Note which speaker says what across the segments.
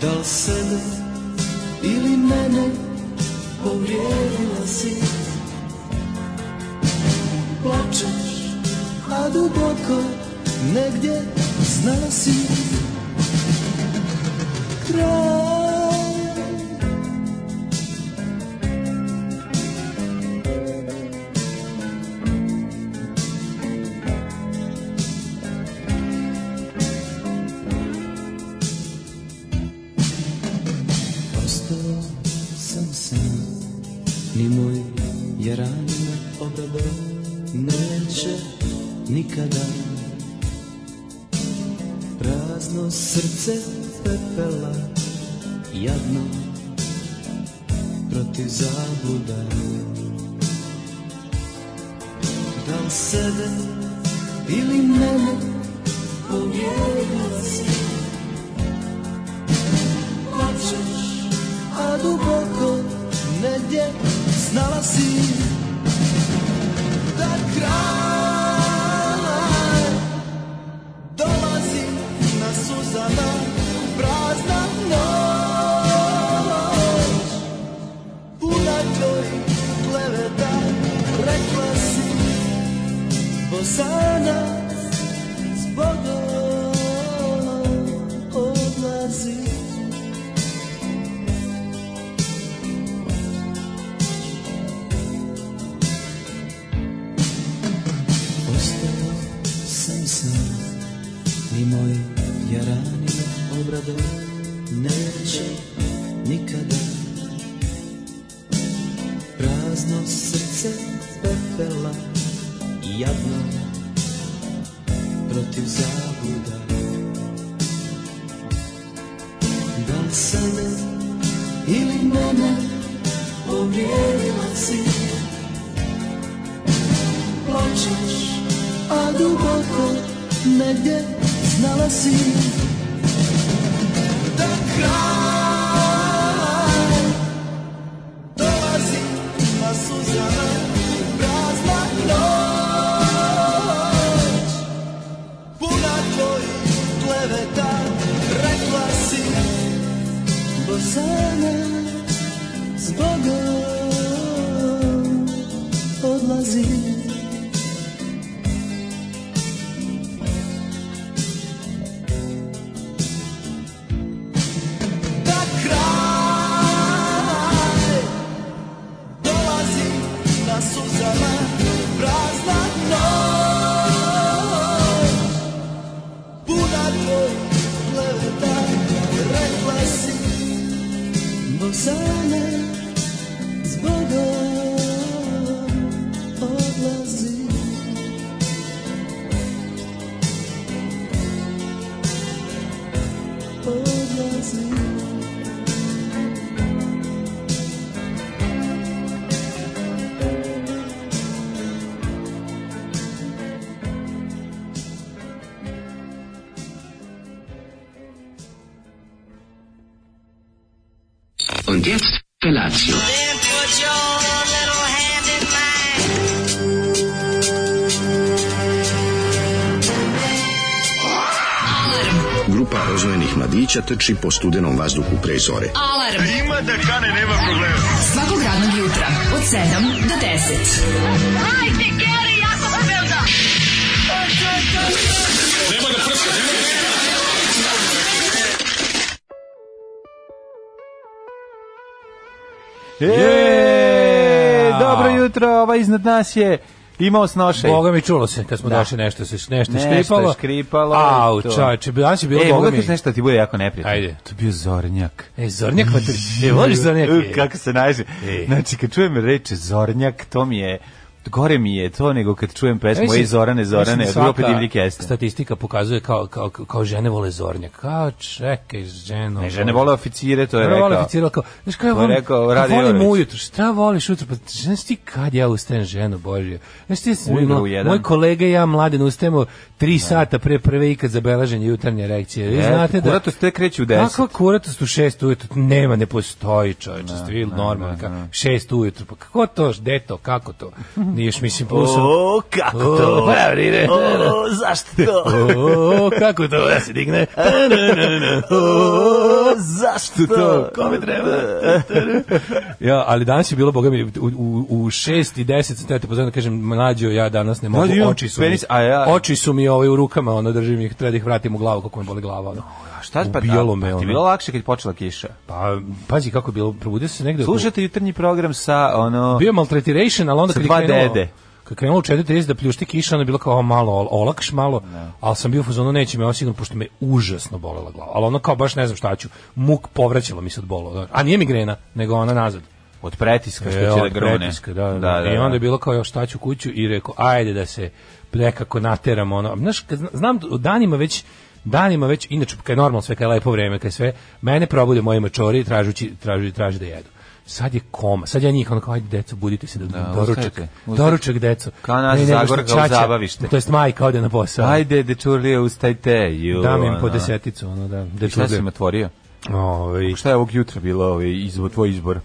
Speaker 1: Da li sebe ili mene povrijedila si Plačeš, a duboko negdje zna si Kraj Ostao Pa sam sam Ni moj je rana obrada Neće nikada Prazno srce pepela Jadno Protiv zabluda Da li sebe ili mene Povjerila si plačeš, a duboko negdje znala si da kraj dolazi na suzama u prazna noć. Puna tvojih kleveta rekla si Bosana s Bogom odlazi. Ostao sam sam Ni moj jaranima obradom Neće nikada Prazno srce pepela Jadno Protiv zabluda Da li sebe ili mene Povrijedila si plačeš, a duboko negdje znala si da kraj dolazi na suzama u prazna noć. Puna tvojih kleveta rekla si Bosana s Bogom odlazi. da kraj dolazi na suzama prazna noć puna tvojih kleveta rekla si Bosana s Bogom odlazi odlazi
Speaker 2: Und jetzt Felatio.
Speaker 3: Then put your little hand in mine.
Speaker 4: Grupa rozvojenih mladića trči po studenom vazduhu pre zore.
Speaker 5: Alarm. Ima da kane, nema problema. Svakog radnog jutra, od 7 do 10. Hajde, Geri, jako se velda.
Speaker 6: E, dobro jutro, ovaj iznad nas je imao snošaj.
Speaker 7: Boga mi čulo se kad smo
Speaker 6: Da.
Speaker 7: došli nešto se nešto,
Speaker 6: Nešto je
Speaker 7: škripalo.
Speaker 6: škripalo,
Speaker 7: Au,
Speaker 6: to.
Speaker 7: čače, danas je bilo
Speaker 6: E,
Speaker 7: Boga
Speaker 6: mogu da
Speaker 7: mi.
Speaker 6: kažeš nešto da ti bude jako neprijatno.
Speaker 7: Ajde.
Speaker 6: To je bio Zornjak.
Speaker 7: E, Zornjak vatri. E, voliš Zornjak?
Speaker 6: U, Kako se najže.
Speaker 7: E.
Speaker 6: Znači, kad čujem reč Zornjak, to mi je gore mi je to nego kad čujem pesmu Ej
Speaker 7: Mislim-
Speaker 6: Zorane, Zorane,
Speaker 7: mislim,
Speaker 6: grupe
Speaker 7: svaka
Speaker 6: Divlji Kesne.
Speaker 7: Statistika pokazuje kao, kao, kao žene vole Zornjak. Kao, čekaj, ženo.
Speaker 6: Ne, žene vole oficire, to je
Speaker 7: Žene vole
Speaker 6: rekao.
Speaker 7: oficira, kao, znaš kao ja
Speaker 6: To je
Speaker 7: volim,
Speaker 6: rekao
Speaker 7: kao
Speaker 6: Rade
Speaker 7: volim
Speaker 6: Jorović.
Speaker 7: ujutru, šta voliš ujutru, pa znaš ti kad ja ustajem ženo, bože. Znaš ti, ja sam,
Speaker 6: Ujutru
Speaker 7: mla-
Speaker 6: u jedan.
Speaker 7: moj kolega i ja mladen ustajemo tri sata pre prve ikad za belaženje jutarnje reakcije. Vi
Speaker 6: E,
Speaker 7: znate da...
Speaker 6: kuratost tek kreće u deset.
Speaker 7: Kakva kuratost u šest ujutru? Nema, ne postoji čoveče, ste vi normalni. ka- Šest ujutru, pa kako to, gde to, kako to? Niješ, mislim, plusom.
Speaker 6: O, kako to?
Speaker 7: O, pa evo, ide.
Speaker 6: O, zašto to?
Speaker 7: O, kako to da se digne?
Speaker 6: O, Zašto to?
Speaker 7: Kome treba? ja, ali danas je bilo, boga mi, u, u, u šest i deset sam teo te pozvao da kažem, mlađo, ja danas ne mogu,
Speaker 6: Mlađo, imam
Speaker 7: oči su mi,
Speaker 6: penis, a ja-
Speaker 7: oči su mi ovaj, u rukama, ono, držim ih, treba da ih vratim u glavu, kako me boli glava, ono.
Speaker 6: A šta pa
Speaker 7: Ubijalo me,
Speaker 6: pa Ti je
Speaker 7: ono.
Speaker 6: bilo lakše kad je počela kiša.
Speaker 7: Pa, pazi kako je bilo, probudio se negde. oko-
Speaker 6: Slušate jutarnji program sa ono
Speaker 7: Bio je maltretiration, ali onda
Speaker 6: Sa
Speaker 7: kad je
Speaker 6: dva
Speaker 7: krenulo...
Speaker 6: dede.
Speaker 7: Kad je krenulo u 4.30 da pljušti kiša, ono je bilo kao o, malo ol- olakš, malo, ali sam bio u fazonu, neće me osigurno, pošto me užasno bolela glava. Ali ono kao baš ne znam šta ću, muk povraćalo mi se od bola. A nije migrena, nego ona nazad.
Speaker 6: od pretiska što
Speaker 7: E,
Speaker 6: će da
Speaker 7: od
Speaker 6: grune.
Speaker 7: pretiska, da, da, I onda je bilo kao još šta ću kuću i rekao ajde da se nekako nateramo ono. Znaš, kad zna- znam da danima već danima već inače kad je normalno sve kad je lepo vreme, kad je sve mene probude moji mačori tražući traži traži da jedu. Sad je koma. Sad ja njih ono kao ajde deco budite se da, doručak.
Speaker 6: ustajte, ustajte.
Speaker 7: Doručak deco.
Speaker 6: Kao nas
Speaker 7: nego što
Speaker 6: Zagorka u zabavište.
Speaker 7: To jest majka ode na posao.
Speaker 6: Ajde, dečurlije, ustajte. Ju,
Speaker 7: Dam im po
Speaker 6: ono.
Speaker 7: deseticu, ono da.
Speaker 6: I šta si im otvorio?
Speaker 7: Ovaj,
Speaker 6: Šta je ovog jutra bilo ovaj, izbor, tvoj izbor?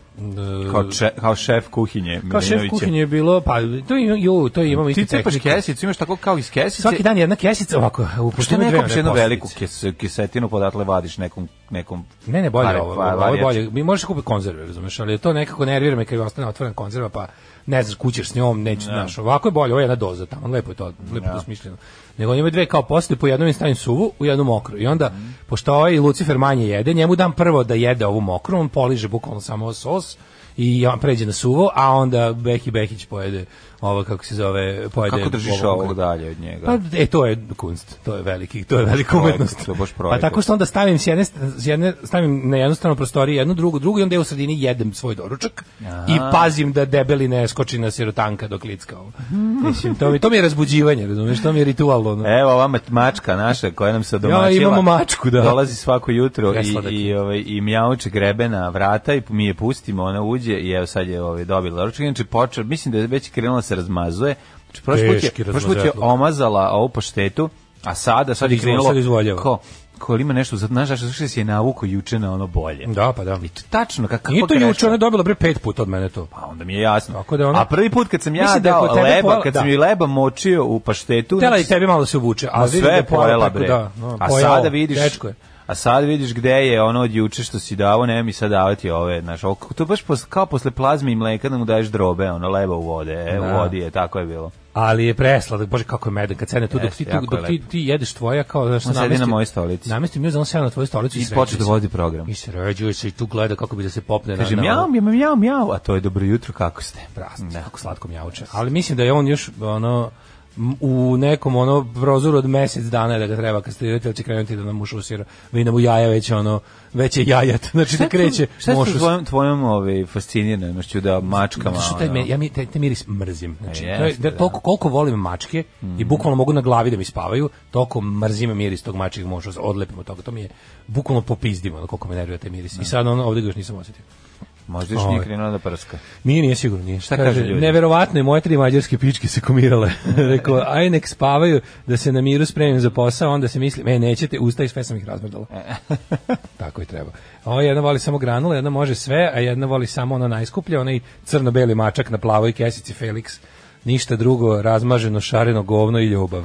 Speaker 6: Kao, če, kao šef kuhinje.
Speaker 7: Kao šef
Speaker 6: Milinovića.
Speaker 7: kuhinje je bilo, pa to, im- ju, to imamo
Speaker 6: Ti
Speaker 7: isto
Speaker 6: cepaš
Speaker 7: tehnike.
Speaker 6: kesicu, imaš tako kao iz kesice.
Speaker 7: Svaki dan jedna kesica ovako,
Speaker 6: Što
Speaker 7: upušteno
Speaker 6: ne
Speaker 7: dve
Speaker 6: kupiš
Speaker 7: one
Speaker 6: jednu
Speaker 7: poslastice.
Speaker 6: veliku kes, kesetinu, pa odatle vadiš nekom... nekom
Speaker 7: Ne, ne, bolje
Speaker 6: pare- va-
Speaker 7: ovo, ovo je
Speaker 6: varijač.
Speaker 7: bolje. Mi možeš kupiti konzerve, razumeš, ali to nekako nervira me kad ostane otvoren konzerva, pa ne znaš, kućeš s njom, nećeš, znaš, ovako je bolje, ovo je jedna doza tamo, lepo je to, lepo je to smišljeno. Nego njima dve kao posle, po jednom im stavim suvu, u jednu mokru. I onda, pošto ovaj Lucifer manje jede, njemu dam prvo da jede ovu mokru, on poliže bukvalno samo sos, i on pređe na suvo, a onda Behi Behić pojede ovo kako se zove, pojede
Speaker 6: Kako držiš
Speaker 7: ovo
Speaker 6: ovog dalje od njega?
Speaker 7: pa e to je kunst, to je veliki, to je velika
Speaker 6: projekat,
Speaker 7: umetnost.
Speaker 6: to je baš
Speaker 7: pa
Speaker 6: projekat.
Speaker 7: tako što onda stavim s jedne, s jedne stavim na jednu stranu prostorije jednu, drugu, drugu i onda ja u sredini jedem svoj doručak i pazim da debeli ne skoči na sirotanka dok licka. ovo. Mislim, to mi to mi je razbuđivanje, razumiješ, to mi je ritual ono.
Speaker 6: Evo ova mat- mačka naša koja nam se odomaćila.
Speaker 7: Ja, imamo mačku, da.
Speaker 6: Dolazi svako jutro
Speaker 7: Presladak
Speaker 6: i, i,
Speaker 7: je.
Speaker 6: ovaj, i mjauče grebe na vrata i mi je pustimo, ona uđe i evo sad je ovaj, dobila ručak. Inače, počeo, mislim da je već krenula da se razmazuje. Znači, prošli put je,
Speaker 7: Teški
Speaker 6: prošli put je
Speaker 7: razmazatluk.
Speaker 6: omazala ovu paštetu, a sada, sad je
Speaker 7: Izvo-
Speaker 6: krenulo...
Speaker 7: sad izvoljava.
Speaker 6: Ko, ko ima nešto, za- znaš, zašto što si je navuko juče na ono bolje.
Speaker 7: Da, pa da.
Speaker 6: I to tačno, kako
Speaker 7: Nije to juče, ona je dobila bre pet puta od mene to.
Speaker 6: Pa onda mi je jasno.
Speaker 7: Tako da ono-
Speaker 6: A prvi put kad sam ja
Speaker 7: Mislim da je
Speaker 6: dao
Speaker 7: kod tebe
Speaker 6: leba,
Speaker 7: pojela-
Speaker 6: kad
Speaker 7: da.
Speaker 6: sam joj leba močio u paštetu...
Speaker 7: Tela i
Speaker 6: znači,
Speaker 7: tebi malo da se uvuče, a
Speaker 6: Ma
Speaker 7: vidim
Speaker 6: sve
Speaker 7: da
Speaker 6: je pojela
Speaker 7: tako
Speaker 6: bre.
Speaker 7: Da, no,
Speaker 6: a
Speaker 7: pojela,
Speaker 6: sada vidiš
Speaker 7: dečko je.
Speaker 6: A sad vidiš gde je ono od juče što si dao, ne mi sad davati ove, znaš, ovo, to je baš pos, kao posle plazme i mleka da mu daješ drobe, ono, leba u vode, e,
Speaker 7: Da.
Speaker 6: u vodi je, tako je bilo.
Speaker 7: Ali je presladak, bože kako je medan kad sedne tu dok
Speaker 6: Jeste,
Speaker 7: ti tu,
Speaker 6: jako je
Speaker 7: dok ti,
Speaker 6: lepo.
Speaker 7: ti jedeš tvoja kao da se
Speaker 6: On sedi na mojoj stolici.
Speaker 7: Namestim nju za on sedi na tvoju stolicu i,
Speaker 6: I
Speaker 7: sreće
Speaker 6: počne da
Speaker 7: se.
Speaker 6: vodi program.
Speaker 7: I sređuje se i tu gleda kako bi da se popne
Speaker 6: Kaže,
Speaker 7: na, na
Speaker 6: mjau, mjau, mjau, mjau, a to je dobro jutro, kako ste?
Speaker 7: prast,
Speaker 6: Da.
Speaker 7: kako slatko mjauče. Ali mislim da je on još ono m- u nekom ono prozoru od mesec dana je da ga treba kastrirati, ali će krenuti da nam ušusira. Vi nam u jaja već ono, već je jajat. Znači da
Speaker 6: je to-
Speaker 7: kreće.
Speaker 6: Šta je
Speaker 7: mošus.
Speaker 6: sa tvojom, tvojom ovaj, fasciniranošću da mačkama...
Speaker 7: Što taj,
Speaker 6: ono-
Speaker 7: me- ja mi taj, taj miris mrzim. Znači,
Speaker 6: E,
Speaker 7: to je-
Speaker 6: jeste, Mhm.
Speaker 7: da, toliko, koliko volim mačke i bukvalno mogu na glavi da mi spavaju, toliko mrzim miris tog mačeg moša, odlepim od toga. To mi je bukvalno popizdimo ono, koliko me nervira taj miris. I sad ono, ovdje ga još nisam osjetio.
Speaker 6: Možda još nije
Speaker 7: Ovaj.
Speaker 6: krenula da prska.
Speaker 7: Nije, nije sigurno, nije. Šta
Speaker 6: kažu ljudi?
Speaker 7: Neverovatno je, moje tri mađarske pičke se komirale. Rekao, aj nek spavaju da se na miru spremim za posao, onda se mislim, e, nećete, ustaj, sve sam ih razmrdala. Tako i treba. A Ova jedna voli samo granule, jedna može sve, a jedna voli samo ono najskuplje, onaj crno-beli mačak na plavoj kesici Felix. Ništa drugo, razmaženo, šareno govno i ljubav.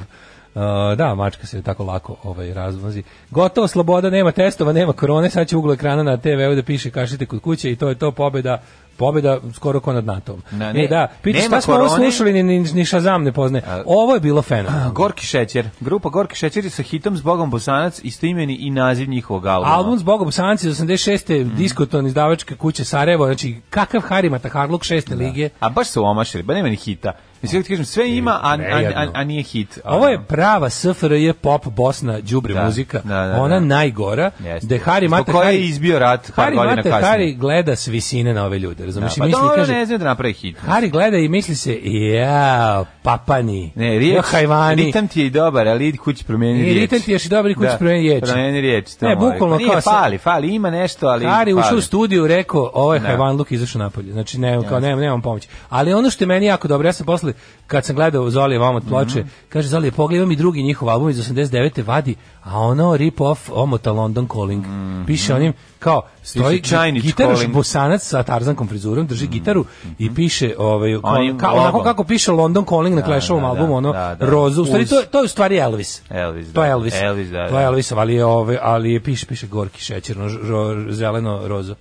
Speaker 7: Uh, da, mačka se tako lako ovaj razvozi. Gotovo sloboda, nema testova, nema korone, sad će u uglu ekrana na TV-u da piše kašite kod kuće i to je to pobeda, pobeda skoro ko nad NATO-om.
Speaker 6: Na-
Speaker 7: ne,
Speaker 6: ne-
Speaker 7: da, pita
Speaker 6: nema
Speaker 7: šta smo ovo
Speaker 6: korone.
Speaker 7: slušali, ni, ni, ni Shazam ne poznaje. Ovo je bilo fenomenalno.
Speaker 6: Gorki šećer. Grupa Gorki šećer je sa hitom Zbogom Bosanac istoimeni i naziv njihovog albuma.
Speaker 7: Album zbog Bosanci iz 86.
Speaker 6: Mhm.
Speaker 7: Diskoton izdavačke kuće Sarajevo, znači kakav Harima Taharluk šeste lige.
Speaker 6: A baš su omašili, ba nema ni hita. Mislim, kako ti kažem, sve ima, a, a, a, a nije hit. ono.
Speaker 7: Ovo je prava SFRJ pop Bosna đubre
Speaker 6: Da,
Speaker 7: muzika.
Speaker 6: da, da,
Speaker 7: Ona
Speaker 6: da.
Speaker 7: najgora.
Speaker 6: Jeste.
Speaker 7: Da Hari
Speaker 6: Zbog
Speaker 7: Mata
Speaker 6: koje
Speaker 7: Hari
Speaker 6: je izbio rat par
Speaker 7: Hari
Speaker 6: godina
Speaker 7: Mata
Speaker 6: kasnije.
Speaker 7: Hari gleda s visine na ove ljude,
Speaker 6: Da,
Speaker 7: razumiješ? I
Speaker 6: pa
Speaker 7: misli
Speaker 6: dobro,
Speaker 7: znači, kaže
Speaker 6: ne znaju da napravi hit.
Speaker 7: Hari gleda i misli se, ja, papani,
Speaker 6: Ne,
Speaker 7: ja,
Speaker 6: riječ,
Speaker 7: hajvani.
Speaker 6: ritam ti je i dobar, ali idi kući promijeni
Speaker 7: I
Speaker 6: riječ.
Speaker 7: ritam ti je još i dobar, i kući
Speaker 6: Da,
Speaker 7: promijeni riječ.
Speaker 6: Promijeni riječ. to
Speaker 7: Ne,
Speaker 6: moram
Speaker 7: bukvalno
Speaker 6: reći. Nije,
Speaker 7: kao sad-
Speaker 6: fali, fali, ima nešto, ali
Speaker 7: Kari
Speaker 6: fali.
Speaker 7: ušao u studiju, rekao, ovaj
Speaker 6: Da.
Speaker 7: Hajvan Luk izašao napolje. Znači ne, kao nemam, nemam pomoći. Ali ono što je meni jako dobro, ja sam posle kad sam gledao Zolije Vamot ploče,
Speaker 6: Mhm.
Speaker 7: kaže Zolije pogledaj mi drugi njihov album iz 89. vadi, a ono rip off Omota London Calling. Piše onim kao stoji
Speaker 6: Mhm. Piše Chinese
Speaker 7: gitaraš
Speaker 6: Calling. Mhm.
Speaker 7: bosanac sa Tarzankom frizurom, drži gitaru i piše ovaj kao,
Speaker 6: Onim
Speaker 7: kao onako
Speaker 6: logom.
Speaker 7: kako piše London Calling na Clashovom
Speaker 6: da, da,
Speaker 7: albumu, ono
Speaker 6: da, da.
Speaker 7: rozu. U stvari
Speaker 6: Uz.
Speaker 7: to je- to je u stvari Elvis.
Speaker 6: Elvis,
Speaker 7: To je
Speaker 6: da.
Speaker 7: Elvis.
Speaker 6: Elvis, da,
Speaker 7: To je
Speaker 6: da.
Speaker 7: Elvis, ali je ovaj ali je piše piše gorki šećerno ž- ro- zeleno rozo.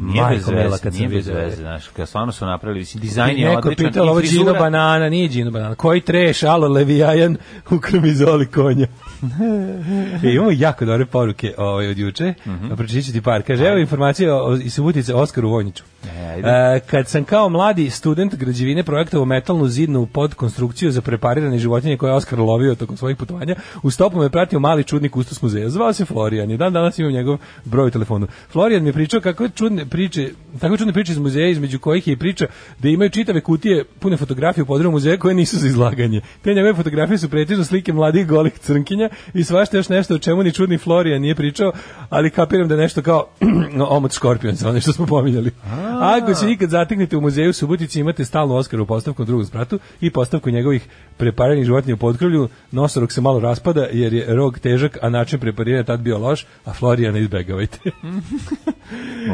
Speaker 6: Nije bez
Speaker 7: Majko mila,
Speaker 6: veze,
Speaker 7: kad
Speaker 6: nije
Speaker 7: sam
Speaker 6: bez
Speaker 7: vidio. ovaj.
Speaker 6: veze, znaš, kad stvarno su napravili, mislim, dizajn je
Speaker 7: Neko je
Speaker 6: odličan.
Speaker 7: pitalo,
Speaker 6: i
Speaker 7: ovo je Gino
Speaker 6: frizura-
Speaker 7: Banana, nije Gino Banana. Koji treš, alo, levijajan, ukro mi zoli konja. e, imamo jako dobre poruke ovaj, od juče. Mm Pročitit ću ti par. Kaže, evo informacija o, iz Subotice Oskaru Vojniću.
Speaker 6: Ajde.
Speaker 7: E, kad sam kao mladi student građevine projektovao metalnu zidnu podkonstrukciju za preparirane životinje koje je Oskar lovio tokom svojih putovanja, u stopu me pratio mali čudni kustos muzeja. Zvao se Florijan i dan danas imam njegov broj u telefonu. Florijan mi je pričao kako čudne priče, tako čudne priče iz muzeja između kojih je i priča da imaju čitave kutije pune fotografije u podrumu muzeja koje nisu za izlaganje. Te njegove fotografije su pretežno slike mladih golih crnkinja i svašta još nešto o čemu ni čudni Florijan nije pričao, ali kapiram da je nešto kao omot škorpion, ono što smo pominjali. Ako se ikad zateknete u muzeju Subotici, imate stalnu Oskaru postavku na drugom spratu i postavku njegovih prepariranih životinja u podkrovlju, nosorog se malo raspada jer je rog težak, a način prepariranja tad bio loš, a Florijana izbegavajte.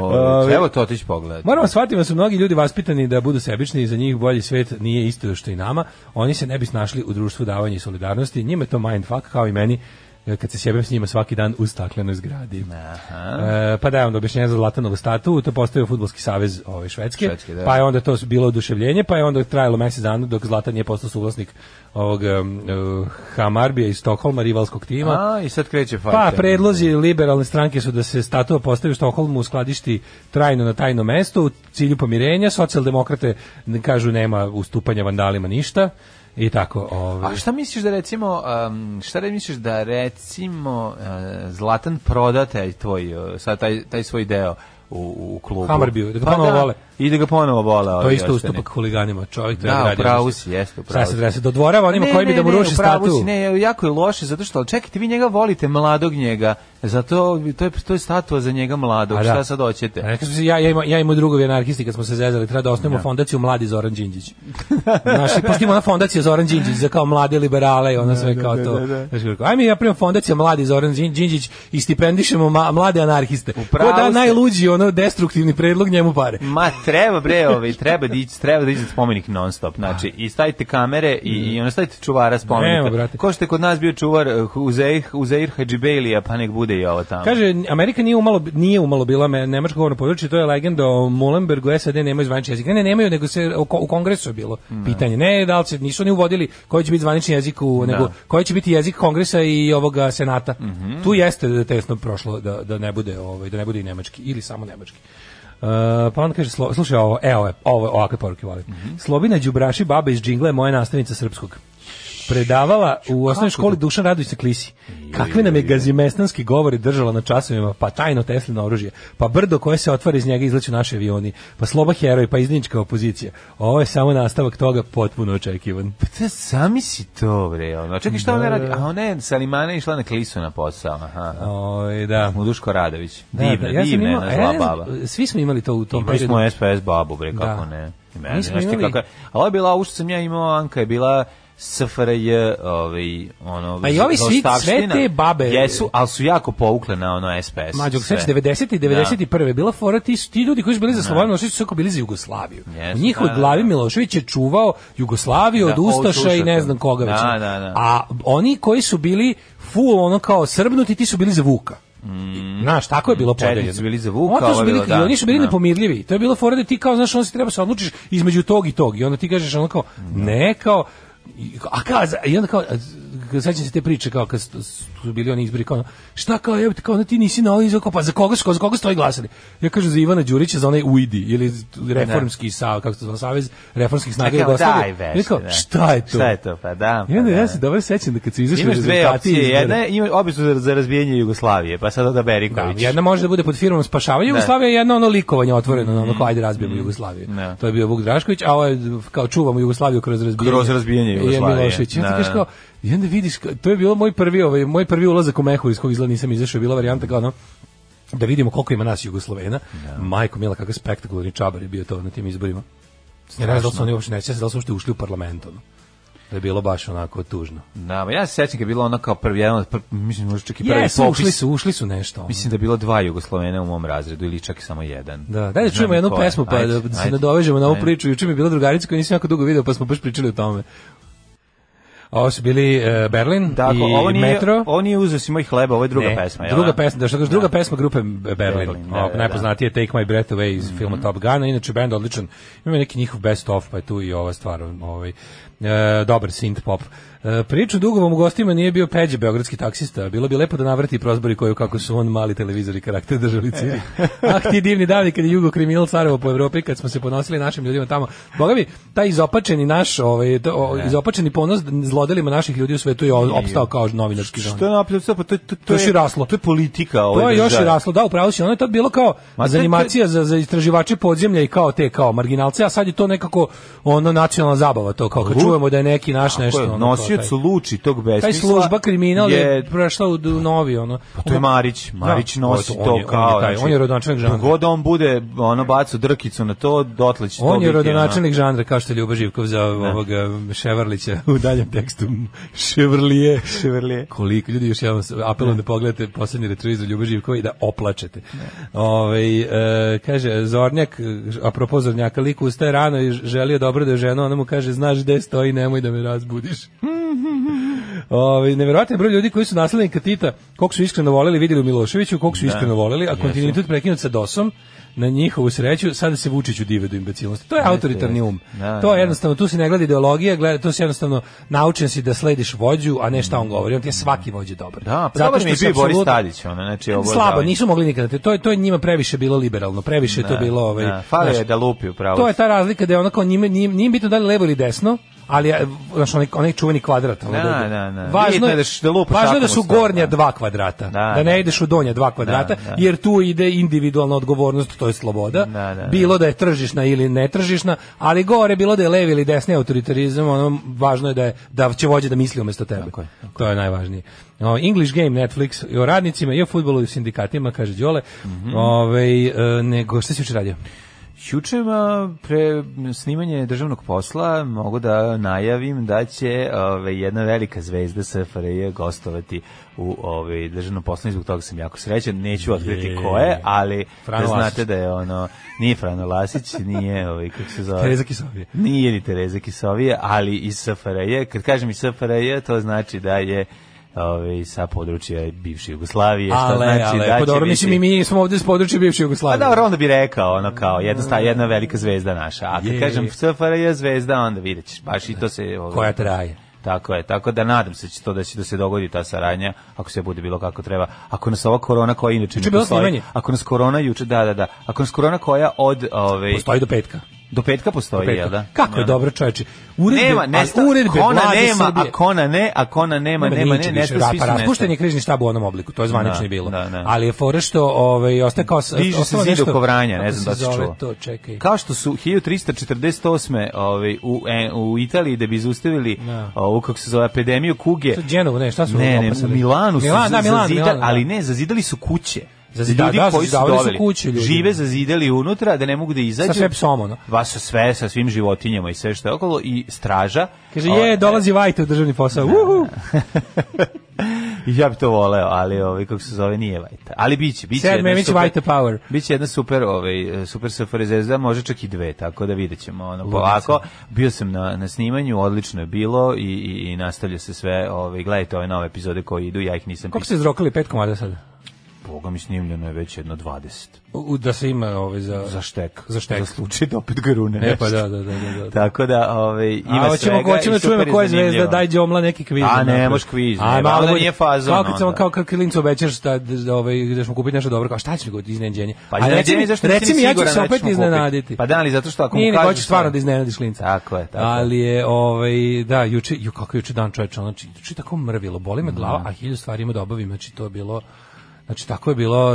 Speaker 6: O,
Speaker 7: Ovaj.
Speaker 6: Evo to otići pogledati.
Speaker 7: Moramo shvatiti da su mnogi ljudi vaspitani da budu sebični i za njih bolji svet nije isto što i nama. Oni se ne bi snašli u društvu davanja i solidarnosti. Njima je to mindfuck kao i meni e, kad se sjebem s njima svaki dan u staklenoj zgradi. E, pa dajem do objašnjenja za Zlatanovu statuju, to postavio futbolski savez ove Švedske,
Speaker 6: Švedske, da.
Speaker 7: pa je onda to bilo oduševljenje, pa je onda trajalo mesec dana dok Zlatan nije postao suvlasnik ovog em, e, Hamarbija iz Stokholma, rivalskog tima.
Speaker 6: A, i sad kreće fajta.
Speaker 7: Pa, predlozi liberalne stranke su da se statua postavi u Štokholmu u skladišti trajno na tajno mesto u cilju pomirenja. Socijaldemokrate n- kažu nema ustupanja vandalima ništa i tako. Ovaj.
Speaker 6: A Pa šta misliš da recimo, um, šta re- misliš da recimo uh, Zlatan proda taj tvoj, uh, sad taj, taj svoj deo u, u klubu?
Speaker 7: Hammarby, da ga ponovo vole.
Speaker 6: I da ga ponovo vole.
Speaker 7: To
Speaker 6: ovi
Speaker 7: je isto
Speaker 6: ostani.
Speaker 7: ustupak huliganima. Čovjek treba
Speaker 6: Da,
Speaker 7: da radi
Speaker 6: u pravu
Speaker 7: nešto.
Speaker 6: si, jeste, u
Speaker 7: Šta
Speaker 6: pravu
Speaker 7: se
Speaker 6: si.
Speaker 7: treba se dodvorava onima koji bi da mu
Speaker 6: ne,
Speaker 7: ruši
Speaker 6: u pravu si,
Speaker 7: statu.
Speaker 6: Ne, jako je loše, zato što, ali čekajte, vi njega volite, mladog njega, zato to je, to je statua za njega mladog,
Speaker 7: A da.
Speaker 6: šta sad hoćete?
Speaker 7: Rekao sam si, ja, ja, ima, ja i moj drugovi anarhisti kad smo se zezali, treba da osnovimo fondaciju Mladi Zoran Đinđić. Znaš, i pošto ima ona fondacija Zoran Đinđić za kao mlade liberale i ona sve kao to. Znaš, kako, ajme, ja primam fondacija Mladi Zoran Đin- Đinđić i stipendišemo ma- mlade anarhiste.
Speaker 6: pravu
Speaker 7: Ko da
Speaker 6: ste.
Speaker 7: najluđi, ono, destruktivni predlog, njemu pare.
Speaker 6: Ma treba bre, ovaj treba da ići, treba da ići spomenik non stop.
Speaker 7: Pa.
Speaker 6: Znači i stavite kamere i i ono stavite čuvara spomenika.
Speaker 7: Nema, brate.
Speaker 6: Ko što je kod nas bio čuvar eh, Uzeir Uzeir Hadžibeilija, pa nek bude i ovo tamo.
Speaker 7: Kaže, Amerika nije umalo, nije umalo bila me- nemačko govorno područje, to je legenda o Mulenbergu, SAD nemaju zvanični jezik. Ne, ne, nemaju, nego se u, ko- u kongresu je bilo pitanje. Ne, da li se, nisu oni uvodili koji će biti zvanični jezik, u, nego koji će biti jezik kongresa i ovoga senata. Tu jeste da je tesno prošlo da, da ne bude ovaj, da ne bude i nemački, ili samo nemački. Uh, pa on kaže, slo, slušaj ovo, evo je, ovo, ovakve poruke volim. Slobina Đubraši, baba iz džingla je moja nastavnica srpskog predavala u osnovnoj školi Dušan Radović na klisi. Kakve nam je gazimestanski govori držala na časovima, pa tajno Teslino oružje, pa brdo koje se otvara iz njega izleću naši avioni, pa sloba heroj, pa izdinička opozicija. Ovo je samo nastavak toga potpuno očekivan.
Speaker 6: Pa te sami si to bre. Ono. Čekaj šta ona radi? A ona je sa Limana išla na klisu na posao. Aha.
Speaker 7: Oj, da.
Speaker 6: Muduško Radović.
Speaker 7: Da,
Speaker 6: Divna,
Speaker 7: da, ja sam
Speaker 6: divna
Speaker 7: imao-
Speaker 6: jedna
Speaker 7: a ja
Speaker 6: zla
Speaker 7: ne znam,
Speaker 6: baba.
Speaker 7: Svi smo imali to u tom
Speaker 6: Imali
Speaker 7: periodu.
Speaker 6: smo SPS babu, bre, kako
Speaker 7: Da.
Speaker 6: ne. I
Speaker 7: Mi
Speaker 6: Mene,
Speaker 7: smo
Speaker 6: znaš ti
Speaker 7: imali-
Speaker 6: kako je. A ovo je bila, ovo što sam ja imao, Anka je bila SFRJ, ovaj, ono,
Speaker 7: A i ovi svi-
Speaker 6: zaostavština.
Speaker 7: sve te babe-
Speaker 6: Jesu, ali su jako povukle na ono SPS.
Speaker 7: Mađo,
Speaker 6: sve.
Speaker 7: sećaš 90. i 91. bila fora ti su ti ljudi koji su bili za Slobodan Milošević su kako bili za Jugoslaviju.
Speaker 6: Jeste,
Speaker 7: U njihovoj
Speaker 6: da, da,
Speaker 7: glavi
Speaker 6: da.
Speaker 7: Milošević je čuvao Jugoslaviju
Speaker 6: Da,
Speaker 7: od ustaša i
Speaker 6: od
Speaker 7: ne
Speaker 6: Ustaša.
Speaker 7: znam koga već.
Speaker 6: Da,
Speaker 7: ne.
Speaker 6: da, da.
Speaker 7: A oni koji su bili full ono kao srbnuti, ti su bili za Vuka. Znaš, tako je bilo
Speaker 6: Četnici
Speaker 7: podeljeno.
Speaker 6: Mm. su bili za Vuka,
Speaker 7: Oni to
Speaker 6: ovo
Speaker 7: su
Speaker 6: je
Speaker 7: bili,
Speaker 6: bilo, da.
Speaker 7: i oni su bili
Speaker 6: Da.
Speaker 7: nepomirljivi. To je bilo fora da ti kao, znaš, on se treba se odlučiš između tog i tog. I onda ti kažeš ono kao, ne, kao, i- a kao, za- i onda kao, a z- kad sećam se te priče kao kad st- su bili oni izbori kao ono, šta kao je kao ono, ti nisi na ovih pa za koga su- za koga stoji glasali ja kažem za Ivana Đurića za onaj UIDI ili reformski sa kako se zove savez reformskih snaga
Speaker 6: E, Kao,
Speaker 7: Jugoslavije
Speaker 6: daj,
Speaker 7: I onda
Speaker 6: veš,
Speaker 7: kao,
Speaker 6: da.
Speaker 7: šta je to
Speaker 6: Šta je to, pa da.
Speaker 7: I onda
Speaker 6: pa da.
Speaker 7: ja se dobro sećam da kad su izašli
Speaker 6: Imaš dve
Speaker 7: rezultati
Speaker 6: opcije,
Speaker 7: izbora-
Speaker 6: jedna, ima, obje su za, za razbijanje Jugoslavije, pa sad odaberi
Speaker 7: Da,
Speaker 6: koji ćeš.
Speaker 7: jedna može da bude pod firmom spašavanja Jugoslavije, jedna ono likovanje otvoreno, na ono kao ajde razbijemo Jugoslaviju.
Speaker 6: Mhm. Da.
Speaker 7: To je bio Vuk Drašković, a ovo je kao čuvamo Jugoslaviju kroz razbijanje.
Speaker 6: Kroz razbijanje
Speaker 7: I je
Speaker 6: Jugoslavije.
Speaker 7: Milošević. I onda
Speaker 6: Da,
Speaker 7: kažeš
Speaker 6: da.
Speaker 7: kao, i onda vidiš, ka- to je bilo moj prvi, ovaj, moj prvi ulazak u Mehu iz kog izgleda nisam izašao, je bila varijanta kao ono, da vidimo koliko ima nas Jugoslovena. Majko Mila, kakav spektakularni čabar je bio to na tim izborima. Ja ne znam da li su oni uopšte neće, da li su uopšte ušli u parlament. Ono. da je bilo baš onako tužno.
Speaker 6: Da, ma ja se sećam kad je bilo ono kao prvi, jedan od prvi, mislim, možda čak i prvi
Speaker 7: Jesu,
Speaker 6: popis.
Speaker 7: ušli su, ušli su nešto. ono.
Speaker 6: Mislim da je bilo dva Jugoslovena u mom razredu ili čak i samo jedan.
Speaker 7: Da, daj da
Speaker 6: Znam
Speaker 7: čujemo
Speaker 6: i
Speaker 7: jednu
Speaker 6: ko je.
Speaker 7: pesmu pa
Speaker 6: Ajde,
Speaker 7: da se
Speaker 6: ajde.
Speaker 7: nadovežemo na ovu
Speaker 6: Ajde.
Speaker 7: priču. Juče mi je bila drugarica koju nisam jako dugo video, pa smo baš pričali o tome. Ovo su bili e, Berlin
Speaker 6: Tako,
Speaker 7: i
Speaker 6: ovo nije,
Speaker 7: Metro.
Speaker 6: ovo nije uzeo si moj hleba, ovo je druga
Speaker 7: Ne,
Speaker 6: pesma. jel
Speaker 7: Druga
Speaker 6: da?
Speaker 7: pesma, da što kažeš, druga pesma grupe Berlin.
Speaker 6: Berlin, da,
Speaker 7: O,
Speaker 6: da, Mhm.
Speaker 7: najpoznatije je Take My Breath Away iz filma Top Gun, inače band odličan. Ima neki njihov best of, pa je tu i ova stvar, ovaj e, dobar synth pop. E, priču dugovom u gostima nije bio Peđe, beogradski taksista. Bilo bi lepo da navrati prozbori koju kako su on mali televizor i karakter držali ciri. ah, ti divni dani kad je Jugo kriminal carevo po Evropi, kad smo se ponosili našim ljudima tamo. Boga mi, taj izopačeni naš, ovaj, to- o, izopačeni ponos zlodelima naših ljudi u svetu je o- opstao kao novinarski žan.
Speaker 6: Što je napravljeno? Pa to, to, to,
Speaker 7: To je širaslo.
Speaker 6: To je politika ove
Speaker 7: To je još i
Speaker 6: države.
Speaker 7: raslo, da, upravo si, ono je to bilo kao
Speaker 6: Pa Ma, to je-
Speaker 7: zanimacija za, za istraživače podzemlja i kao te, kao marginalce, a sad je to nekako ono nacionalna zabava, to kao kad
Speaker 6: Lut-
Speaker 7: čujemo da je neki naš
Speaker 6: Tako je,
Speaker 7: nešto. Ono, kao taj-
Speaker 6: Nosioc luči tog besmisla.
Speaker 7: taj služba kriminal je,
Speaker 6: je
Speaker 7: prošla u, u novi, ono.
Speaker 6: Pa to je Marić, Marić nosi to,
Speaker 7: on je- on
Speaker 6: kao. znači,
Speaker 7: je taj, on je rodonačelnik žanra.
Speaker 6: God on bude ono bacu drkicu na to, dotle će to
Speaker 7: On je
Speaker 6: biti, ono.
Speaker 7: rodonačelnik žanra, kao što je Ljuba Živkov za ovoga e, Ševarlića u daljem tekstu. Ševrlije.
Speaker 6: Ševrlije.
Speaker 7: Koliko ljudi, još jednom apelujem da pogledate posljednji retrovizor Ljuba Živkova i da oplačete. Ovaj e, kaže, Zornjak, e, apropo Zornjaka, lik ustaje rano i želio dobro da je žena, ona mu kaže, znaš gde stoji, nemoj da me razbudiš. Ovaj neverovatan je broj ljudi koji su naslednika Tita, koliko su iskreno voleli, vidjeli u Miloševiću, koliko su iskreno voleli, a kontinuitet prekinut sa DOS-om, na njihovu sreću, sada se Vučić u divedu imbecilnosti. To je autoritarni um.
Speaker 6: Da,
Speaker 7: to je
Speaker 6: da.
Speaker 7: jednostavno, tu se ne gleda ideologija, gleda, to se jednostavno naučen si da slediš vođu, a ne šta on govori. On ti je svaki vođe dobar.
Speaker 6: Da, pa Zato što mi je
Speaker 7: si
Speaker 6: bio Boris
Speaker 7: apsolutno-
Speaker 6: Tadić, ono, znači ovo
Speaker 7: Slabo,
Speaker 6: da-
Speaker 7: nisu mogli nikada. To je, to je njima previše bilo liberalno, previše je to
Speaker 6: Da,
Speaker 7: bilo... Ovaj,
Speaker 6: da, falio
Speaker 7: znaš,
Speaker 6: je da lupi upravo.
Speaker 7: to je ta razlika da je ono kao njime, njim, nije bitno da li levo ili desno, ali je, znaš, onaj, onaj čuveni kvadrat. ono
Speaker 6: Da,
Speaker 7: da ide.
Speaker 6: da, da.
Speaker 7: Važno,
Speaker 6: Bitno
Speaker 7: je
Speaker 6: je da š- da lupaš
Speaker 7: važno je da
Speaker 6: šakom
Speaker 7: su
Speaker 6: u stol,
Speaker 7: gornja
Speaker 6: da.
Speaker 7: dva kvadrata, da,
Speaker 6: Da,
Speaker 7: ne
Speaker 6: da.
Speaker 7: ideš u donja dva kvadrata,
Speaker 6: Da, da.
Speaker 7: jer tu ide individualna odgovornost, to je sloboda,
Speaker 6: Da, da, da.
Speaker 7: bilo da je tržišna ili netržišna, ali gore bilo da je levi ili desni autoritarizam, ono, važno je da, je, da će vođe da misli umjesto tebe.
Speaker 6: Tako je,
Speaker 7: To je najvažnije. O, English Game Netflix i o radnicima i o futbolu i o sindikatima, kaže Đole.
Speaker 6: Mhm.
Speaker 7: Ovaj, e, nego, šta si juče radio?
Speaker 6: Juče ma, pre snimanje državnog posla mogu da najavim da će ove, jedna velika zvezda SFRJ gostovati u ove, državnom poslu i zbog toga sam jako srećan. Neću otkriti ko je, ali
Speaker 7: Frano
Speaker 6: da znate
Speaker 7: Lasić.
Speaker 6: da je ono, nije Frano Lasić, nije, ove, kako se zove...
Speaker 7: Tereza Kisovije.
Speaker 6: Nije ni Tereza Kisovije, ali iz SFRJ. Kad kažem iz SFRJ, to znači da je ove, sa područja bivše Jugoslavije. što
Speaker 7: Ale,
Speaker 6: znači
Speaker 7: ale,
Speaker 6: da
Speaker 7: pa
Speaker 6: će
Speaker 7: dobro, mislim
Speaker 6: biti-
Speaker 7: i mi smo ovdje s područja bivše
Speaker 6: Pa
Speaker 7: Jugoslavije.
Speaker 6: dobro, onda bi rekao, ono kao, jedna, sta, jedna velika zvezda naša. A kad
Speaker 7: Je.
Speaker 6: kažem SFRJ zvezda, onda vidjet ćeš, baš i to se... ovaj,
Speaker 7: Koja traje.
Speaker 6: Tako je, tako da nadam se će to da će da se dogodi ta saradnja, ako se bude bilo kako treba. Ako nas ova korona koja inače
Speaker 7: Juče
Speaker 6: ne
Speaker 7: bilo
Speaker 6: postoji,
Speaker 7: snimanje?
Speaker 6: ako nas korona juče, da, da, da, ako nas korona koja od, ove,
Speaker 7: Postoji do petka.
Speaker 6: do petka postoji,
Speaker 7: Petka.
Speaker 6: Pa jel da?
Speaker 7: Kako je
Speaker 6: Da.
Speaker 7: dobro, čoveče. Uredbe,
Speaker 6: Nema,
Speaker 7: ali
Speaker 6: nesta,
Speaker 7: uredbe
Speaker 6: kona
Speaker 7: vlade
Speaker 6: nema,
Speaker 7: Srbije.
Speaker 6: a kona ne, a kona nema,
Speaker 7: Nema
Speaker 6: nema,
Speaker 7: ničeg
Speaker 6: ne,
Speaker 7: više,
Speaker 6: nestali, svi
Speaker 7: pa
Speaker 6: su nestali.
Speaker 7: raspušten je krizni štab u onom obliku, to je zvanično
Speaker 6: Da,
Speaker 7: i bilo.
Speaker 6: da, da.
Speaker 7: Ali je fore što ovaj ostaje kao s-
Speaker 6: Diže se
Speaker 7: ostalo
Speaker 6: zid
Speaker 7: nešto-
Speaker 6: oko Vranja,
Speaker 7: kako
Speaker 6: ne znam
Speaker 7: se
Speaker 6: da si
Speaker 7: zove
Speaker 6: čuo.
Speaker 7: To, čekaj.
Speaker 6: Kao što su 1348. Ovaj, u, e, u Italiji da bi zaustavili
Speaker 7: Da.
Speaker 6: ovu, kako se zove, epidemiju kuge.
Speaker 7: To je Genovo, ne, šta su
Speaker 6: Ne, ne, u
Speaker 7: opasali?
Speaker 6: Milanu su
Speaker 7: Milan,
Speaker 6: Milan,
Speaker 7: da, Milan,
Speaker 6: zazidali,
Speaker 7: Milan, da.
Speaker 6: ali ne, zazidali su kuće.
Speaker 7: Zazida-
Speaker 6: ljudi
Speaker 7: da,
Speaker 6: koji su
Speaker 7: zazidavali su
Speaker 6: doveli,
Speaker 7: kuće ljudi.
Speaker 6: žive zazidali unutra da ne mogu da izađu.
Speaker 7: Sa sve psom, ono.
Speaker 6: Va sa sve, sa svim životinjama i sve što je okolo i straža. Ovaj,
Speaker 7: Kaže,
Speaker 6: O,
Speaker 7: je, dolazi Vajte u državni posao. Uhu!
Speaker 6: ja bi to voleo, ali ovaj kako se zove nije Vajta. Ali biće, biće
Speaker 7: Sad
Speaker 6: jedna
Speaker 7: Memić
Speaker 6: super-
Speaker 7: Vajte Power.
Speaker 6: Biće jedna super, ovaj, super safari zvezda, može čak i dve, tako da vidjet ćemo. Ono,
Speaker 7: Ludac.
Speaker 6: polako, bio sam na, na snimanju, odlično je bilo i, i, i nastavlja se sve. Ovaj, gledajte ove nove epizode koje idu, ja ih nisam
Speaker 7: Koliko
Speaker 6: pisao.
Speaker 7: ste izrokali pet komada sada?
Speaker 6: Boga mi snimljeno je već jedno 20.
Speaker 7: U- u- da se ima ovaj za...
Speaker 6: Za štek.
Speaker 7: Za štek.
Speaker 6: Za slučaj da opet garune.
Speaker 7: E, pa
Speaker 6: nešto.
Speaker 7: da, da, da, da, da.
Speaker 6: Tako da, ovaj, ima
Speaker 7: A hoćemo
Speaker 6: svega
Speaker 7: hoćemo
Speaker 6: i
Speaker 7: da čujemo
Speaker 6: super
Speaker 7: koja je
Speaker 6: zanimljivo.
Speaker 7: zvezda, daj đomla neki kviz.
Speaker 6: A, ne,
Speaker 7: napravi.
Speaker 6: moš kviz, ne,
Speaker 7: Aj, malo
Speaker 6: valjda
Speaker 7: bolje.
Speaker 6: nije fazon
Speaker 7: Kao kad sam
Speaker 6: onda.
Speaker 7: kao kad klincu obećaš da da ovaj da ćemo kupiti nešto dobro, kao šta ćeš kupiti iznenađenje.
Speaker 6: Pa
Speaker 7: A reci mi,
Speaker 6: iznenađenje, zašto nisi
Speaker 7: reci
Speaker 6: ni
Speaker 7: mi ja ću
Speaker 6: siguran
Speaker 7: se
Speaker 6: da
Speaker 7: opet
Speaker 6: ćemo kupiti?
Speaker 7: iznenaditi.
Speaker 6: Pa da, ali zato što ako mu
Speaker 7: Nije, nego
Speaker 6: kažeš
Speaker 7: hoćeš stvarno
Speaker 6: stvarno-
Speaker 7: da iznenadiš klinca.
Speaker 6: Tako je, tako je.
Speaker 7: Ali je ovaj da, juče ju
Speaker 6: Mm.
Speaker 7: kako je juče dan čoveče, ono, znači juče je tako mrvilo, boli me glava, a hilju stvari ima da obavim, znači to je bilo Znači, tako je bilo,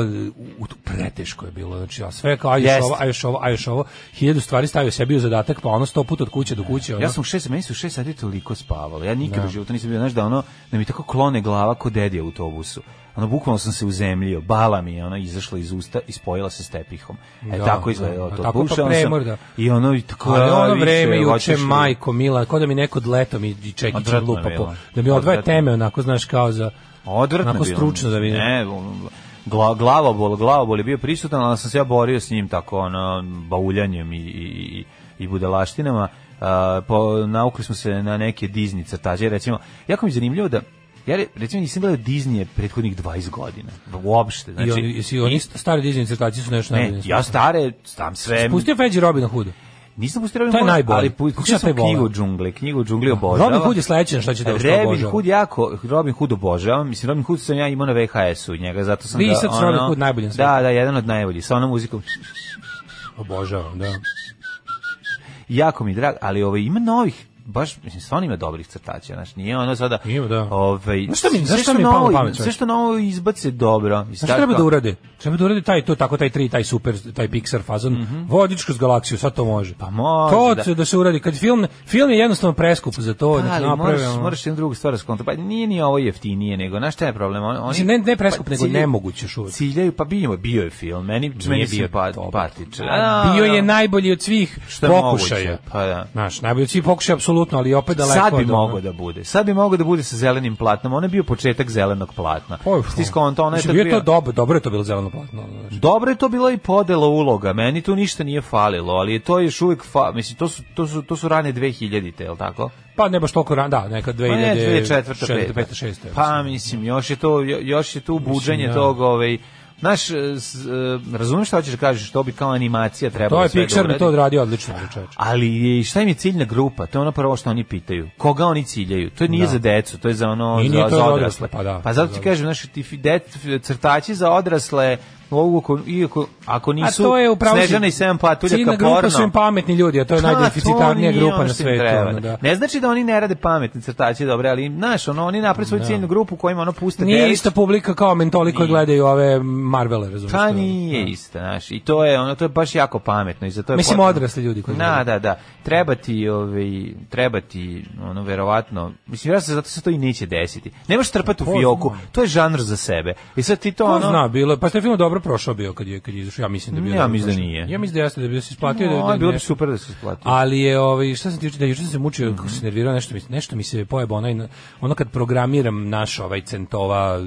Speaker 7: u- preteško je bilo, znači, a sve kao, a još
Speaker 6: Jeste.
Speaker 7: ovo, a još ovo, a još ovo, hiljadu stvari stavio sebi u zadatak, pa ono sto puta od kuće do kuće, ono,
Speaker 6: Ja sam u šest, meni su u šest sati toliko spavalo. Ja nikad u životu nisam bio, znaš da ono, da mi tako klone glava ko dedi u autobusu. Ono, bukvalno sam se uzemljio, bala mi je ono, izašla iz usta i spojila se s tepihom. E,
Speaker 7: Da,
Speaker 6: tako izgledalo
Speaker 7: da.
Speaker 6: to.
Speaker 7: A tako pa
Speaker 6: Bušao sam
Speaker 7: premor, da.
Speaker 6: I ono, i tako,
Speaker 7: Ali
Speaker 6: a,
Speaker 7: ono
Speaker 6: više,
Speaker 7: vreme juče,
Speaker 6: hoćeš li-
Speaker 7: majko, mila, kao da mi neko letom i, i čekićem
Speaker 6: Odvratno je
Speaker 7: lupa po,
Speaker 6: bilo.
Speaker 7: da mi odvaja
Speaker 6: Odvratno.
Speaker 7: teme, onako, znaš, kao za,
Speaker 6: Odvratno
Speaker 7: onako
Speaker 6: bilo.
Speaker 7: stručno da vidim.
Speaker 6: Ne, gla, glavobol, glavobol je bio prisutan, ali sam se ja borio s njim tako, ono, bauljanjem i, i, i- i budalaštinama. A, po, naukli smo se na neke Disney crtaže, recimo, jako mi je zanimljivo da Ja re- recimo nisam gledao Disney prethodnih 20 godina. Uopšte, znači.
Speaker 7: I oni, jesi, oni stari Disney crtači su nešto
Speaker 6: ne,
Speaker 7: najbolje.
Speaker 6: ja stare, tam sve.
Speaker 7: Pustio Feđi Robina Hooda.
Speaker 6: Nisam pustio Robin
Speaker 7: To je
Speaker 6: Hooda,
Speaker 7: najbolje.
Speaker 6: ali pu-
Speaker 7: Kako
Speaker 6: pustio
Speaker 7: ja taj
Speaker 6: sam
Speaker 7: volim?
Speaker 6: knjigu džungle, knjigu džungle obožavam.
Speaker 7: Robin Hood je sledeće na šta ćete što
Speaker 6: Robin
Speaker 7: obožavam.
Speaker 6: Hood jako, Robin Hood obožavam. Mislim, Robin Hood sam ja imao na VHS-u njega, zato sam
Speaker 7: Vi
Speaker 6: ga... ono-
Speaker 7: sad s Robin Hood najbolji na svetu.
Speaker 6: Da, da, jedan od najboljih, sa onom muzikom.
Speaker 7: Obožavam, da.
Speaker 6: Jako mi je drag, ali ovaj, ima novih baš mislim stvarno ima dobrih crtaća znači nije ono sada
Speaker 7: Ima, da.
Speaker 6: ovaj
Speaker 7: Znaš šta mi-
Speaker 6: sve
Speaker 7: znaš šta mi je
Speaker 6: novo-
Speaker 7: palo na pamet,
Speaker 6: sve što novo izbace dobro i
Speaker 7: Znaš šta treba da urade? Treba da urade taj to tako taj 3, taj super, taj Pixar fazon. Vodič kroz galaksiju, sad to može. Pa
Speaker 6: Mhm. može,
Speaker 7: To
Speaker 6: da.
Speaker 7: da. da se uradi. Kad film, film je jednostavno preskup za to.
Speaker 6: Pa,
Speaker 7: nek
Speaker 6: ali
Speaker 7: naprave,
Speaker 6: moraš,
Speaker 7: ono.
Speaker 6: moraš jednu drugu stvar skonto. Pa nije ni ovo jeftinije, nego, znaš šta je problem? On, oni,
Speaker 7: Mislim, ne- ne preskup, nego
Speaker 6: ciljaju-
Speaker 7: nemoguće još uvek.
Speaker 6: Ciljaju, pa bio, bio je film, meni, meni se pa,
Speaker 7: dobar.
Speaker 6: patiče.
Speaker 7: A, bio je najbolji od svih
Speaker 6: Što je
Speaker 7: pokušaja.
Speaker 6: moguće, pa da.
Speaker 7: Znaš, najbolji od svih pokušaja, apsolutno, ali opet daleko.
Speaker 6: Sad bi
Speaker 7: od ono.
Speaker 6: mogao da bude. Sad bi mogao da bude sa zelenim platnom. Ono je bio početak zelenog platna.
Speaker 7: Pa,
Speaker 6: Ti skonto, ono je
Speaker 7: Mislim,
Speaker 6: tad
Speaker 7: bio je
Speaker 6: bio-
Speaker 7: to dobro, dobro je to bilo zeleno platno. ono, znaš.
Speaker 6: Dobro je to bila i podela uloga. Meni tu ništa nije falilo, ali je to još uvek fa... Mislim, to su, to su, to su rane 2000-te, je li tako?
Speaker 7: Pa ne baš toliko ran, da, neka
Speaker 6: Pa ne, 2004.,
Speaker 7: 2004. 5. 6.
Speaker 6: Pa mislim, još je to jo- još je tu buđenje
Speaker 7: da.
Speaker 6: tog, ovaj Znaš, e, s- e, razumeš šta hoćeš da kažeš, to bi kao animacija
Speaker 7: to
Speaker 6: trebalo
Speaker 7: je
Speaker 6: sve da
Speaker 7: Pixar mi
Speaker 6: uradi.
Speaker 7: to odradio odlično, bre, čoveče.
Speaker 6: Ali e, šta im je ciljna grupa? To je ono prvo što oni pitaju. Koga oni ciljaju? To nije
Speaker 7: Da.
Speaker 6: za decu, to je za ono
Speaker 7: I
Speaker 6: za,
Speaker 7: nije to
Speaker 6: za
Speaker 7: za
Speaker 6: odrasle.
Speaker 7: odrasle, pa da.
Speaker 6: zato ti kažem, znaš, ti fi- det- crtači za odrasle mogu ako, iako, ako
Speaker 7: A
Speaker 6: nisu
Speaker 7: to je upravo
Speaker 6: Snežana i 7 patuljaka
Speaker 7: Ciljna
Speaker 6: porno.
Speaker 7: grupa su im pametni ljudi, a to je
Speaker 6: Pa,
Speaker 7: najdeficitarnija
Speaker 6: to nije
Speaker 7: grupa
Speaker 6: ono
Speaker 7: na
Speaker 6: što im
Speaker 7: svetu,
Speaker 6: treba.
Speaker 7: ono, da.
Speaker 6: Ne znači da oni ne rade pametni crtači, dobro, ali znaš, ono, oni naprave svoju ciljnu grupu kojima ono puste
Speaker 7: Nije
Speaker 6: delić.
Speaker 7: ista publika kao mentoli koji
Speaker 6: Nije.
Speaker 7: gledaju ove Marvele, ono. razumiješ?
Speaker 6: Pa nije ista, znaš, i to je, ono, to je baš jako pametno i za to je
Speaker 7: Mislim,
Speaker 6: potrebno-
Speaker 7: odrasli ljudi koji
Speaker 6: Na, da,
Speaker 7: gledaju.
Speaker 6: da, treba ti, ovaj, treba ti, ono, verovatno, mislim, vjerojatno se zato se to i neće desiti. Nemaš trpati u
Speaker 7: Pa Ko
Speaker 6: fioku,
Speaker 7: zna?
Speaker 6: to je žanr za sebe. I sad ti to,
Speaker 7: Ko
Speaker 6: ono, Mm,
Speaker 7: zna, bilo je, pa što je film dobro prošao bio kad je, kad je izašao, ja mislim da je bio
Speaker 6: Ja
Speaker 7: dobro
Speaker 6: mislim da
Speaker 7: prošao.
Speaker 6: nije.
Speaker 7: Ja mislim da jeste, da bi se isplatio. da,
Speaker 6: o,
Speaker 7: da je
Speaker 6: bilo bi
Speaker 7: nešto.
Speaker 6: super da se isplati.
Speaker 7: Ali je ovaj šta sam ti juče da juče sam se mučio kako se nervirao nešto mi nešto mi se pojeba onaj na- ono kad programiram naš ovaj centova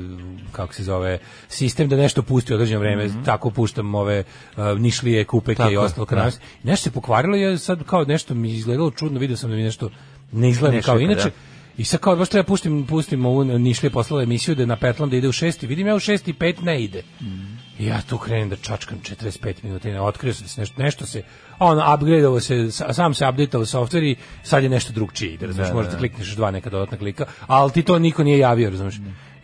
Speaker 7: kako se zove sistem da nešto pusti u određeno vreme tako puštam ove uh, nišlije kupeke
Speaker 6: Mhm. Tako
Speaker 7: i
Speaker 6: je,
Speaker 7: ostalo
Speaker 6: da.
Speaker 7: kraj nešto se pokvarilo i ja sad kao nešto mi izgledalo čudno video sam da mi nešto ne izgleda
Speaker 6: Ne
Speaker 7: kao
Speaker 6: šepa,
Speaker 7: inače
Speaker 6: da.
Speaker 7: I sad kao baš treba pustim, pustim ovu Nišlije poslala emisiju da je napetlam da ide u šest i vidim ja u šest i pet ne ide.
Speaker 6: Mhm.
Speaker 7: I ja tu krenem da čačkam 45 minuta i ne otkrio sam da se nešto, nešto se, a ono, upgradeovo se, sa- sam se updateao softver i sad je nešto drugčije ide, razumiješ, možda klikneš dva neka dodatna klika, ali ti to niko nije javio, razumiješ.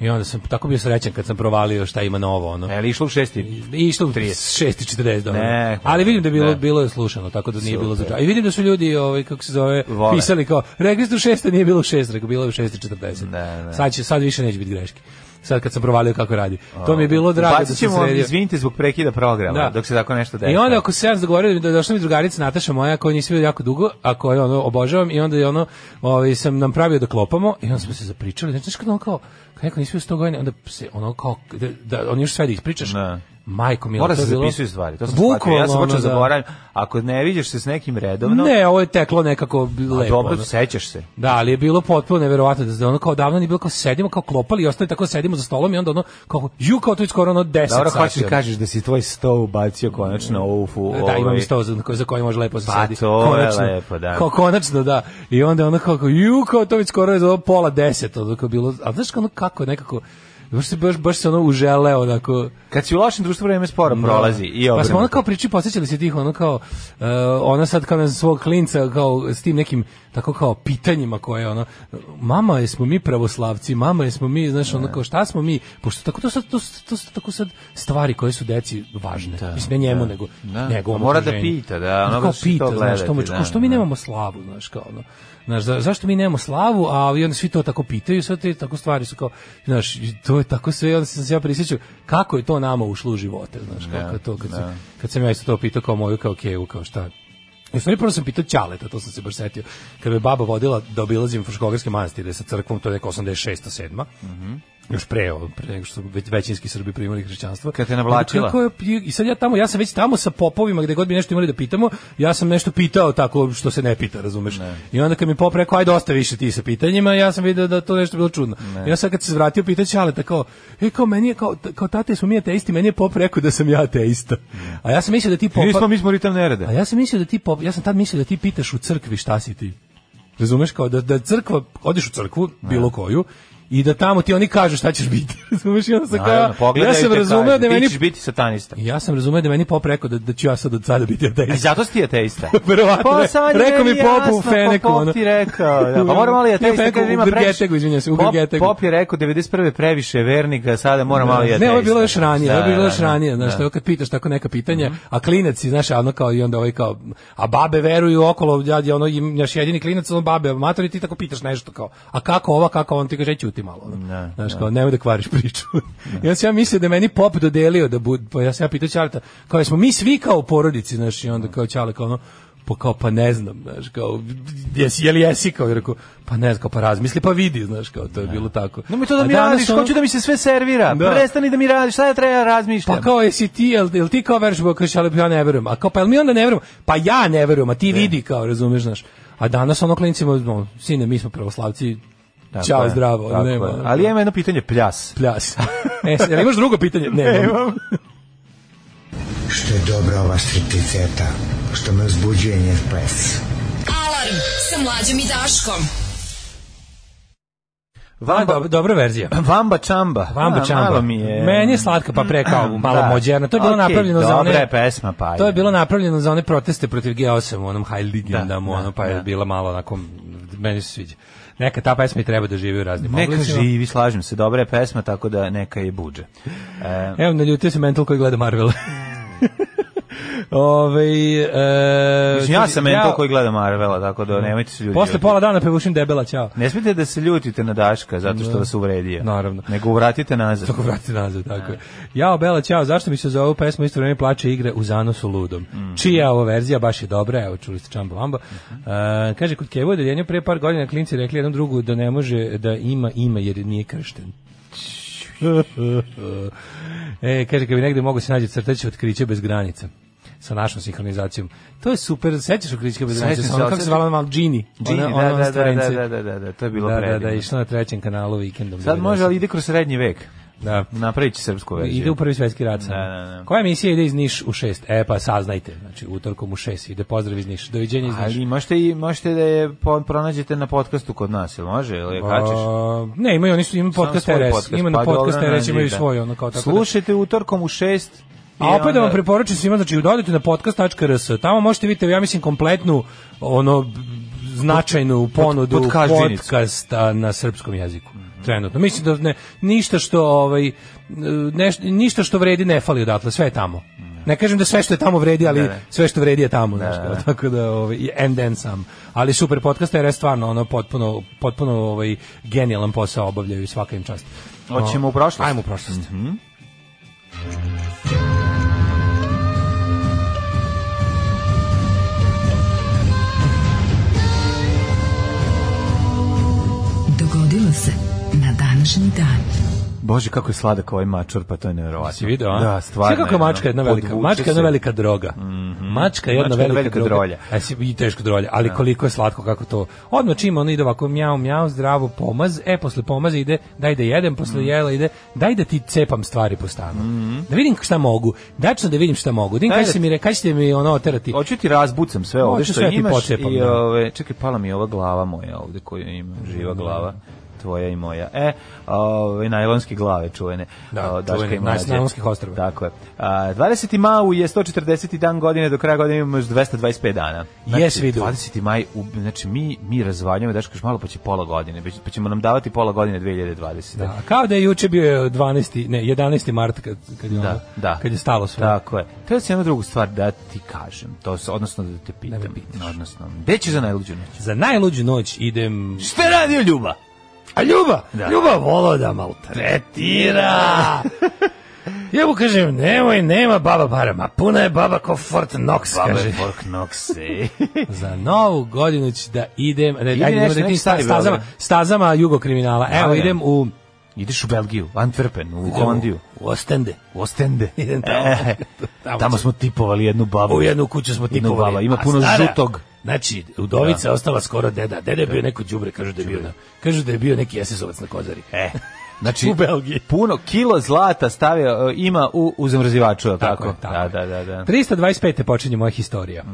Speaker 7: I onda sam tako bio srećan kad sam provalio šta ima novo, ono.
Speaker 6: Mm. E, ali išlo u šesti.
Speaker 7: I išlo u 6.40 dobro.
Speaker 6: Ne,
Speaker 7: Ali vidim da je bilo,
Speaker 6: ne.
Speaker 7: bilo je slušano, tako da nije bilo za džabe. I vidim da su ljudi, ovaj, kako se zove,
Speaker 6: Vole.
Speaker 7: pisali kao, rekli ste u 6, a nije bilo u 6, rekao, bilo je u 6.40.
Speaker 6: Ne, ne.
Speaker 7: Sad, će, sad više neće biti greške. Sad kad sam provalio kako radi. To mi je bilo drago da
Speaker 6: Bacit
Speaker 7: sam
Speaker 6: ćemo,
Speaker 7: sredio.
Speaker 6: izvinite zbog prekida programa,
Speaker 7: Da.
Speaker 6: dok se tako nešto desi.
Speaker 7: I onda ako se ja dogovorio da je došla mi drugarica Nataša moja koju nisam vidio jako dugo, a koju ono obožavam i onda je ono ovaj sam nam pravio da klopamo i onda smo se zapričali. Znači znaš kad on kao kad neko nisi bio 100 godina, onda se ono kao da, da on još sve da ispričaš.
Speaker 6: Ne.
Speaker 7: Majko mi
Speaker 6: Mora se zapisuje stvari, to sam
Speaker 7: Bukvalno,
Speaker 6: shvatio. Ja sam počeo
Speaker 7: ono, da.
Speaker 6: zaboravljam. Ako ne vidiš se s nekim redovno,
Speaker 7: Ne, ovo je teklo nekako lepo.
Speaker 6: dobro,
Speaker 7: ono.
Speaker 6: sećaš se.
Speaker 7: Da, ali je bilo potpuno neverovatno da se ono kao davno nije bilo kao sedimo, kao klopali i ostali tako sedimo za stolom i onda ono kao ju kao to je skoro ono 10
Speaker 6: Dobro,
Speaker 7: sati.
Speaker 6: hoćeš da kažeš da si tvoj sto ubacio konačno ovu fu.
Speaker 7: Da, imam
Speaker 6: ovaj,
Speaker 7: i sto za koji, za koji može lepo se
Speaker 6: Pa
Speaker 7: sedi.
Speaker 6: to je lepo, da.
Speaker 7: Kao konačno, da. I onda ono kako, ju, kao to već skoro je za ovo pola deset, ono kao bilo, ali znaš kao ono kako je nekako, baš se, baš, baš se ono užele, onako,
Speaker 6: Kad si u lošem društvu vreme sporo prolazi i
Speaker 7: Pa smo ono
Speaker 6: obrnuto.
Speaker 7: kao priči posjećali se tih, ono kao, e, ona sad kao na svog klinca, kao s tim nekim, tako kao pitanjima koje, ono, mama, jesmo mi pravoslavci, mama, jesmo mi, znaš, ono kao, šta smo mi, pošto tako to sad, to, su- to su tako sad stvari koje su deci važne, mislim, ne njemu, nego,
Speaker 6: Da. Pa
Speaker 7: nego ovom
Speaker 6: mora da
Speaker 7: okruženju.
Speaker 6: pita, da, ono
Speaker 7: kao
Speaker 6: što će to
Speaker 7: pita, znaš,
Speaker 6: gledati,
Speaker 7: to mu,
Speaker 6: da,
Speaker 7: kao, što mi
Speaker 6: da.
Speaker 7: nemamo slavu, znaš, kao, ono, Znaš, za, zašto mi nemamo slavu, a i onda svi to tako pitaju, sve te tako stvari su kao, znaš, to je je tako sve, i onda sam se ja prisjećao kako je to nama ušlo u živote, znaš, kako je to, kad, sam, kad sam ja isto to pitao kao moju, kao kevu, kao šta, I u stvari prvo sam pitao Ćaleta, to sam se baš setio. Kad me baba vodila da obilazim Fruškogorske manastire sa crkvom, to je neka 86. 7. Mhm. Još pre, ovo, pre nego što su već većinski Srbi primali hrišćanstvo.
Speaker 6: Kad te navlačila.
Speaker 7: Kako je, I sad ja tamo, ja sam već tamo sa popovima gde god bi nešto imali da pitamo, ja sam nešto pitao tako što se ne pita, razumeš. I onda kad mi pop rekao, ajde dosta više ti sa pitanjima, ja sam video da to nešto bilo čudno. I onda sad kad se zvratio, pitao Ćaleta kao, e, kao meni je, kao, kao tate smo mi ateisti, meni je pop rekao da sam ja ateista. A ja sam mislio da ti pop...
Speaker 6: Mi smo, mi smo ritam nerede.
Speaker 7: A ja sam mislio da ti pop, ja sam tad mislio da ti pitaš u crkvi šta si ti. Razumeš kao da da crkva odeš u crkvu bilo koju i da tamo ti oni kažu šta ćeš biti. Razumeš i onda sam kao,
Speaker 6: Naravno, pogledaju
Speaker 7: ja
Speaker 6: te
Speaker 7: sam
Speaker 6: kažu,
Speaker 7: razumeo da je meni
Speaker 6: Ti ćeš biti satanista.
Speaker 7: Ja sam razumeo da je meni pop rekao da, da ću ja sad od sada biti
Speaker 6: E,
Speaker 7: ateist.
Speaker 6: zato si ti ateista.
Speaker 7: Verovatno,
Speaker 6: Pa,
Speaker 7: re-
Speaker 6: sad je
Speaker 7: rekao mi
Speaker 6: meni
Speaker 7: Pop u
Speaker 6: jasno, pa
Speaker 7: Feneku,
Speaker 6: Pop
Speaker 7: ono.
Speaker 6: ti rekao, da, pa moram malo i ateista
Speaker 7: Ne, u Feneku,
Speaker 6: kad ima
Speaker 7: u
Speaker 6: previše-
Speaker 7: Grgetegu, izvinjam se, u
Speaker 6: Pop-
Speaker 7: Grgetegu.
Speaker 6: Pop je rekao 91. previše je vernika, sada moram malo i ateista.
Speaker 7: Ne, ovo je bilo još ranije,
Speaker 6: Da,
Speaker 7: ovo je bilo
Speaker 6: da,
Speaker 7: još
Speaker 6: da. Mhm.
Speaker 7: ranije, znaš, to kad pitaš tako neka pitanja, a klinac si, znaš, ono kao i onda ovaj kao, a babe veruju okolo, ja, ja ono, im, naš jedini klinac, ono babe, matori, ti tako pitaš nešto kao, a kako ova, kako on, ti kaže, ćuti malo, ono, znaš, kao, nemoj da kvariš priču. I onda sam ja mislio da je meni pop dodelio, da bud, pa ja sam ja pitao Čaleta, kao, jesmo mi svi kao u porodici, znaš, i onda kao Čale, kao ono, pa kao pa ne znam, znaš, kao jesi je li jesi kao i rekao pa ne znam, kao pa razmisli pa vidi, znaš, kao to je bilo tako.
Speaker 6: Ne mi to da
Speaker 7: A
Speaker 6: mi
Speaker 7: danas,
Speaker 6: radiš,
Speaker 7: ono-
Speaker 6: hoću da mi se sve servira.
Speaker 7: Da.
Speaker 6: Prestani da mi radiš, sada treba ja razmišljam.
Speaker 7: Pa kao jesi ti, jel, jel ti kao veruješ u Boga, kažeš, ali ja ne verujem. A kao, pa jel mi onda ne verujemo? Pa ja ne verujem, a ti vidi kao, razumeš, znaš. A danas ono klinicima, no, sine, mi smo pravoslavci,
Speaker 6: Tako
Speaker 7: Ćao,
Speaker 6: je,
Speaker 7: zdravo,
Speaker 6: tako
Speaker 7: nema. ono.
Speaker 6: je. Ali ja imam jedno pitanje, pljas.
Speaker 7: pljas. e, jel imaš drugo pitanje? Ne,
Speaker 6: Nemam.
Speaker 8: Što je dobra ova stripticeta, što me uzbuđuje njen pes.
Speaker 5: Alarm sa mlađom i Daškom.
Speaker 6: Vamba,
Speaker 7: dobra verzija.
Speaker 6: vamba čamba.
Speaker 7: Vamba
Speaker 6: A,
Speaker 7: čamba.
Speaker 6: malo Mi je...
Speaker 7: Meni je slatka pa pre kao malo
Speaker 6: Da.
Speaker 7: mođerna. To je bilo
Speaker 6: Okej,
Speaker 7: napravljeno za one...
Speaker 6: dobra je pesma, pa
Speaker 7: To je
Speaker 6: ajde.
Speaker 7: bilo napravljeno za one proteste protiv G8 u onom Heiligendamu, da,
Speaker 6: da,
Speaker 7: ono, pa je
Speaker 6: da.
Speaker 7: bila malo onako... Meni se sviđa. Neka ta pesma i treba da živi u raznim
Speaker 6: Neka
Speaker 7: oblicima.
Speaker 6: živi, slažem se, dobra je pesma, tako da neka je buđe. E,
Speaker 7: Evo, naljutio se mental koji gleda Marvel. Ove, e, Mhm.
Speaker 6: mislim, ja sam mental koji gleda Marvela, tako da nemojte se ljudi.
Speaker 7: Posle pola dana pevušim debela, ćao.
Speaker 6: Ne smijete da se ljutite na Daška zato što vas uvredio.
Speaker 7: Naravno.
Speaker 6: Nego vratite nazad.
Speaker 7: Tako vrati nazad, tako je. Jao, Bela, ćao, zašto mi se za ovu pesmu isto vreme plače igre u zanosu ludom? Čija ova verzija, baš je dobra, evo, čuli ste Čamba Vamba. E, kaže, kod Kevo deljenju pre par godina klinci rekli jednom drugu da ne može da ima ime jer nije kršten. e, kaže, kad bi negde mogo se nađe crteće otkriće bez granica sa našom sinhronizacijom. To je super, sećaš otkriće bez granica,
Speaker 6: Sećam
Speaker 7: sa
Speaker 6: se,
Speaker 7: ono, kako
Speaker 6: ali
Speaker 7: se zvala malo, Gini.
Speaker 6: Gini,
Speaker 7: ona, ona
Speaker 6: da, da, da,
Speaker 7: stvarenica.
Speaker 6: da, da, da, da, to je bilo
Speaker 7: Da, da,
Speaker 6: predivno.
Speaker 7: da, išla na trećem kanalu vikendom.
Speaker 6: Sad može,
Speaker 7: 90.
Speaker 6: ali ide kroz srednji vek.
Speaker 7: Da.
Speaker 6: Napravit će srpsku verziju.
Speaker 7: Ide u prvi svetski rat.
Speaker 6: Da, da, da.
Speaker 7: Koja emisija ide iz Niš u 6? E pa saznajte, znači utorkom u 6 ide pozdrav iz Niša. Doviđenja iz Niša.
Speaker 6: Ali možete, i, možete da je po- pronađete na podcastu kod nas, ili može? Ili je kačeš?
Speaker 7: A, ne, imaju oni su ima
Speaker 6: Samo
Speaker 7: Pa, podcast
Speaker 6: svoj
Speaker 7: RS, ima na
Speaker 6: pa
Speaker 7: podcast
Speaker 6: dobro,
Speaker 7: RS imaju
Speaker 6: nađi, da.
Speaker 7: svoj ono kao tako. da-
Speaker 6: Slušajte utorkom u šest. i
Speaker 7: A opet da vam
Speaker 6: onda-
Speaker 7: preporučim svima, znači dodajte na podcast.rs, tamo možete vidjeti, ja mislim, kompletnu, ono, b- značajnu ponudu
Speaker 6: podkaždjenicu.
Speaker 7: podcasta na srpskom jeziku. Trenutno. Mislim da ne, ništa što ovaj, neš, ništa što vredi ne fali odatle, sve je tamo. Ne kažem da sve što je tamo vredi, ali sve što vredi je tamo, znaš, kao, tako da ovaj i and then sam. Ali super podcast je stvarno ono potpuno potpuno ovaj genijalan posao obavljaju i svaka im čast.
Speaker 6: Hoćemo u prošlost?
Speaker 7: Ajmo u prošlost.
Speaker 5: Dogodilo se na današnji dan.
Speaker 6: Bože, kako je sladak ovaj mačor, pa to je nevjerovatno.
Speaker 7: Si video, a?
Speaker 6: Da, stvarno. ono,
Speaker 7: Sve kako je mačka jedna velika,
Speaker 6: Podvuče
Speaker 7: mačka jedna
Speaker 6: se. Mhm.
Speaker 7: velika droga. Mačka je jedna
Speaker 6: Mačka je
Speaker 7: velika,
Speaker 6: velika
Speaker 7: droga.
Speaker 6: drolja.
Speaker 7: A si i teško drolja, ali koliko je slatko kako to. Odmah čim ono ide ovako mjau mjau, zdravo pomaz, e posle pomaza ide daj da jedem, posle
Speaker 6: Mhm.
Speaker 7: jela ide daj da ti cepam stvari po stanu. Da vidim šta mogu. Dačno da vidim šta mogu. Da vidim
Speaker 6: Daj
Speaker 7: kada
Speaker 6: da-
Speaker 7: se mi re, kada ćete mi ono oterati.
Speaker 6: Hoću ti razbucam sve ovde
Speaker 7: Hoću
Speaker 6: što
Speaker 7: sve ti
Speaker 6: imaš
Speaker 7: pocepam,
Speaker 6: i
Speaker 7: da.
Speaker 6: ove, čekaj, pala mi je ova glava moja ovde koju imam, živa glava tvoja i moja. E, ove, najlonske glave čuvene.
Speaker 7: Da,
Speaker 6: o, Daška
Speaker 7: čuvene,
Speaker 6: i mlađe.
Speaker 7: naj- najlonskih ostrva.
Speaker 6: Tako je. A, 20. maj je 140. dan godine, do kraja godine imamo još 225 dana.
Speaker 7: Yes, we do.
Speaker 6: 20. maj, u- znači mi, mi razvaljamo, Daško, još malo pa će pola godine, pa će- pa ćemo nam davati pola godine 2020.
Speaker 7: Da, kao da je juče bio 12. ne 11. mart kad kad je, ono-
Speaker 6: Da, da.
Speaker 7: kad je stalo sve.
Speaker 6: Tako je. Treba se jednu drugu stvar da ti kažem, to se, odnosno da te pitam.
Speaker 7: Da me pitaš.
Speaker 6: odnosno, gde ćeš za najluđu noć?
Speaker 7: Za najluđu noć idem
Speaker 6: Šta je radio Ljuba?
Speaker 7: A Ljuba,
Speaker 6: Da.
Speaker 7: Ljuba volo da maltretira. ja mu kažem, nemoj, nema baba para, ma puna je baba ko Fort Knox,
Speaker 6: Baba
Speaker 7: kaže.
Speaker 6: je Fork Knox.
Speaker 7: Za novu godinu ću da idem, ne,
Speaker 6: Idi
Speaker 7: ajde,
Speaker 6: nešto,
Speaker 7: idem da
Speaker 6: neki
Speaker 7: ti sta,
Speaker 6: stari
Speaker 7: stazama,
Speaker 6: Beograd.
Speaker 7: stazama jugokriminala.
Speaker 6: Da,
Speaker 7: Evo,
Speaker 6: da.
Speaker 7: idem u...
Speaker 6: Ideš u Belgiju, Antwerpen, u Holandiju,
Speaker 7: U Ostende.
Speaker 6: u Ostende.
Speaker 7: Idem tamo.
Speaker 6: E,
Speaker 7: Tamo
Speaker 6: tamo
Speaker 7: ću.
Speaker 6: smo tipovali jednu babu.
Speaker 7: U jednu kuću smo
Speaker 6: Jednu baba,
Speaker 7: tipovali.
Speaker 6: ima
Speaker 7: A
Speaker 6: puno
Speaker 7: stara,
Speaker 6: žutog.
Speaker 7: Znači, Udovica je ostala skoro deda. Deda je bio neko đubre, kažu da je bio, na, kažu da je bio neki SS-ovac na Kozari.
Speaker 6: E, znači,
Speaker 7: U Belgiji.
Speaker 6: Puno kilo zlata stavio, e, ima u, u zamrzivaču, je li tako?
Speaker 7: je, tako
Speaker 6: da,
Speaker 7: je.
Speaker 6: da, da, da. Mhm.
Speaker 7: 325. počinje moja historija.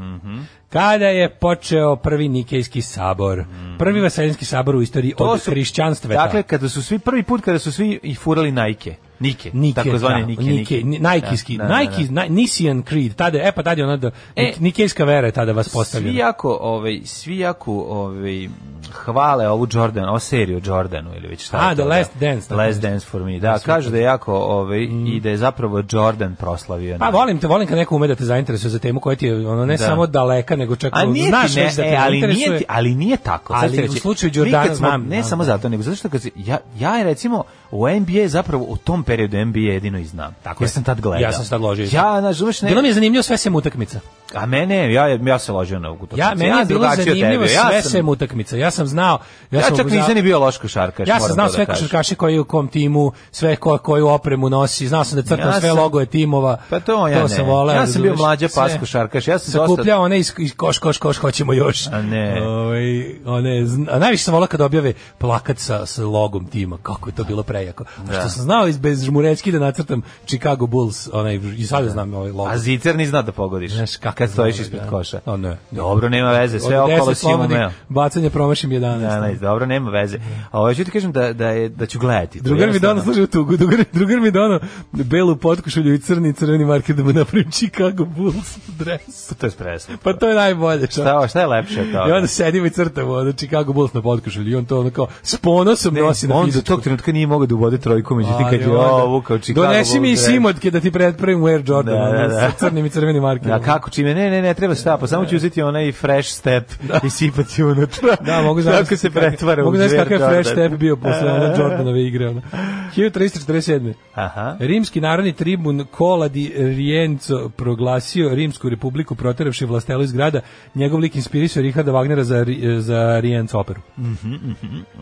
Speaker 7: Kada je počeo prvi Nikejski sabor? Prvi Vaseljanski sabor u istoriji od hrišćanstva.
Speaker 6: Mhm. Dakle, kada su svi, prvi put kada su svi i furali Nike. Nike,
Speaker 7: Nike,
Speaker 6: takozvane
Speaker 7: da,
Speaker 6: Nike.
Speaker 7: Nike, ni- Nikejski,
Speaker 6: Da, da, da,
Speaker 7: Nike, Ni- Nisian Creed, tada, je- e pa tada je ona, da,
Speaker 6: E,
Speaker 7: Nikejska vera je tada vas
Speaker 6: Svi
Speaker 7: postavljena.
Speaker 6: jako, ovaj, svi jako ovaj, hvale ovu Jordan, ovu seriju Jordanu ili već šta
Speaker 7: A,
Speaker 6: je
Speaker 7: The
Speaker 6: to,
Speaker 7: Last Dance, tako
Speaker 6: Last
Speaker 7: nešto. Mm.
Speaker 6: Dance for me, da, kažu da je jako ovaj, i da je zapravo Jordan proslavio.
Speaker 7: Pa
Speaker 6: na-
Speaker 7: volim te, volim kad neko ume da te zainteresuje za temu koja ti je ono ne
Speaker 6: Da.
Speaker 7: samo daleka, nego čak ono,
Speaker 6: A nije
Speaker 7: znaš
Speaker 6: ti ne,
Speaker 7: već da te
Speaker 6: e, ali nije
Speaker 7: interesuje.
Speaker 6: ti, ali nije tako.
Speaker 7: Ali
Speaker 6: sad ću
Speaker 7: u
Speaker 6: reći,
Speaker 7: slučaju
Speaker 6: mi
Speaker 7: Jordana
Speaker 6: kad smo-
Speaker 7: znam,
Speaker 6: Ne
Speaker 7: znam,
Speaker 6: samo
Speaker 7: znam.
Speaker 6: zato, nego zato što kad se, ja, ja recimo u NBA zapravo u tom periodu NBA jedino i znam. Tako
Speaker 7: je.
Speaker 6: ja sam tad gledao.
Speaker 7: Ja sam se tad ložio.
Speaker 6: Ja, razumeš, ne,
Speaker 7: Bilo mi je zanimljivo sve sem utakmica.
Speaker 6: a mene, ja, ja se ložio na ovu
Speaker 7: Ja, meni je bilo
Speaker 6: drugačiji od
Speaker 7: zanimljivo
Speaker 6: tebe, ja
Speaker 7: sve
Speaker 6: sam-
Speaker 7: sem utakmica. Ja sam znao...
Speaker 6: Ja,
Speaker 7: sam
Speaker 6: čak
Speaker 7: obuzao-
Speaker 6: nisam ni bio loš košarkaš.
Speaker 7: Ja sam
Speaker 6: moram
Speaker 7: znao
Speaker 6: to da
Speaker 7: sve
Speaker 6: kažem.
Speaker 7: košarkaše koji je u kom timu, sve ko, koju opremu nosi, znao sam da crtam
Speaker 6: Ja
Speaker 7: sve
Speaker 6: sam-
Speaker 7: logoje timova.
Speaker 6: Pa to ja ne.
Speaker 7: sam voleo,
Speaker 6: Ja sam bio
Speaker 7: razumeš,
Speaker 6: mlađa pas
Speaker 7: sve.
Speaker 6: košarkaš, ja sam dosta-
Speaker 7: Sakupljao one iz, iz koš, koš, koš, hoćemo još.
Speaker 6: A ne.
Speaker 7: Ovaj, one, zn- a najviše sam volao kad objave plakat sa, sa logom tima, kako je to bilo prejako. A što sam znao iz bez žmurečki da nacrtam Chicago Bulls, onaj, i sad znam ovaj logo.
Speaker 6: A Pa zicer ni zna da pogodiš.
Speaker 7: Znaš kako
Speaker 6: kad stojiš
Speaker 7: znam,
Speaker 6: ispred
Speaker 7: da.
Speaker 6: koša.
Speaker 7: A ne.
Speaker 6: Dobro, nema veze, sve
Speaker 7: Od
Speaker 6: okolo
Speaker 7: 10
Speaker 6: si imao
Speaker 7: slobodnih
Speaker 6: meo.
Speaker 7: Bacanja promašim 11.
Speaker 6: Ne, ne, dobro, nema veze. A ovo ću ti kažem da, da, je, da ću gledati. to,
Speaker 7: Drugar mi
Speaker 6: jednostavno.
Speaker 7: dono služi u tugu, drugar, drugar mi dono belu potkušulju i crni i crveni marker da mu napravim Chicago Bulls dres.
Speaker 6: To je stresno.
Speaker 7: Pa to je najbolje. Šta?
Speaker 6: Šta, ono? šta je lepše od toga?
Speaker 7: I onda sedimo i crtamo ono Chicago Bulls na potkušulju i on to ono kao s ponosom
Speaker 6: Ne,
Speaker 7: nosi na
Speaker 6: on do
Speaker 7: fizičku.
Speaker 6: tog trenutka nije mogao da ubode trojku, međutim kad
Speaker 7: Ali
Speaker 6: je
Speaker 7: onda,
Speaker 6: ovo kao Chicago
Speaker 7: Donesi mi i
Speaker 6: Bulls,
Speaker 7: simotke da ti predpravim Air Jordan
Speaker 6: Da, da,
Speaker 7: ono,
Speaker 6: da.
Speaker 7: sa crnim i crvenim markerom.
Speaker 6: Da, kako čime? Ne, ne, ne, treba šta, pa samo ću uzeti onaj fresh step i sipati unutra.
Speaker 7: Da, mogu znaš.
Speaker 6: Tako se pretvara
Speaker 7: Mogu
Speaker 6: u
Speaker 7: znaš
Speaker 6: zver
Speaker 7: kakav je fresh
Speaker 6: Jordan.
Speaker 7: step bio posle ono Jordanove igre. Ono. 1347. E,
Speaker 6: Aha.
Speaker 7: Rimski narodni tribun Koladi Rienzo proglasio Rimsku republiku proteravši vlastelu iz grada. Njegov lik inspirisao Richarda Wagnera za, Ri- za Rienzo operu.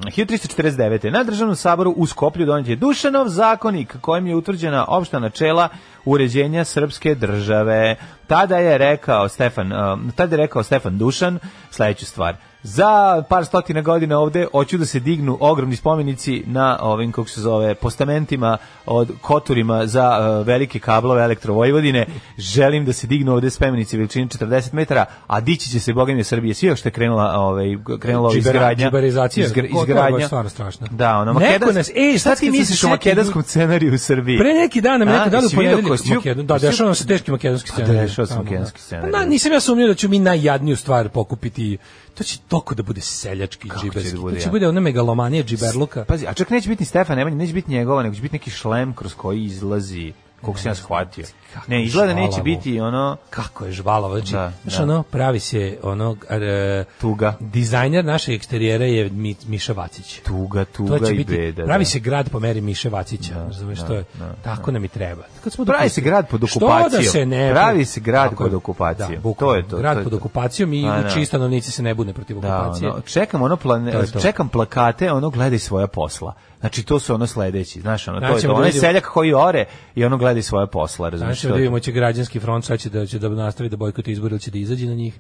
Speaker 6: 1349. Na državnom saboru u Skoplju donet je Dušanov zakonik kojim je utvrđena opšta načela uređenja srpske države. Tada je rekao Stefan, um, tada je rekao Stefan Dušan sledeću stvar. Za par stotina godina ovde hoću da se dignu ogromni spomenici na ovim, kako se zove, postamentima od koturima za uh, velike kablove elektrovojvodine. Želim da se dignu ovde spomenici veličine 40 metara, a dići će se, Boga mi je Srbije, sve što je krenula, ovaj, krenula
Speaker 7: Džibera-
Speaker 6: izgradnja.
Speaker 7: džiberizacija.
Speaker 6: izgra-
Speaker 7: Ko- to je
Speaker 6: izgradnja.
Speaker 7: baš stvarno strašno.
Speaker 6: Da, ono,
Speaker 7: Neko
Speaker 6: makedonsko-
Speaker 7: nas-
Speaker 6: šta
Speaker 7: e, sad
Speaker 6: ti
Speaker 7: kad sam
Speaker 6: misliš o
Speaker 7: se setio-
Speaker 6: makedonskom scenariju u Srbiji?
Speaker 7: Pre Pa neki dan nam je
Speaker 6: A,
Speaker 7: neko da u
Speaker 6: jesi vidio pa
Speaker 7: ponedeljak
Speaker 6: kostju-
Speaker 7: Makedon, da
Speaker 6: kostju-
Speaker 7: dešava nam se teški makedonski
Speaker 6: Pa,
Speaker 7: scenarij.
Speaker 6: dešava se
Speaker 7: Tamo, da.
Speaker 6: makedonski scenarij.
Speaker 7: Da, nisam ja sumnjao da ću mi najjadniju stvar pokupiti. To će toko da bude seljački
Speaker 6: Kako će
Speaker 7: džiberski.
Speaker 6: da bude, pa-
Speaker 7: to će
Speaker 6: ja?
Speaker 7: bude ona megalomanija džiberluka.
Speaker 6: Pazi, a čak neće biti ni Stefan Nemanja, neće biti njegova, nego će biti neki šlem kroz koji izlazi, koliko sam ja shvatio.
Speaker 7: Kako
Speaker 6: Ne, izgleda neće
Speaker 7: žvalavo.
Speaker 6: biti ono...
Speaker 7: kako je žvalavo, znači,
Speaker 6: Da,
Speaker 7: znaš,
Speaker 6: da.
Speaker 7: ono, pravi se ono, e,
Speaker 6: Tuga.
Speaker 7: dizajner našeg eksterijera je Mi- Miša Vacić.
Speaker 6: Tuga,
Speaker 7: To
Speaker 6: tuga
Speaker 7: će
Speaker 6: i
Speaker 7: biti,
Speaker 6: beda.
Speaker 7: pravi
Speaker 6: da.
Speaker 7: se grad po meri Miše Vacića, razumeš to je, tako nam i treba. Kad smo
Speaker 6: Pravi
Speaker 7: dopustili-
Speaker 6: se grad pod
Speaker 7: Što da
Speaker 6: okupacijom.
Speaker 7: se ne-
Speaker 6: Pravi se grad
Speaker 7: Tako
Speaker 6: pod
Speaker 7: je.
Speaker 6: okupacijom.
Speaker 7: Da, bukvalno.
Speaker 6: To je to,
Speaker 7: Grad
Speaker 6: to je
Speaker 7: pod
Speaker 6: to.
Speaker 7: okupacijom i
Speaker 6: A, da.
Speaker 7: čiji stanovnici se ne bude protiv
Speaker 6: Da,
Speaker 7: okupacije.
Speaker 6: ono, čekam ono plane,
Speaker 7: To je to.
Speaker 6: čekam plakate, ono gledaj svoja posla. Znači to su ono sledeći, znaš, ono to
Speaker 7: Znači,
Speaker 6: je to.
Speaker 7: da
Speaker 6: Onaj
Speaker 7: vidimo-
Speaker 6: seljak koji ore i ono gledaj svoja posla, razumiješ?
Speaker 7: Znači, da vidimo će građanski front, sad će da, će da nastavi da bojkotuje izbore ili će da izađe na njih.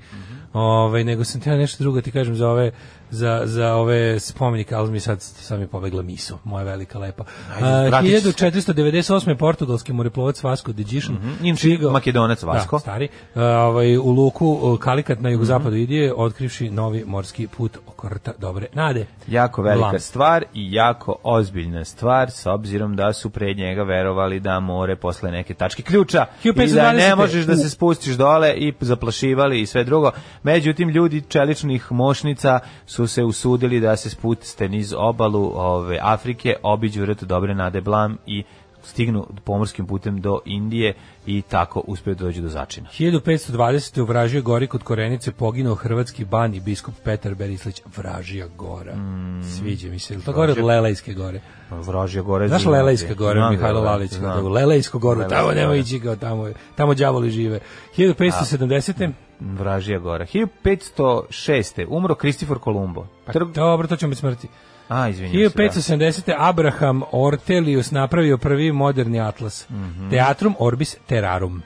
Speaker 7: Ovaj, nego sam teo nešto drugo ti kažem za ove, za, za ove spomenike, ali mi sad, sad mi je pobegla miso, moja velika lepa.
Speaker 6: Ajde,
Speaker 7: A,
Speaker 6: vratit ću se.
Speaker 7: 1498. portugalski moreplovac Vasco de Gishon.
Speaker 6: Inače, Makedonac Mhm. Vasco.
Speaker 7: Da, stari. a, ovaj, u luku o, Kalikat na jugozapadu
Speaker 6: Mhm.
Speaker 7: Indije, otkrivši novi morski put oko rta dobre nade.
Speaker 6: Jako velika
Speaker 7: Vlam.
Speaker 6: stvar i jako ozbiljna stvar s obzirom da su pre njega verovali da more posle neke tačke ključa i da
Speaker 7: 1520.
Speaker 6: ne možeš da se spustiš dole i zaplašivali i sve drugo. Međutim, ljudi čeličnih mošnica su se usudili da se spuste niz obalu ove Afrike, obiđu ret dobre nade blam i stignu pomorskim putem do Indije i tako uspeju da dođu do začina.
Speaker 7: 1520. u Vražija gori kod Korenice poginuo hrvatski ban i biskup Petar Berislić Vražija gora.
Speaker 6: Mm.
Speaker 7: Sviđa mi se. Jel To gore od Lelejske gore.
Speaker 6: Vražja gore.
Speaker 7: Znaš
Speaker 6: Zimati.
Speaker 7: Lelejsku goru,
Speaker 6: Znam
Speaker 7: Mihajlo
Speaker 6: da,
Speaker 7: Lalić,
Speaker 6: znam.
Speaker 7: Lelejsku goru,
Speaker 6: Lelejsku
Speaker 7: tamo nema
Speaker 6: goru.
Speaker 7: ići kao tamo, tamo đavoli žive. 1570.
Speaker 6: Vražija gora. 1506. umro Kristifor Kolumbo.
Speaker 7: Pa,
Speaker 6: Trg...
Speaker 7: dobro, to ćemo bez smrti.
Speaker 6: A, izvinjam se.
Speaker 7: 1570. Abraham Ortelius napravio prvi moderni atlas.
Speaker 6: Mhm.
Speaker 7: Teatrum Orbis Terrarum.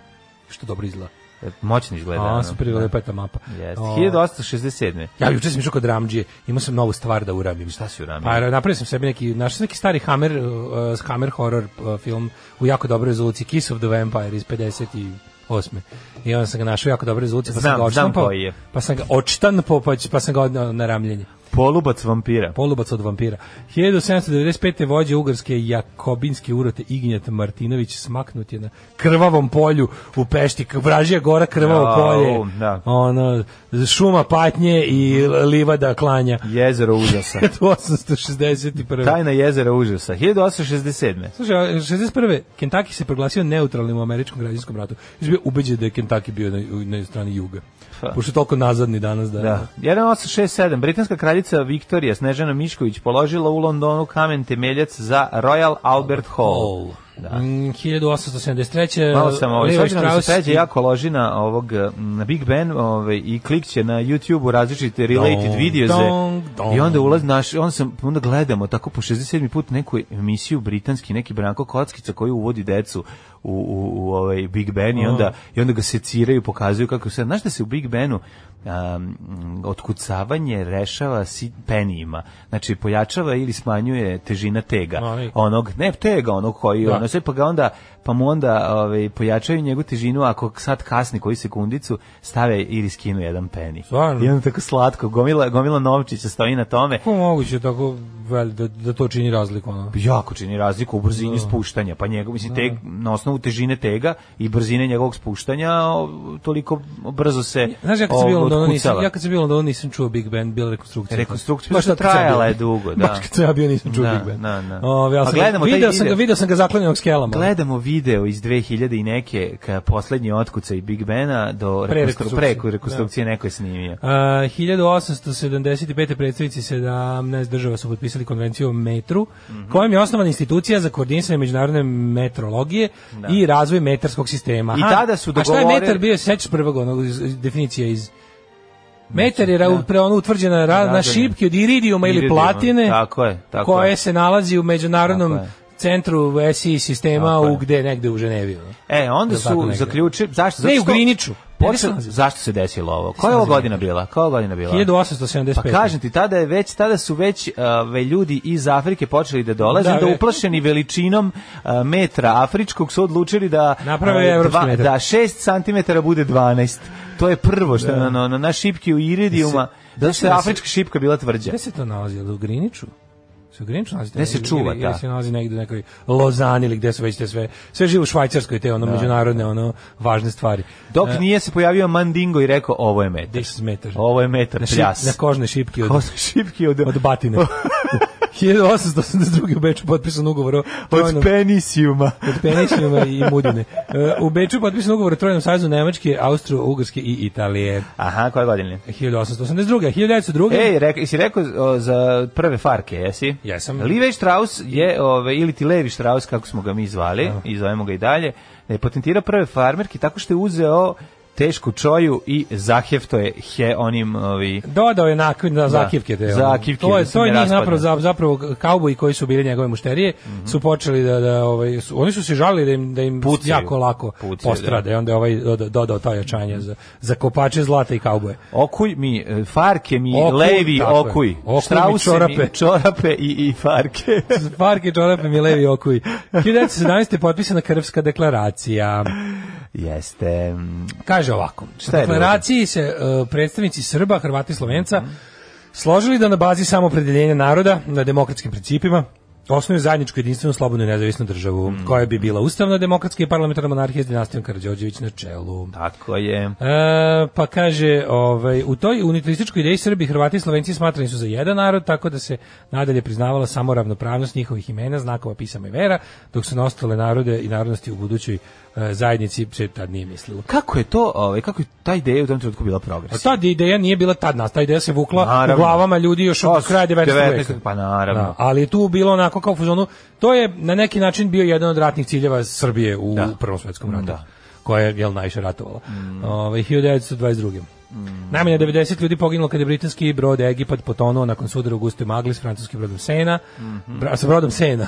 Speaker 7: Što dobro izgleda.
Speaker 6: Da. Moćno izgleda.
Speaker 7: A,
Speaker 6: ono.
Speaker 7: super, lepa je ta mapa.
Speaker 6: Jeste.
Speaker 7: O,
Speaker 6: 1867.
Speaker 7: Ja juče sam išao kod Ramđije, imao sam novu stvar da uramim.
Speaker 6: Šta si uramio?
Speaker 7: Pa napravio sam sebi neki, našao sam neki stari Hammer, uh, Hammer horror uh, film u jako dobroj rezoluciji, Kiss of the Vampire iz 58. I onda sam ga našao u jako dobroj rezoluciji, pa
Speaker 6: Znam,
Speaker 7: sam ga
Speaker 6: znam
Speaker 7: odštampao,
Speaker 6: koji je.
Speaker 7: pa sam ga odštampao, pa, ću- pa sam ga odnao na ramljenje.
Speaker 6: Polubac vampira.
Speaker 7: Polubac od vampira. 1795. vođe Ugarske Jakobinske urote Ignjat Martinović smaknut je na krvavom polju u Pešti. K- Vražija gora krvavo
Speaker 6: Ja, o,
Speaker 7: polje.
Speaker 6: da.
Speaker 7: Ono, šuma patnje i livada klanja.
Speaker 6: Jezero užasa.
Speaker 7: 1861.
Speaker 6: Tajna jezera užasa. 1867.
Speaker 7: Slušaj, a 61. Kentucky se proglasio neutralnim u američkom građanskom ratu. Ja sam bio ubeđen da je Kentucky bio na, na strani juga.
Speaker 6: Pa.
Speaker 7: Pošto je toliko nazadni danas da...
Speaker 6: Da. 1867. Britanska kraljica Viktorija Snežana Mišković položila u Londonu kamen temeljac za Royal Albert Hall. Da.
Speaker 7: Da. 1873.
Speaker 6: Malo sam ovaj,
Speaker 7: Levi
Speaker 6: sad nam se
Speaker 7: Strauss-
Speaker 6: pređe jako loži na ovog, m, na Big Ben ovaj, i klik će na YouTube-u različite related
Speaker 7: Dong,
Speaker 6: videoze
Speaker 7: dong, dong.
Speaker 6: i onda ulaz naš, onda, sam, onda gledamo tako po 67. put neku emisiju britanski, neki Branko Kockica koji uvodi decu u, u, u ovaj Big Ben i onda, i onda ga seciraju, pokazuju kako se, znaš da se u Big Benu um, otkucavanje rešava si, penijima, znači pojačava ili smanjuje težina tega,
Speaker 7: Onaj-
Speaker 6: onog, ne tega, onog koji,
Speaker 7: Da.
Speaker 6: ono, sve pa ga onda pa mu onda ovaj pojačaju njegovu težinu ako sad kasni koju sekundicu stave ili skinu jedan peni.
Speaker 7: Stvarno?
Speaker 6: I onda tako slatko gomila gomila novčića stoji na tome.
Speaker 7: Kako je moguće tako vel, da, da to čini razliku? Ono?
Speaker 6: Jako čini razliku u brzini spuštanja, pa njegov mislim teg na osnovu težine tega i brzine njegovog spuštanja o, toliko brzo se
Speaker 7: Znaš, ja kad sam
Speaker 6: o,
Speaker 7: bio u Londonu nisam,
Speaker 6: otkucava.
Speaker 7: ja kad sam bio u Londonu nisam čuo Big Band, bila je rekonstrukcija.
Speaker 6: Rekonstrukcija,
Speaker 7: Baš
Speaker 6: mislim,
Speaker 7: tad kad sam bio.
Speaker 6: trajala je dugo, da.
Speaker 7: Baš kad sam ja bio nisam čuo
Speaker 6: Da,
Speaker 7: Big Band.
Speaker 6: da, da.
Speaker 7: Ove, ja
Speaker 6: Pa
Speaker 7: sam, ga-
Speaker 6: gledamo taj
Speaker 7: video sam ga,
Speaker 6: video.
Speaker 7: video sam ga zaklanjenog skelama.
Speaker 6: Gledamo video iz 2000 i neke ka poslednji otkucaj Big Bena do
Speaker 7: Pre
Speaker 6: rekonstru,
Speaker 7: rekonstrukcije.
Speaker 6: preko rekonstrukcije neko je snimio.
Speaker 7: Uh, 1875. predstavnici 17 država su potpisali konvenciju o metru,
Speaker 6: Mhm.
Speaker 7: kojom je osnovana institucija za koordinisanje međunarodne metrologije i razvoj metarskog sistema.
Speaker 6: I tada su
Speaker 7: A šta je
Speaker 6: dogovorili-
Speaker 7: metar bio, sećaš prvog onog iz- iz- definicija iz... Metar je ra- pre ono utvrđena ra- na
Speaker 6: Nadalje.
Speaker 7: šipki od iridijuma ili
Speaker 6: Iridijuma,
Speaker 7: platine
Speaker 6: ono. tako je, tako
Speaker 7: koje
Speaker 6: je.
Speaker 7: se nalazi u međunarodnom
Speaker 6: Tako je.
Speaker 7: centru SI sistema
Speaker 6: Tako je.
Speaker 7: u gde negde u Ženevi. ono.
Speaker 6: E, onda
Speaker 7: Jel tako
Speaker 6: su
Speaker 7: negde?
Speaker 6: zaključili, zašto?
Speaker 7: Ne,
Speaker 6: Zato
Speaker 7: u
Speaker 6: što-
Speaker 7: Griniću. Ne, gde se
Speaker 6: Počeo-
Speaker 7: nalazi?
Speaker 6: zašto se desilo ovo? Koja je ovo godina bila? Koja je ovo godina bila?
Speaker 7: 1875.
Speaker 6: Pa kažem ti, tada, je već, tada su već ove, ljudi iz Afrike počeli da dolaze,
Speaker 7: Da,
Speaker 6: da,
Speaker 7: ve-
Speaker 6: uplašeni veličinom a, metra afričkog su odlučili da
Speaker 7: Naprave
Speaker 6: a,
Speaker 7: evropski
Speaker 6: dva-
Speaker 7: metar.
Speaker 6: Da 6 cm bude 12. To je prvo što na, na, na, na šipki u iridijuma, da što je
Speaker 7: da se-
Speaker 6: afrička šipka bila tvrđa.
Speaker 7: Gde se to nalazi? Jel u Griniću? Se u Griniću nalazi?
Speaker 6: Gde se
Speaker 7: Ili-
Speaker 6: čuva,
Speaker 7: ili- ili
Speaker 6: da.
Speaker 7: se nalazi negde u nekoj Lozani ili gde su već te sve, sve živo u Švajcarskoj, te ono međunarodne, ono, važne stvari.
Speaker 6: Dok nije se pojavio Mandingo i rekao, ovo je metar.
Speaker 7: This is meter.
Speaker 6: Ovo je metar,
Speaker 7: na, šip-
Speaker 6: pljas.
Speaker 7: na kožne šipke
Speaker 6: Ovo
Speaker 7: od,
Speaker 6: su šipki od,
Speaker 7: od batine. 1882. u Beču potpisan ugovor o
Speaker 6: od
Speaker 7: trojnom-
Speaker 6: penisijuma.
Speaker 7: ono- od Penisijuma i Mudine. E, U Beču potpisan ugovor o trojnom savezu Nemačke, Austro-Ugrske i Italije.
Speaker 6: Aha, koje godine?
Speaker 7: 1882. 1902.
Speaker 6: Ej, rek, jesi rekao o, za prve farke, jesi?
Speaker 7: Jesam.
Speaker 6: Levi Strauss je, ove, ili ti Levi Strauss, kako smo ga mi zvali, i zovemo ga i dalje, da je patentirao prve farmerke tako što je uzeo tešku čoju i zahefto je he onim ovi
Speaker 7: Dodao je nakon na zakivke te. ono.
Speaker 6: zakivke
Speaker 7: To je
Speaker 6: da se
Speaker 7: to
Speaker 6: ne
Speaker 7: je njih
Speaker 6: raspadne. Mhm.
Speaker 7: napravo za- zapravo kauboji koji su bili njegove mušterije su počeli da da ovaj su, oni su se žalili da im da im
Speaker 6: Pucaju.
Speaker 7: jako lako
Speaker 6: Pucaju, da.
Speaker 7: postrade onda je ovaj doda- dodao ta jačanja za za kopače zlata i kauboje.
Speaker 6: okuj mi, e, farke mi,
Speaker 7: Okuj,
Speaker 6: levi
Speaker 7: tako je.
Speaker 6: okuj,
Speaker 7: Okuj mi
Speaker 6: Strause
Speaker 7: čorape.
Speaker 6: mi, čorape i, i farke.
Speaker 7: Farke čorape mi levi okuj. 1917. je potpisana Krvska deklaracija.
Speaker 6: Jeste. mm,
Speaker 7: Kaže ovako.
Speaker 6: Šta je
Speaker 7: u
Speaker 6: bilo?
Speaker 7: deklaraciji se e, predstavnici Srba, Hrvata i Slovenca složili da na bazi samopredeljenja naroda, na demokratskim principima, osnuju zajedničku jedinstvenu slobodnu i nezavisnu državu,
Speaker 6: Hmm.
Speaker 7: koja bi bila ustavna, demokratska i parlamentarna monarhija s dinastijom Karađorđević na čelu.
Speaker 6: Tako je.
Speaker 7: E, pa kaže, ovaj, u toj unitarističkoj ideji Srbi, Hrvati i Slovenci smatrani su za jedan narod, tako da se nadalje priznavala samo ravnopravnost njihovih imena, znakova, pisama i vera, dok su na ostale narode i narodnosti u budućoj e, zajednici se tad nije mislilo.
Speaker 6: Kako je to, ovaj, kako je ta ideja u tom trenutku bila progres?
Speaker 7: A ta ideja nije bila Pa tad nas, ta ideja se vukla
Speaker 6: Naravno.
Speaker 7: u glavama ljudi još od
Speaker 6: Os-
Speaker 7: kraja 19.
Speaker 6: 19.
Speaker 7: veka.
Speaker 6: pa naravno.
Speaker 7: Da, ali je tu bilo onako kao u fazonu, to je na neki način bio jedan od ratnih ciljeva Srbije u Prvom svetskom ratu,
Speaker 6: Da. Mm.
Speaker 7: koja je jel, najviše ratovala. Ovaj, 1922. Najmanje 90 ljudi poginulo kada je britanski brod Egipat potonuo nakon sudara u gustoj magli s francuskim brodom Sena.
Speaker 6: Mhm.
Speaker 7: Bra- sa brodom Sena.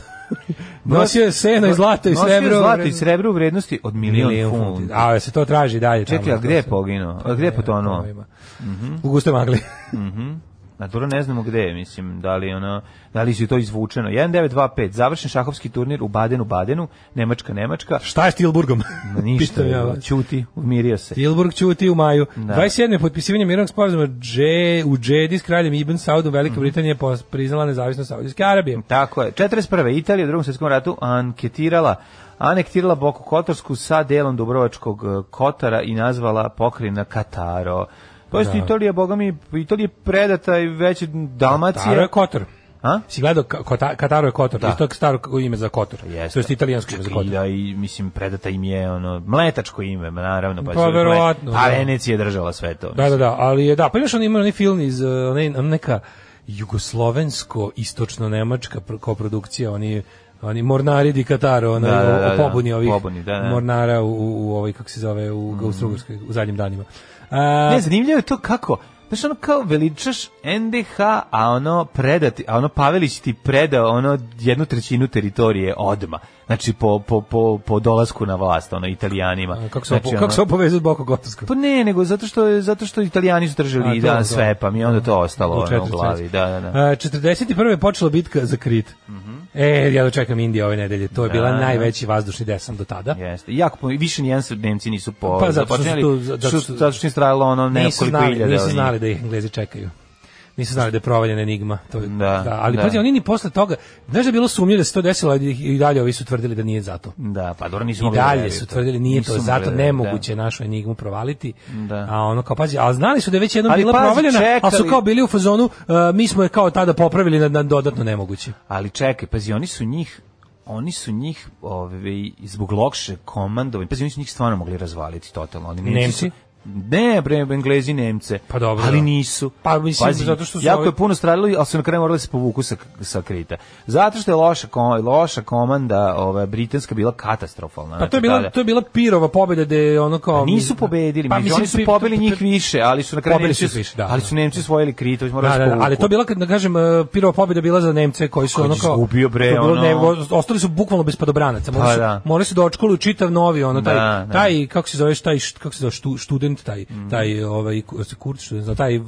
Speaker 7: Nosio je Sena i zlato i
Speaker 6: Nosio
Speaker 7: srebro.
Speaker 6: je zlato i
Speaker 7: vredno-
Speaker 6: srebro u vrednosti od milion funti.
Speaker 7: A se to traži dalje.
Speaker 6: Čekaj,
Speaker 7: tamo,
Speaker 6: a gde je
Speaker 7: to se-
Speaker 6: poginuo? A gde je
Speaker 7: Ne,
Speaker 6: potonuo?
Speaker 7: pojma.
Speaker 6: Mhm.
Speaker 7: U gustoj magli.
Speaker 6: Na dobro ne znamo gde, je, mislim, da li ono, da li je to izvučeno. 1925, završen šahovski turnir u Badenu, Badenu, Nemačka, Nemačka.
Speaker 7: Šta je s Tilburgom?
Speaker 6: Ma Ništa,
Speaker 7: Pitam ja vas.
Speaker 6: ćuti, umirio se.
Speaker 7: Tilburg ćuti u maju.
Speaker 6: Da.
Speaker 7: 27. potpisivanje mirovnog sporazuma Dže- u Džedi s kraljem Ibn Saudom
Speaker 6: Mhm.
Speaker 7: Velika Britanija je pos- priznala nezavisnost Saudijske Arabije.
Speaker 6: Tako je. 41. Italija u drugom svjetskom ratu anketirala anektirala Boku Kotorsku sa delom Dubrovačkog eh, Kotara i nazvala pokrina Kataro. To jest
Speaker 7: Da.
Speaker 6: Italija, boga mi, Italija je predata i već je
Speaker 7: Taro je
Speaker 6: Dalmacija.
Speaker 7: Kotor.
Speaker 6: A?
Speaker 7: Si gledao Ka- Kota- Kataro je Kotor, da.
Speaker 6: Da.
Speaker 7: iz tog starog ime za Kotor.
Speaker 6: Jeste.
Speaker 7: To je italijansko ime za
Speaker 6: I
Speaker 7: Kotor.
Speaker 6: da, i, mislim, predata im je ono, mletačko ime, naravno. Pa,
Speaker 7: Pa,
Speaker 6: su-
Speaker 7: verovatno,
Speaker 6: Pa
Speaker 7: da.
Speaker 6: Venecija je držala sve to.
Speaker 7: Da, da, da, ali je, da, pa imaš on ima onaj film iz, uh, onaj- on neka jugoslovensko-istočno-nemačka pr- koprodukcija, oni oni mornari di Kataro, ona
Speaker 6: Da, da,
Speaker 7: o- o
Speaker 6: da, da.
Speaker 7: pobuni ovih
Speaker 6: Pobuni, da, da.
Speaker 7: mornara u, u, u ovoj, kako se zove, u mm. u zadnjim danima. A,
Speaker 6: Ne, zanimljivo je to kako. Znaš, ono kao veličaš NDH, a ono predati, a ono Pavelić ti preda ono jednu trećinu teritorije odma. Znači, po, po, po, po dolasku na vlast, ono, italijanima.
Speaker 7: A, Kako se
Speaker 6: znači,
Speaker 7: znači, kako se ovo povezuje s Boko Gotovskom?
Speaker 6: Pa ne, nego zato što, je- zato što italijani su držali
Speaker 7: A,
Speaker 6: i
Speaker 7: dobro,
Speaker 6: dan sve,
Speaker 7: dobro.
Speaker 6: pa mi je onda to ostalo
Speaker 7: U
Speaker 6: ono, u
Speaker 7: četvrtoj
Speaker 6: glavi.
Speaker 7: stranici.
Speaker 6: Da, da, da.
Speaker 7: A, 41. je počela bitka za Krit. E, ja dočekam Indija ove nedelje. To je bila
Speaker 6: Da, da.
Speaker 7: najveći vazdušni desan do tada.
Speaker 6: Jeste. I Jako puno, i više nijedan se Nemci nisu po,
Speaker 7: Pa zato što su
Speaker 6: započinjali,
Speaker 7: tu- zato
Speaker 6: što-
Speaker 7: što-
Speaker 6: zato što im strajalo ono
Speaker 7: nisu
Speaker 6: nekoliko
Speaker 7: znali,
Speaker 6: hiljada.
Speaker 7: nisu
Speaker 6: od njih.
Speaker 7: znali da ih Englezi čekaju. Nisu znali da je provaljena enigma. To je,
Speaker 6: Da,
Speaker 7: ali
Speaker 6: da.
Speaker 7: pazi, oni ni posle toga, znaš da je bilo sumnje da se to desilo ali i dalje ovi su tvrdili da nije zato.
Speaker 6: Da, pa dobro nisu
Speaker 7: I
Speaker 6: mogli da
Speaker 7: dalje
Speaker 6: veruju
Speaker 7: su
Speaker 6: to.
Speaker 7: tvrdili nije
Speaker 6: Nisu
Speaker 7: to,
Speaker 6: mogli
Speaker 7: zato
Speaker 6: da veruju,
Speaker 7: nemoguće je našu enigmu provaliti.
Speaker 6: Da.
Speaker 7: A ono kao pazi, ali znali su da je već jednom
Speaker 6: Ali
Speaker 7: bila
Speaker 6: pazi,
Speaker 7: provaljena, ali su
Speaker 6: čekali-
Speaker 7: kao bili u fazonu, uh, mi smo je kao tada popravili na, na dodatno nemoguće.
Speaker 6: Ali čekaj, pazi, oni su njih oni su njih ovaj zbog lokše komandovanja, pazi, oni su njih stvarno mogli razvaliti totalno, ali Nemci,
Speaker 7: Nemci?
Speaker 6: su- Ne, bre, Englezi i Nemce.
Speaker 7: Pa dobro,
Speaker 6: Ali
Speaker 7: da.
Speaker 6: nisu.
Speaker 7: Pa mislim, zato što su
Speaker 6: Jako
Speaker 7: ovi-
Speaker 6: je puno stradali, ali su na kraju morali da se povuku sa, sa krita. Zato što je loša, kom- loša komanda ova, britanska bila katastrofalna.
Speaker 7: Pa to
Speaker 6: znači,
Speaker 7: je bila
Speaker 6: tada.
Speaker 7: to je bila Pirova pobeda da je ono kao
Speaker 6: Nisu pobedili, pa,
Speaker 7: mislim,
Speaker 6: oni su
Speaker 7: Pir-
Speaker 6: pobili
Speaker 7: Pir-
Speaker 6: njih više, ali su na kraju
Speaker 7: Pobili
Speaker 6: Nemci,
Speaker 7: su ih više, da,
Speaker 6: ali
Speaker 7: da.
Speaker 6: su Nemci osvojili Krit, već morali
Speaker 7: Da, da,
Speaker 6: se
Speaker 7: da, ali
Speaker 6: povuku.
Speaker 7: to je bila kad da kažem e, Pirova pobeda bila za Nemce koji su
Speaker 6: Koji
Speaker 7: ono
Speaker 6: su
Speaker 7: kao
Speaker 6: izgubio, bre,
Speaker 7: to je bilo
Speaker 6: ono.
Speaker 7: nego- ostali su bukvalno bez padobranaca. Morali
Speaker 6: Pa,
Speaker 7: su,
Speaker 6: da.
Speaker 7: morali su da odškoluju čitav novi ono taj
Speaker 6: Da, Mm. da.
Speaker 7: taj kako se zoveš taj št- kako se zove štu- student taj taj ovaj kurt student, no, taj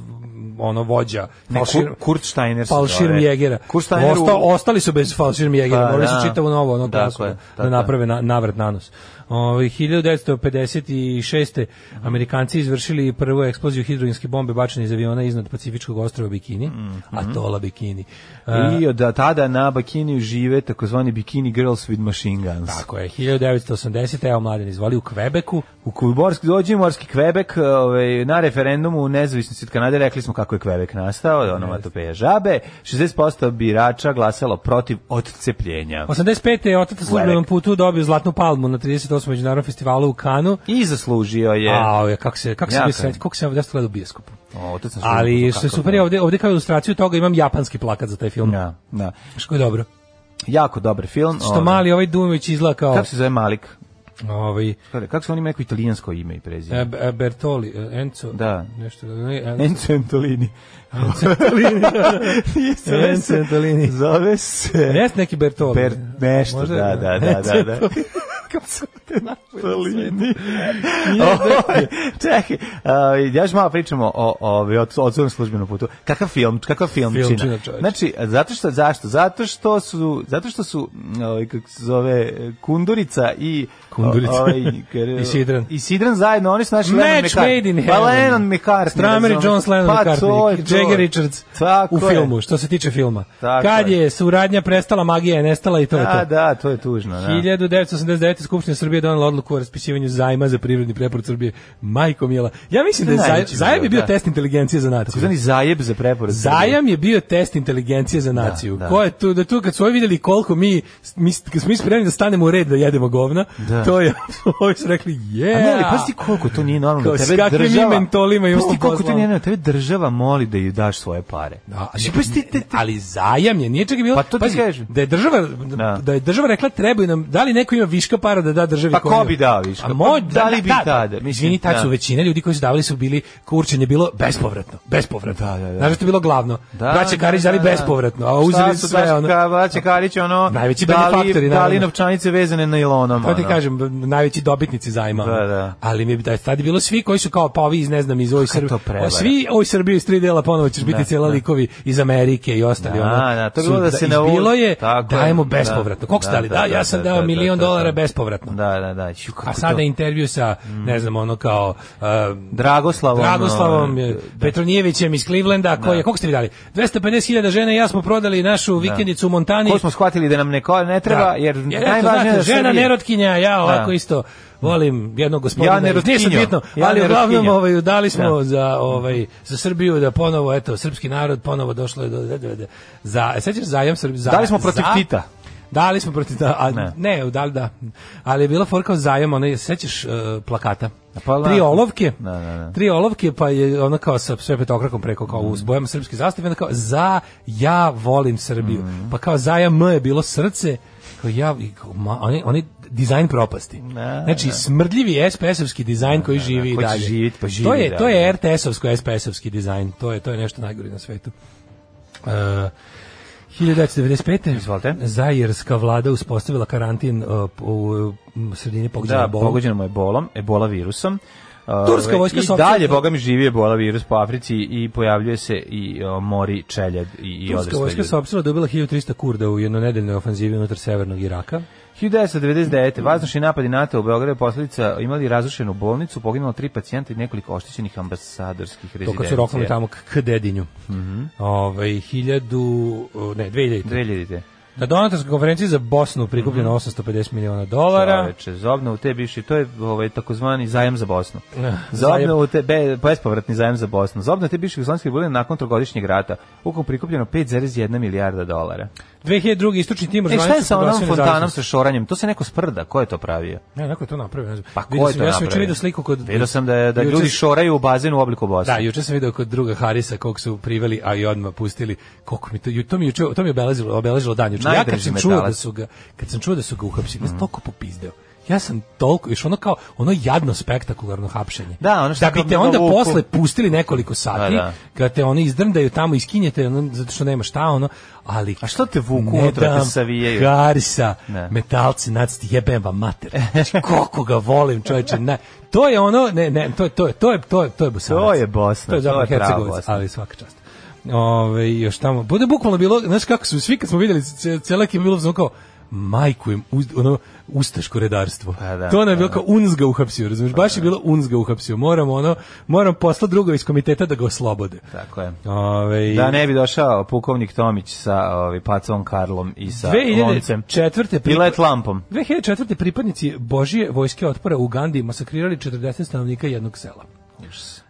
Speaker 7: ono vođa
Speaker 6: Ne,
Speaker 7: falšir-
Speaker 6: Kur, Kurt Steiner se
Speaker 7: falširm
Speaker 6: zove.
Speaker 7: jegera.
Speaker 6: Kurt Steiner u-
Speaker 7: Osta- ostali su bez falširm jegera,
Speaker 6: Pa,
Speaker 7: morali su
Speaker 6: da.
Speaker 7: čitavo novo ono
Speaker 6: Tako
Speaker 7: klasno
Speaker 6: je,
Speaker 7: da- da
Speaker 6: tako je.
Speaker 7: naprave na, navrat na nos. Ovaj, 1956. Amerikanci izvršili prvu eksploziju hidrogenske bombe bačene iz aviona iznad Pacifičkog ostrava Bikini,
Speaker 6: Mhm.
Speaker 7: atola Bikini. E,
Speaker 6: I od tada na Bikiniju žive takozvani Bikini Girls with Machine Guns.
Speaker 7: Tako je, 1980. Evo mladen izvali u Kvebeku.
Speaker 6: U Kuborski dođe morski Kvebek, ovaj, na referendumu u nezavisnosti od Kanade rekli smo kako je Kvebek nastao, da ono matopeja žabe, 60% birača glasalo protiv otcepljenja.
Speaker 7: 85. Pa je otac na službenom
Speaker 6: Kvebek.
Speaker 7: putu dobio zlatnu palmu na 38. međunarodnom festivalu u Kanu.
Speaker 6: I zaslužio je.
Speaker 7: A, ove, kako se, kako se,
Speaker 6: Jako
Speaker 7: bio
Speaker 6: je.
Speaker 7: sreć, kako sam ja gledao u bioskopu.
Speaker 6: O, otac na službenom
Speaker 7: Ali
Speaker 6: putu,
Speaker 7: što je
Speaker 6: kako
Speaker 7: super
Speaker 6: ne.
Speaker 7: je ovde, ovde kao ilustraciju toga imam japanski plakat za taj film.
Speaker 6: Da, da.
Speaker 7: Što je dobro.
Speaker 6: Jako dobar film.
Speaker 7: Što
Speaker 6: ovaj.
Speaker 7: mali ovaj Dumović izgleda kao
Speaker 6: Kako se zove Malik?
Speaker 7: ovaj
Speaker 6: Kako kako se on ima neko italijansko ime i prezime?
Speaker 7: e, B- Bertoli, e, Enzo,
Speaker 6: Da.
Speaker 7: nešto, e, ne, Enzo.
Speaker 6: Enzo Antolini.
Speaker 7: Enzo Antolini.
Speaker 6: Zove se...
Speaker 7: Jeste neki Bertoli.
Speaker 6: Per, nešto,
Speaker 7: Možda-
Speaker 6: da, da, da, da, da.
Speaker 7: kako sam te
Speaker 6: Salini. Ovaj, Čekaj, uh, ja još malo pričamo o, o, o odsudnom službenom putu. Kakav film, kakav film,
Speaker 7: Filmčina,
Speaker 6: čina?
Speaker 7: čoveče.
Speaker 6: Znači, zato što, zašto? Zato što su, zato što su, mm, ovaj, kako se zove, Kundurica i... ovaj,
Speaker 7: Kundurica.
Speaker 6: kar-
Speaker 7: I Sidran.
Speaker 6: I Sidran zajedno, oni su naši
Speaker 7: Match
Speaker 6: Lennon McCartney.
Speaker 7: made in
Speaker 6: Pa
Speaker 7: heaven.
Speaker 6: Lennon McCartney.
Speaker 7: Stramer i
Speaker 6: razumeš?
Speaker 7: Jones Lennon
Speaker 6: Pa to je
Speaker 7: McCartney,
Speaker 6: to.
Speaker 7: Jagger Richards
Speaker 6: Tako
Speaker 7: u
Speaker 6: je.
Speaker 7: filmu, što se tiče filma.
Speaker 6: Tako
Speaker 7: Kad
Speaker 6: je.
Speaker 7: je suradnja prestala, magija je nestala i to je to.
Speaker 6: Da, da, to je tužno. Da.
Speaker 7: 1989. Skupština Srbije donela odluku o raspisivanju zajma za privredni preporod Srbije. Majko Mila. Ja mislim da je zaj,
Speaker 6: Najveći
Speaker 7: zajam je bio
Speaker 6: da.
Speaker 7: test inteligencije za naciju.
Speaker 6: Zvani zajeb za preporod.
Speaker 7: Zajam je bio test inteligencije za naciju.
Speaker 6: da.
Speaker 7: Ko je tu, da tu kad su ovi vidjeli koliko mi, mi, kad smo mi spremni da stanemo u red da jedemo govna,
Speaker 6: Da.
Speaker 7: to je, ovi su rekli, yeah!
Speaker 6: A ne, ali pazi koliko to nije normalno.
Speaker 7: Kao,
Speaker 6: da
Speaker 7: s
Speaker 6: tebe
Speaker 7: kakvim mi
Speaker 6: država,
Speaker 7: mentolima imamo
Speaker 6: Pazi koliko to
Speaker 7: posla.
Speaker 6: nije normalno. Tebe država moli da ju daš svoje pare.
Speaker 7: Da,
Speaker 6: Znači,
Speaker 7: ne,
Speaker 6: pazi, ti- ti-
Speaker 7: ne, ali zajam je, nije čak i bilo.
Speaker 6: Pa to ti
Speaker 7: pazi,
Speaker 6: kažem.
Speaker 7: Da je država da. je država rekla trebaju nam, da li neko ima viška para da da državi
Speaker 6: Pa
Speaker 7: koju-
Speaker 6: ko bi dao viška?
Speaker 7: A mo,
Speaker 6: Pa da li bi tada? Mislim,
Speaker 7: Izvini, tad
Speaker 6: da.
Speaker 7: su većina ljudi koji su davali su bili kurčenje bilo bespovratno, bespovratno.
Speaker 6: Da, da, da.
Speaker 7: Znaš što je bilo glavno?
Speaker 6: Da,
Speaker 7: Braća Karić dali bespovratno, a uzeli
Speaker 6: Šta su
Speaker 7: sve
Speaker 6: Daška-
Speaker 7: ono.
Speaker 6: Braća Karić, ono,
Speaker 7: Najveći
Speaker 6: dali,
Speaker 7: benefaktori,
Speaker 6: dali
Speaker 7: naravno.
Speaker 6: novčanice vezane na ilonom. ono.
Speaker 7: Pa ti kažem, najveći dobitnici zajma. ono.
Speaker 6: Da, da.
Speaker 7: Ali mi bi da tad je bilo svi koji su kao pa ovi iz ne znam iz ovih
Speaker 6: Kako je
Speaker 7: Srbije.
Speaker 6: to prevara?
Speaker 7: Svi ovi Srbije iz tri dela ponovo ćeš biti cijela likovi iz Amerike i ostali
Speaker 6: Da,
Speaker 7: ono.
Speaker 6: da, to je
Speaker 7: su-
Speaker 6: bilo da se ne u-
Speaker 7: Bilo je
Speaker 6: Tako je,
Speaker 7: dajemo
Speaker 6: da.
Speaker 7: bespovratno. Koliko ste
Speaker 6: Da,
Speaker 7: dali?
Speaker 6: da,
Speaker 7: Da,
Speaker 6: da,
Speaker 7: ja sam
Speaker 6: da,
Speaker 7: dao
Speaker 6: da,
Speaker 7: milion
Speaker 6: da, da.
Speaker 7: dolara bespovratno.
Speaker 6: Da, da, da. Ću, kako
Speaker 7: A sada
Speaker 6: to- Mm.
Speaker 7: intervju sa, ne znam, ono kao... Uh,
Speaker 6: Dragoslavom.
Speaker 7: Dragoslavom
Speaker 6: ovaj,
Speaker 7: eh, Petronijevićem iz Clevelanda, koji je, koliko ste vi dali? 250.000 žena i ja smo prodali našu vikendicu u Montani.
Speaker 6: Ko smo shvatili da nam ne, ko- ne treba,
Speaker 7: Da.
Speaker 6: jer,
Speaker 7: eto,
Speaker 6: najvažnije je da
Speaker 7: znate, žena
Speaker 6: Srbija-
Speaker 7: nerotkinja, ja ovako isto volim jednog gospodina.
Speaker 6: Ja nerotkinjo.
Speaker 7: Nije sad bitno,
Speaker 6: Ja
Speaker 7: ali uglavnom
Speaker 6: nerotkinjo.
Speaker 7: ovaj, dali smo
Speaker 6: Da.
Speaker 7: za, ovaj, za Srbiju da ponovo, eto, srpski narod ponovo došlo je do... do- do- do- za, e, sećaš zajam Srbije? Za,
Speaker 6: Dali smo protiv
Speaker 7: za-
Speaker 6: Tita.
Speaker 7: Dali smo protiv da, a,
Speaker 6: Ne.
Speaker 7: ne. da, da. Ali je bila forka od zajam, onaj, sećaš eh, plakata?
Speaker 6: Pa, da.
Speaker 7: tri olovke,
Speaker 6: Da, da, da. Mm.
Speaker 7: tri olovke, pa je ona kao sa sve petokrakom preko kao uz bojama srpske zastave, onda kao za ja volim Srbiju.
Speaker 6: Mm.
Speaker 7: Pa kao za ja m je bilo srce, kao ja, i kao, ma, oni, oni dizajn propasti. znači, smrdljivi SPS-ovski dizajn koji živi i
Speaker 6: koji će
Speaker 7: dalje.
Speaker 6: živjeti, pa živi
Speaker 7: to
Speaker 6: i
Speaker 7: je, to
Speaker 6: dalje.
Speaker 7: je RTS-ovsko SPS-ovski dizajn, to je, to je nešto najgore na svetu. E, 1995.
Speaker 6: Izvolite.
Speaker 7: Zajerska vlada uspostavila karantin e, u m, sredini pogođene
Speaker 6: Da,
Speaker 7: bolom.
Speaker 6: pogođeno mu je bolom, ebola virusom.
Speaker 7: Turska
Speaker 6: Ove,
Speaker 7: vojska
Speaker 6: I
Speaker 7: saopštila-
Speaker 6: dalje, boga mi, živi ebola virus po Africi i pojavljuje se i o, mori čeljad i, i
Speaker 7: Turska
Speaker 6: odrasle
Speaker 7: vojska
Speaker 6: ljude.
Speaker 7: saopštila da je ubila 1300 Kurda u jednonedeljnoj ofanzivi unutar severnog Iraka.
Speaker 6: 1999. Vaznošni napadi NATO u Beogradu je posledica imali razrušenu bolnicu, poginulo tri pacijenta i nekoliko oštećenih ambasadorskih
Speaker 7: To
Speaker 6: rezidencija.
Speaker 7: kad su roknuli tamo k, k Dedinju.
Speaker 6: Mhm.
Speaker 7: Ovaj, 1000, ne, 2000.
Speaker 6: 2000.
Speaker 7: Na donatorskoj konferenciji za Bosnu
Speaker 6: Mhm.
Speaker 7: prikupljeno 850 miliona dolara.
Speaker 6: Čoveče, za obnovu te bivši, to je ovaj, takozvani zajem za Bosnu. Za
Speaker 7: Zajem.
Speaker 6: obnovu te, be, bespovratni zajem za Bosnu. Za obnovu te bivše Jugoslavijske bile nakon trogodišnjeg rata, ukupno prikupljeno 5,1 milijarda dolara.
Speaker 7: 2002. istočni Timor
Speaker 6: E šta je
Speaker 7: zvanično
Speaker 6: sa onom
Speaker 7: proglasio
Speaker 6: fontanom
Speaker 7: nezavisnost.
Speaker 6: sa šoranjem? To se neko sprda, ko je to pravio?
Speaker 7: Ne, neko je to napravio, ne znam.
Speaker 6: Pa ko
Speaker 7: Vidio
Speaker 6: je
Speaker 7: sam-
Speaker 6: to
Speaker 7: Ja sam juče
Speaker 6: napravio?
Speaker 7: vidio sliku kod...
Speaker 6: Vidio sam da, je- da
Speaker 7: Juče
Speaker 6: ljudi
Speaker 7: sam-
Speaker 6: šoraju u bazen u obliku bosa.
Speaker 7: Da, juče sam video kod druga Harisa kog su priveli, a i odmah pustili. Koliko mi to, ju- to mi juče, to mi je obeležilo, obeležilo dan juče. Ja kad
Speaker 6: Najdraži
Speaker 7: sam čuo da
Speaker 6: metalac. Mm.
Speaker 7: su ga, kad sam čuo da su ga uhapsili, ja sam toliko popizdeo. Ja sam toliko, još ono kao, ono jadno spektakularno hapšenje.
Speaker 6: Da, ono što
Speaker 7: da bi
Speaker 6: kao
Speaker 7: te onda
Speaker 6: mnogo vuku.
Speaker 7: posle pustili nekoliko sati,
Speaker 6: Pa Da, da.
Speaker 7: kad te oni izdrndaju tamo, iskinjete, ono, zato što nema šta, ono, ali...
Speaker 6: A što te vuku
Speaker 7: ne
Speaker 6: unutra, te
Speaker 7: dam
Speaker 6: savijaju?
Speaker 7: Harisa,
Speaker 6: Ne.
Speaker 7: metalci, naciti, jebem vam mater. Znači, Koliko ga volim, čovječe, ne. To je ono, ne, ne, to je, to je, to je, to je, to je Bosanac.
Speaker 6: To je Bosna,
Speaker 7: To je
Speaker 6: to
Speaker 7: zapravo
Speaker 6: je prava
Speaker 7: Hercegovac,
Speaker 6: Bosna.
Speaker 7: ali svaka čast. Ove, još tamo, bude bukvalno bilo, znaš kako su, svi kad smo vidjeli, cijela ekipa je bilo znamo kao, majku im, uz, ono, ustaško redarstvo.
Speaker 6: Pa da,
Speaker 7: to nam je
Speaker 6: pa
Speaker 7: bilo
Speaker 6: da. Pa
Speaker 7: kao unzga uhapsio, razumiješ, baš je bilo unzga uhapsio. Moram ono, moram posla drugo iz komiteta da ga oslobode.
Speaker 6: Tako je.
Speaker 7: Ove,
Speaker 6: Da ne bi došao pukovnik Tomić sa ovaj, pacom Karlom i sa loncem.
Speaker 7: 2004.
Speaker 6: I
Speaker 7: pripa-
Speaker 6: let lampom.
Speaker 7: 2004. pripadnici Božije vojske otpora u Ugandi masakrirali 40 stanovnika jednog sela.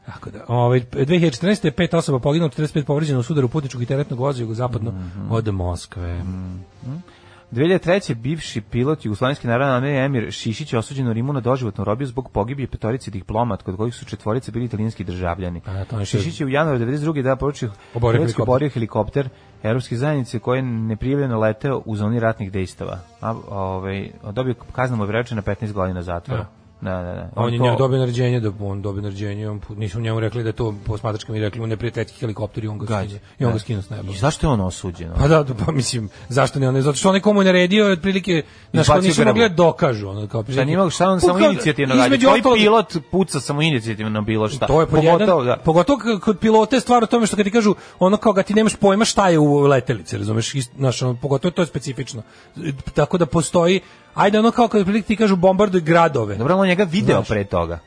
Speaker 7: Tako da, ovaj, 2014. je pet osoba poginulo, 45 povređeno u sudaru putničkog i teretnog voza jugozapadno
Speaker 6: Mhm.
Speaker 7: od Moskve.
Speaker 6: 2003. bivši pilot Jugoslavijski narodne armije Emir Šišić je osuđen u Rimu na doživotnu robiju zbog pogibije petorice diplomat, kod kojih su četvorice bili italijanski državljani.
Speaker 7: A, to je što-
Speaker 6: Šišić je u januaru 92. da poručio
Speaker 7: Oborio
Speaker 6: Hrvatski
Speaker 7: helikopter.
Speaker 6: oborio helikopter Europske zajednice koji je neprijavljeno leteo u zoni ratnih dejstava. A, ovaj, dobio kaznom obrečena na 15 godina zatvora. Da, da, da.
Speaker 7: On, je
Speaker 6: to-
Speaker 7: njemu dobio naređenje, da on dobio naređenje, on, pu- nisu njemu rekli da je to posmatračka mi rekli mu neprijateljski helikopter i on ga
Speaker 6: Gađa.
Speaker 7: skinu, i on
Speaker 6: Da.
Speaker 7: ga skinu s neba.
Speaker 6: I zašto je on osuđen?
Speaker 7: Pa da, da, pa mislim, zašto ne on? Zato što onaj komu je naredio je otprilike, znaš, kao
Speaker 6: Izbacio
Speaker 7: nisu
Speaker 6: grabu.
Speaker 7: mogli da dokažu. Ono, kao,
Speaker 6: Šta nije mogu, šta on
Speaker 7: Pa
Speaker 6: samo
Speaker 7: kao,
Speaker 6: inicijativno radi?
Speaker 7: između
Speaker 6: Koji
Speaker 7: ostalog-
Speaker 6: pilot puca samo inicijativno bilo šta?
Speaker 7: To je pod
Speaker 6: Pogotovo,
Speaker 7: jedan, da. pogotovo k- kod pilota je stvar u tome što kad ti kažu ono kao ga ti nemaš pojma šta je u letelici, razumeš, Ist- znaš, ono, pogotovo to je specifično. E, Tako da postoji, ajde ono kao kad otprilike ti kažu bombarduj gradove.
Speaker 6: Dobro, ali on njega video
Speaker 7: Znaš.
Speaker 6: pre toga.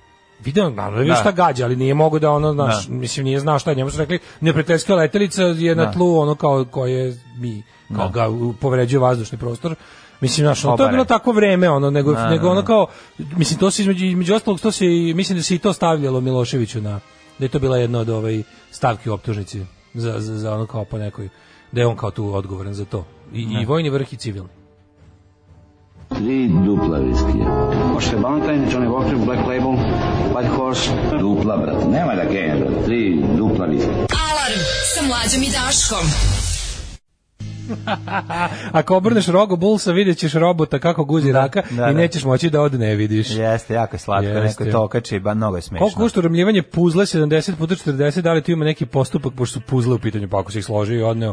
Speaker 7: Video, naravno, da. vidio
Speaker 6: Da.
Speaker 7: šta gađa, ali nije mogo da ono, znaš, mislim, nije znao šta je, njemu su rekli, neprijateljska letelica je na
Speaker 6: Da.
Speaker 7: tlu ono kao koje mi, kao
Speaker 6: Da.
Speaker 7: ga u- povređuje vazdušni prostor. Mislim, znaš, ono, to je
Speaker 6: Obare.
Speaker 7: bilo tako vreme, ono, nego,
Speaker 6: Da,
Speaker 7: nego
Speaker 6: da,
Speaker 7: ono
Speaker 6: da.
Speaker 7: kao, mislim, to se između, između ostalog, to se, i- mislim da se i to stavljalo Miloševiću na, da je to bila jedna od ovaj, stavki u optužnici za, za, za ono kao po nekoj, da je on kao tu odgovoran za to. I, i vojni vrh i civilni.
Speaker 2: Tri dupla viskija. Možete Valentine, Johnny Walker, Black Label, White Horse. Dupla, brate. Nema da genja, brate. Tri dupla viskija.
Speaker 5: Alarm sa mlađom i Daškom.
Speaker 7: Ako obrneš rogo bulsa, vidjet ćeš robota kako guzi raka
Speaker 6: da,
Speaker 7: i
Speaker 6: da.
Speaker 7: nećeš moći da od ne vidiš.
Speaker 6: Jeste, jako je slatko,
Speaker 7: Jeste.
Speaker 6: neko to okači, ba, mnogo je smešno.
Speaker 7: Koliko košta uramljivanje puzle 70 puta 40, da li tu ima neki postupak pošto su puzle u pitanju, pa ako si ih složio i odneo,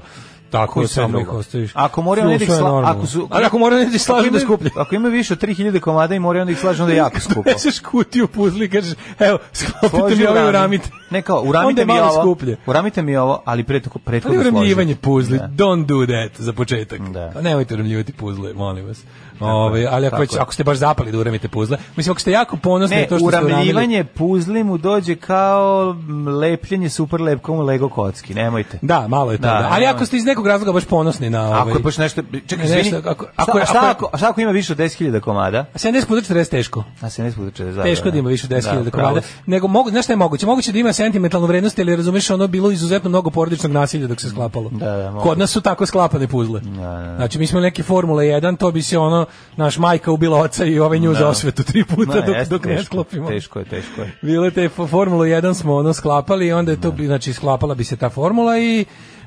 Speaker 7: tako je
Speaker 6: Koji sve
Speaker 7: samo ih
Speaker 6: drugo?
Speaker 7: ostaviš.
Speaker 6: Ako moraju
Speaker 7: Sve-
Speaker 6: ne da ih
Speaker 7: sve je
Speaker 6: sla-
Speaker 7: normalno.
Speaker 6: ako su-
Speaker 7: Ali ako moraju ne da ih slažu da
Speaker 6: ima-
Speaker 7: skuplje.
Speaker 6: Ako ima više od 3000 komada i moraju onda ih slažu, onda je jako skupo.
Speaker 7: Peseš kutiju puzli i kažeš, evo, sklopite
Speaker 6: Složi
Speaker 7: mi ovo i
Speaker 6: urami.
Speaker 7: uramite.
Speaker 6: Ne kao,
Speaker 7: Onda
Speaker 6: uramite
Speaker 7: je
Speaker 6: mi
Speaker 7: malo
Speaker 6: ovo.
Speaker 7: skuplje.
Speaker 6: Uramite mi ovo, ali pretko pretko
Speaker 7: Ali uramljivanje puzli,
Speaker 6: Da.
Speaker 7: don't do that, za početak.
Speaker 6: Da.
Speaker 7: Da. Nemojte uramljivati puzle, molim vas. Ove, ali ako,
Speaker 6: tako
Speaker 7: već,
Speaker 6: je.
Speaker 7: ako ste baš zapali da uramite puzle, mislim, ako ste jako ponosni na
Speaker 6: Ne,
Speaker 7: to što ste uramili,
Speaker 6: uramljivanje puzli mu dođe kao m, lepljenje super lepkom u Lego kocki, nemojte.
Speaker 7: Da, malo je to.
Speaker 6: Da,
Speaker 7: Da, Ali
Speaker 6: da.
Speaker 7: ako ste iz nekog razloga baš ponosni na ovaj.
Speaker 6: Ako je baš nešto... Čekaj,
Speaker 7: Ne,
Speaker 6: izvini.
Speaker 7: nešto, ako-
Speaker 6: Šta-
Speaker 7: ako je-
Speaker 6: a šta
Speaker 7: ako je-
Speaker 6: ako- a šta ako ima više od 10.000 komada?
Speaker 7: 70 puta 40 teško.
Speaker 6: A se ne spuče da
Speaker 7: Teško da ima više od 10.000 da, komada.
Speaker 6: pravo si.
Speaker 7: Nego mogu, znaš šta je moguće? Moguće da ima sentimentalnu vrednost, ali razumeš, ono je bilo izuzetno mnogo porodičnog nasilja dok se sklapalo.
Speaker 6: Da, da, moguće.
Speaker 7: Kod nas su tako sklapane puzle.
Speaker 6: da, da.
Speaker 7: Znači mi smo neke Formule 1, to bi se ono naš majka ubila oca i ovaj nju za osvetu tri puta
Speaker 6: Ma,
Speaker 7: dok
Speaker 6: jeste,
Speaker 7: dok ne
Speaker 6: teško,
Speaker 7: sklopimo.
Speaker 6: Teško je, teško je.
Speaker 7: Bile te fo- Formulu 1 smo ono sklapali i onda je to, bi- znači sklapala bi se ta formula i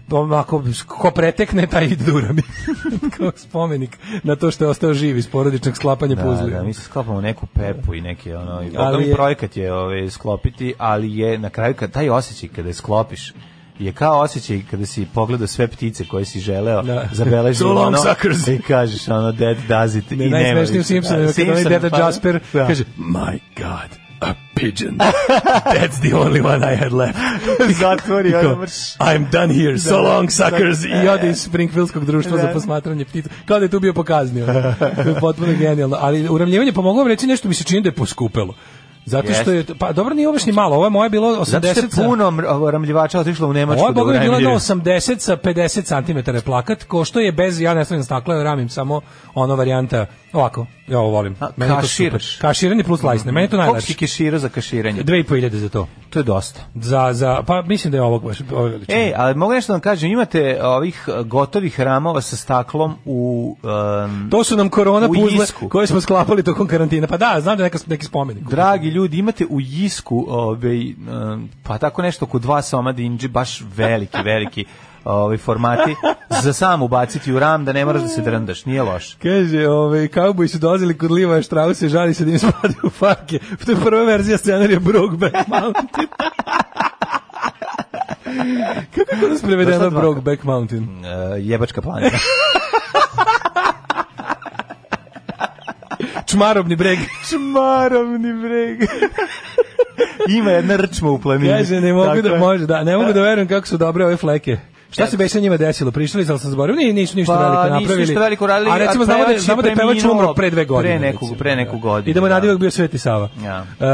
Speaker 7: bom, ako ko pretekne taj ide da urami. Kao spomenik na to što je ostao živ iz porodičnog sklapanja
Speaker 6: Da,
Speaker 7: puzli.
Speaker 6: da, mi se sklapamo neku pepu i neki ono, i
Speaker 7: Ali
Speaker 6: ali
Speaker 7: je-
Speaker 6: projekat je ove, sklopiti, ali je na kraju kad taj osjećaj kada je sklopiš, je kao osjećaj kada si pogledao sve ptice koje si želeo,
Speaker 7: Da.
Speaker 6: da. zabeležio
Speaker 7: So long,
Speaker 6: ono,
Speaker 7: suckers.
Speaker 6: i kažeš ono, dead does it,
Speaker 7: Ne,
Speaker 6: i nema
Speaker 7: najsmešniji u
Speaker 6: više.
Speaker 7: Simpsonima, kad onaj
Speaker 6: Simpson,
Speaker 7: deda
Speaker 6: pa-
Speaker 7: Jasper
Speaker 6: da.
Speaker 7: kaže, my god, a pigeon. That's the only one I had left.
Speaker 6: zatvori, ono, mrš.
Speaker 7: I'm done here, so long suckers. I ode iz Springfieldskog društva
Speaker 6: e, Da.
Speaker 7: za posmatranje ptica. Kao da je tu bio pokaznio. Potpuno genijalno. Ali uramljivanje pomoglo vam reći nešto mi se čini da je poskupelo. Zato što je, pa dobro nije ovo baš ni malo, ovo je moje bilo 80
Speaker 6: Zato što je
Speaker 7: sa-
Speaker 6: puno mr- ramljivača otišlo u Nemačku
Speaker 7: ovo je
Speaker 6: da
Speaker 7: boga mi bila
Speaker 6: uramljuju.
Speaker 7: na 80 sa 50 cm plakat, ko što je bez, ja ne stavim stakla, ja ramim samo ono varijanta, ovako, ja ovo volim.
Speaker 6: A,
Speaker 7: Meni je to super.
Speaker 6: kaširaš?
Speaker 7: Kaširanje plus lajsne, meni je to
Speaker 6: Koliko si
Speaker 7: najlepše.
Speaker 6: keširao za kaširanje?
Speaker 7: 2500 za to.
Speaker 6: To je dosta.
Speaker 7: Za, za, pa mislim da je ovo baš ovo je veličina.
Speaker 6: E, ali mogu nešto da vam kažem, imate ovih e, gotovih ramova sa staklom u... em,
Speaker 7: to su nam korona
Speaker 6: u
Speaker 7: puzle
Speaker 6: Isku.
Speaker 7: koje smo sklapali tokom karantina. Pa da, znam da je neka, neki spomenik.
Speaker 6: Dragi ljudi, imate u Jisku, ovaj, em, pa tako nešto oko dva soma dinđe, baš veliki, veliki ovaj, formati, za sam ubaciti u ram da ne moraš da se drndaš, nije loš.
Speaker 7: Kaže, ovaj, kauboji su dolazili kod Liva Štrausa i žali se da im spada u farke. To je prva verzija scenarija Brokeback Mountain. Kako je kod nas
Speaker 6: Došla
Speaker 7: prevedeno
Speaker 6: dva.
Speaker 7: Brokeback Mountain?
Speaker 6: E, jebačka planina.
Speaker 7: Čmarobni breg.
Speaker 6: Čmarovni breg. Ima jedna rčma u planini.
Speaker 7: Kaže, ne mogu
Speaker 6: Tako
Speaker 7: da
Speaker 6: je.
Speaker 7: može, da, ne mogu da verujem kako su dobre ove fleke. Šta se beše njima desilo? Prišli ali sam zaboravio, nije nisu ništa
Speaker 6: Pa,
Speaker 7: veliko
Speaker 6: nisu
Speaker 7: napravili.
Speaker 6: ništa veliko radili,
Speaker 7: A recimo
Speaker 6: a
Speaker 7: znamo da
Speaker 6: pevač je
Speaker 7: znamo da je pevač
Speaker 6: preminuo
Speaker 7: umro pre dve godine.
Speaker 6: pre neku-
Speaker 7: recimo.
Speaker 6: pre neku godinu,
Speaker 7: I da mu je
Speaker 6: da.
Speaker 7: nadivak bio Sveti Sava.
Speaker 6: Ja.
Speaker 7: E,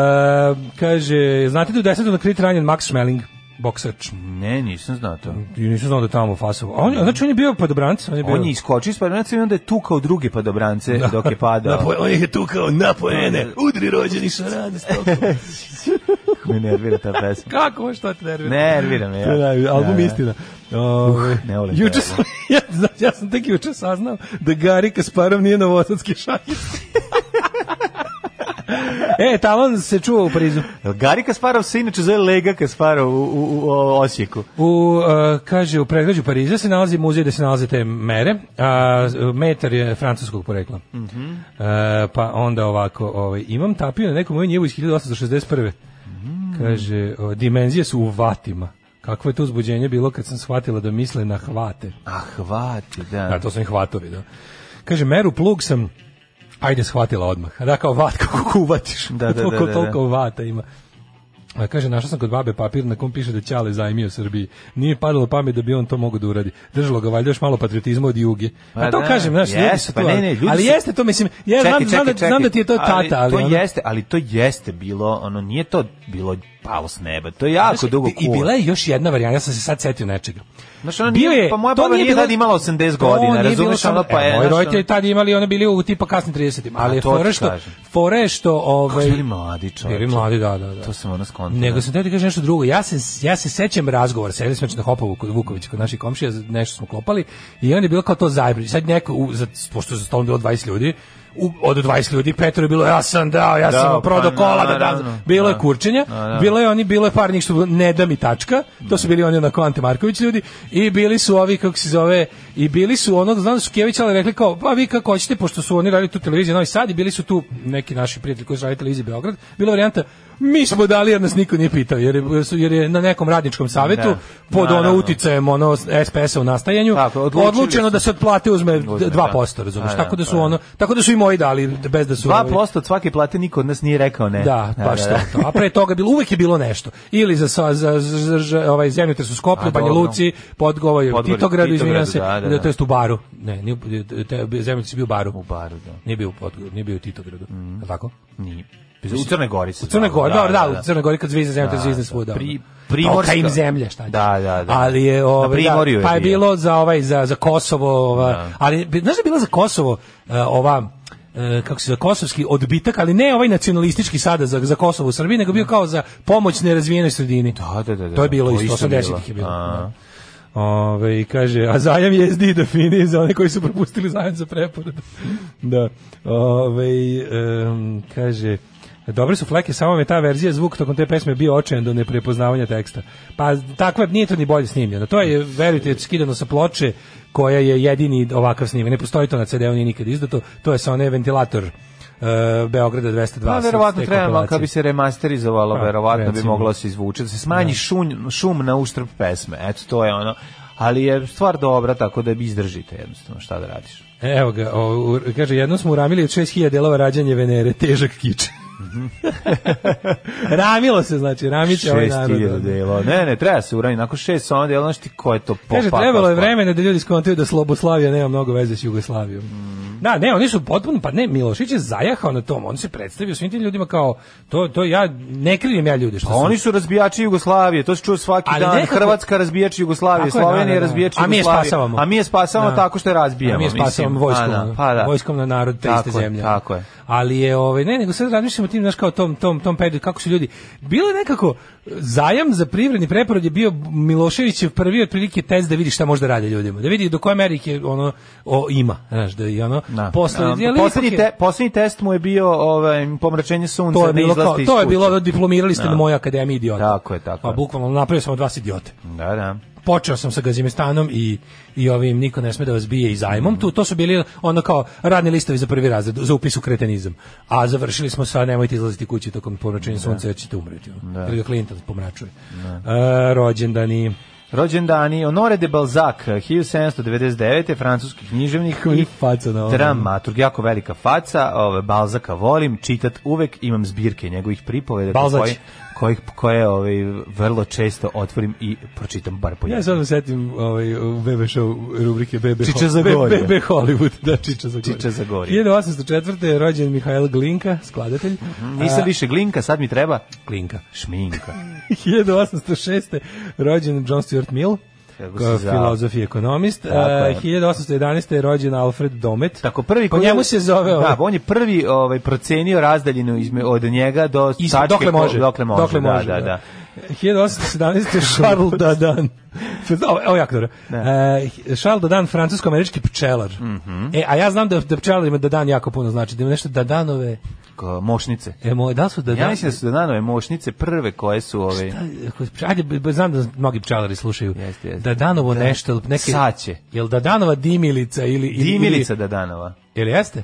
Speaker 7: kaže, znate da je u desetom na krit ranjen Max Schmeling, boksač.
Speaker 6: Ne, nisam znao to.
Speaker 7: I nisam znao da je tamo fasovo. A on, znači on je bio padobranac, on je bio.
Speaker 6: On je iskočio iz padobranaca i onda je tukao druge padobrance dok je padao.
Speaker 7: Napo- on ih je tu kao napoene, udri rođeni sa radosti.
Speaker 6: Me nervira ta pesma.
Speaker 7: Kako može to te nervira?
Speaker 6: Nervira me.
Speaker 7: To je najbolje, album
Speaker 6: Da, da.
Speaker 7: istina. Ove,
Speaker 6: Uh, ne volim
Speaker 7: juče
Speaker 6: taj
Speaker 7: sam, ja, znaš, ja sam tek juče saznao da Gari Kasparov nije novosadski šahist. E, talon se čuva u Parizu.
Speaker 6: Jel Gari Kasparov se inače zove Lega Kasparov u, u, u Osijeku.
Speaker 7: U, e, kaže, u predgrađu Pariza se nalazi muzej da se nalaze te mere, a e, metar je francuskog porekla. E, pa onda ovako, ovaj, imam tapiju na nekom mojem njevu iz 1861. Kaže, o, dimenzije su u vatima. Kakvo je to uzbuđenje bilo kad sam shvatila da misle na hvate.
Speaker 6: Ah, hvati,
Speaker 7: Da, to su mi hvatovi, da. Kaže, meru plug sam, ajde shvatila odmah. A Da, kao vat, kako kuvatiš.
Speaker 6: Da, da, da,
Speaker 7: toliko,
Speaker 6: da, da.
Speaker 7: toliko vata ima. A kaže, našao sam kod babe papir na kom piše da Ćale zajmio Srbiji. Nije mi padalo pamet da bi on to mogao da uradi. Držalo ga valjda još malo patriotizma od juge.
Speaker 6: Pa
Speaker 7: Pa to
Speaker 6: da,
Speaker 7: kažem, znaš, ljudi
Speaker 6: jeste,
Speaker 7: su
Speaker 6: pa
Speaker 7: tu,
Speaker 6: ne, ne, ljudi
Speaker 7: ali
Speaker 6: su-
Speaker 7: jeste to, mislim, ja znam, znam, da, znam da ti je to tata, ali...
Speaker 6: to
Speaker 7: ono-
Speaker 6: jeste, ali to jeste bilo, ono nije to bilo palo s neba. To je jako
Speaker 7: Znaš,
Speaker 6: dugo
Speaker 7: E, I
Speaker 6: kuva.
Speaker 7: bila je još jedna varijanta, ja sam se sad setio nečega.
Speaker 6: Znaš, ona nije- pa moja baba nije tad imala 80 godina, razumeš, ono, pa je,
Speaker 7: E, Moji
Speaker 6: znaš,
Speaker 7: roditelji
Speaker 6: ono- Pa
Speaker 7: tad imali, ono bili u tipa kasnim 30-ima, ali je
Speaker 6: to ti
Speaker 7: fora što,
Speaker 6: kažem.
Speaker 7: fora je što,
Speaker 6: Kako
Speaker 7: ovaj,
Speaker 6: su bili mladi čovječe.
Speaker 7: bili mladi, da, da, da.
Speaker 6: To sam ono skontio.
Speaker 7: Nego sam teo ti kažem nešto drugo. Ja se, ja se sećam razgovor, sedeli smo već na Hopovu kod Vukovića, kod naših komšija, nešto smo klopali i on je bilo kao to zajebri. Sad neko, u, za, pošto je za stolom bilo 20 ljudi, u, od 20 ljudi petoro je bilo ja sam dao, ja
Speaker 6: Da,
Speaker 7: sam vam prodao
Speaker 6: pa
Speaker 7: kola da
Speaker 6: naravno,
Speaker 7: dam. Bilo je
Speaker 6: da.
Speaker 7: kurčenja,
Speaker 6: Naravno.
Speaker 7: bilo je oni, bilo je par njih što ne da mi tačka, to su bili oni onako Ante Marković ljudi i bili su ovi, kako se zove, i bili su onog, znam da su Kević, ali rekli kao, pa vi kako hoćete, pošto su oni radili tu televiziju Novi Sad i bili su tu neki naši prijatelji koji su radili televiziju Beograd, bila je varijanta, mi smo dali jer nas niko nije pitao, jer je, su- jer je na nekom radničkom savetu,
Speaker 6: Da.
Speaker 7: pod ono
Speaker 6: Naravno.
Speaker 7: uticajem ono SPS-a u nastajanju,
Speaker 6: Tako, odlučili
Speaker 7: odlučeno
Speaker 6: su.
Speaker 7: da se od plate uzme
Speaker 6: Uzme,
Speaker 7: 2%,
Speaker 6: da.
Speaker 7: razumiješ,
Speaker 6: Da, da,
Speaker 7: tako da
Speaker 6: pa
Speaker 7: su
Speaker 6: da.
Speaker 7: ono, tako da su i moji dali, bez da su... ovi-
Speaker 6: 2% od svake plate niko od nas nije rekao ne.
Speaker 7: da, pa baš to, to. A pre toga je bilo uvek je bilo nešto. Ili za sa- za, za, za, za ovaj zemljotres u Skoplju,
Speaker 6: A,
Speaker 7: Banja
Speaker 6: dobro.
Speaker 7: Luci, Podgovoju,
Speaker 6: Podgori,
Speaker 7: Titogradu, izvinjavam
Speaker 6: Titogradu,
Speaker 7: se,
Speaker 6: da,
Speaker 7: da,
Speaker 6: da, da.
Speaker 7: to jest u Baru. Ne, nije, te, zemljotres je bio u Baru.
Speaker 6: U baru, da.
Speaker 7: Nije bio u Podgovoru, nije bio u Titogradu. Mm. Tako?
Speaker 6: Nije. U Crnoj Gori se.
Speaker 7: U Crnoj Gori, da, da, u Crnoj Gori kad zvizne zemlje, to zvizne svuda.
Speaker 6: Pri-
Speaker 7: ono.
Speaker 6: Primorska-
Speaker 7: Tolika im zemlje, šta će.
Speaker 6: Da, da, da.
Speaker 7: Ali je,
Speaker 6: Na
Speaker 7: ovaj, da,
Speaker 6: Primorju je
Speaker 7: pa je
Speaker 6: bio.
Speaker 7: bilo za, ovaj, za, za Kosovo, ova,
Speaker 6: Da.
Speaker 7: ali bi- znaš da je bilo za Kosovo eh, ova, eh, kako se zove, kosovski odbitak, ali ne ovaj nacionalistički sada za, za Kosovo u Srbiji, nego bio kao za pomoć nerazvijenoj sredini.
Speaker 6: Da, da, da, da.
Speaker 7: To je bilo
Speaker 6: To
Speaker 7: isto,
Speaker 6: isto
Speaker 7: 80-ih je
Speaker 6: bilo.
Speaker 7: bilo.
Speaker 6: A.
Speaker 7: da. Ove, i kaže, a zajam jezdi da fini za one koji su propustili zajam za preporod. da. Ove, em, kaže, dobre su fleke, samo me ta verzija zvuk tokom te pesme bio očajan do neprepoznavanja teksta. Pa takva nije to ni bolje snimljeno. To je, verujte, skidano sa ploče koja je jedini ovakav snimak. Ne postoji to na CD-u, nije nikad izdato. To je sa one ventilator e, Beograda 202.
Speaker 6: Pa verovatno
Speaker 7: te
Speaker 6: treba,
Speaker 7: kompilacije.
Speaker 6: kad bi se remasterizovalo,
Speaker 7: Pa,
Speaker 6: verovatno bi
Speaker 7: recimo.
Speaker 6: moglo se izvući, da se smanji šun, šum na uštrb pesme. Eto, to je ono. Ali je stvar dobra, tako da bi izdržite jednostavno šta da radiš.
Speaker 7: Evo ga, o, u- kaže, jedno smo uramili od 6000 delova rađanje Venere, težak kič. Ramilo se, znači, ramiće ovaj
Speaker 6: Šest
Speaker 7: narod.
Speaker 6: hiljada dela. Ne, ne, treba se uraniti. Nakon šest samo dela, znaš ti ko je to popapa.
Speaker 7: Kaže, trebalo je
Speaker 6: pa,
Speaker 7: vremena da ljudi skontaju da Sloboslavija nema mnogo veze s Jugoslavijom.
Speaker 6: Mm.
Speaker 7: Da, ne, oni su potpuno, pa ne, Milošić je zajahao na tom, on se predstavio svim tim ljudima kao, to, to ja, ne krivim ja ljude što
Speaker 6: Pa oni su razbijači Jugoslavije, to se čuje svaki
Speaker 7: Ali
Speaker 6: dan.
Speaker 7: nekako-
Speaker 6: Hrvatska razbijač Jugoslavije,
Speaker 7: Tako je, da,
Speaker 6: Slovenija
Speaker 7: da, da.
Speaker 6: razbijač
Speaker 7: A mi je
Speaker 6: Jugoslavije.
Speaker 7: spasavamo.
Speaker 6: A mi je spasavamo
Speaker 7: Da.
Speaker 6: tako što je razbijamo.
Speaker 7: A mi je spasavamo
Speaker 6: mislim.
Speaker 7: vojskom,
Speaker 6: A, da,
Speaker 7: ono,
Speaker 6: pa da.
Speaker 7: vojskom na narod te iste
Speaker 6: Tako je,
Speaker 7: zemlje.
Speaker 6: Tako je.
Speaker 7: Ali je, ovaj, ne, nego sad razmišljamo o tim, znaš, kao tom, tom, tom periodu, kako su ljudi, bilo je nekako, zajam za privredni preporod je bio Miloševićev prvi otprilike test da vidi šta može da rade ljudima, da vidi do koje Amerike ono, o, ima, znaš, da i ono,
Speaker 6: Da.
Speaker 7: posle,
Speaker 6: A,
Speaker 7: ali
Speaker 6: poslednji,
Speaker 7: ipak je-
Speaker 6: te, poslednji test mu je bio ovaj, pomračenje sunca,
Speaker 7: to je bilo
Speaker 6: ne
Speaker 7: kao,
Speaker 6: izlasti
Speaker 7: to je
Speaker 6: iz
Speaker 7: bilo
Speaker 6: kuće.
Speaker 7: diplomirali ste
Speaker 6: Da.
Speaker 7: na mojoj akademiji idiota.
Speaker 6: Tako je, tako
Speaker 7: Pa
Speaker 6: je.
Speaker 7: bukvalno napravio sam od vas idiote.
Speaker 6: Da, da.
Speaker 7: počeo sam sa Gazimestanom i i ovim niko ne sme da vas bije i zajmom. Tu to su bili ono kao radni listovi za prvi razred za upis u kretenizam. A završili smo sa nemojte izlaziti kući tokom pomračenja sunca jer ćete umreti. ono. Ili ga Clinton pomračuje. E, rođendani.
Speaker 6: Rođendani Honore de Balzac 1799. francuski književnik
Speaker 7: Koji ovaj. faca na ovom.
Speaker 6: dramaturg, jako velika faca. Ove Balzaka volim, čitat uvek, imam zbirke njegovih pripoveda
Speaker 7: Balzać.
Speaker 6: koje kojih koje ovaj vrlo često otvorim i pročitam bar po
Speaker 7: Ja
Speaker 6: jednom.
Speaker 7: sad se setim ovaj, BB show rubrike BB
Speaker 6: Čiča za gorje.
Speaker 7: BB Hollywood, da, Čiča za gorje.
Speaker 6: Čiča za gorje.
Speaker 7: 1804. je rođen Mihajl Glinka, skladatelj.
Speaker 6: Nisam više glinka, sad mi treba
Speaker 7: Glinka.
Speaker 6: šminka.
Speaker 7: 1806. rođen John Stuart Mill,
Speaker 6: Kako se
Speaker 7: kao
Speaker 6: zvao?
Speaker 7: filozof i ekonomist. E,
Speaker 6: Tako je.
Speaker 7: 1811. je rođen Alfred Domet.
Speaker 6: Tako prvi
Speaker 7: po
Speaker 6: koji-
Speaker 7: njemu se zove ovaj,
Speaker 6: Da, on je prvi ovaj procenio razdaljinu izme od njega do
Speaker 7: iz-
Speaker 6: tačke
Speaker 7: dokle
Speaker 6: ko-
Speaker 7: može.
Speaker 6: dokle može. da,
Speaker 7: može,
Speaker 6: da, da.
Speaker 7: 1817. Charles Dadan. Ovo, ovo je jako dobro. E, Charles Dadan,
Speaker 6: Mhm.
Speaker 7: francusko-američki pčelar. E, a ja znam da, da pčelar ima Dadan jako puno znači, da ima nešto Dadanove
Speaker 6: k- mošnice.
Speaker 7: Emo, da li su da
Speaker 6: Ja mislim da su Dananove mošnice prve koje su ovaj, ove...
Speaker 7: Šta, ajde, b- b- znam da mnogi pčalari slušaju.
Speaker 6: Jeste, jeste.
Speaker 7: Da Danovo nešto, ili neke...
Speaker 6: Saće.
Speaker 7: Jel da Danova dimilica ili... ili
Speaker 6: Dimilica Dadanova.
Speaker 7: Ili, ili jeste?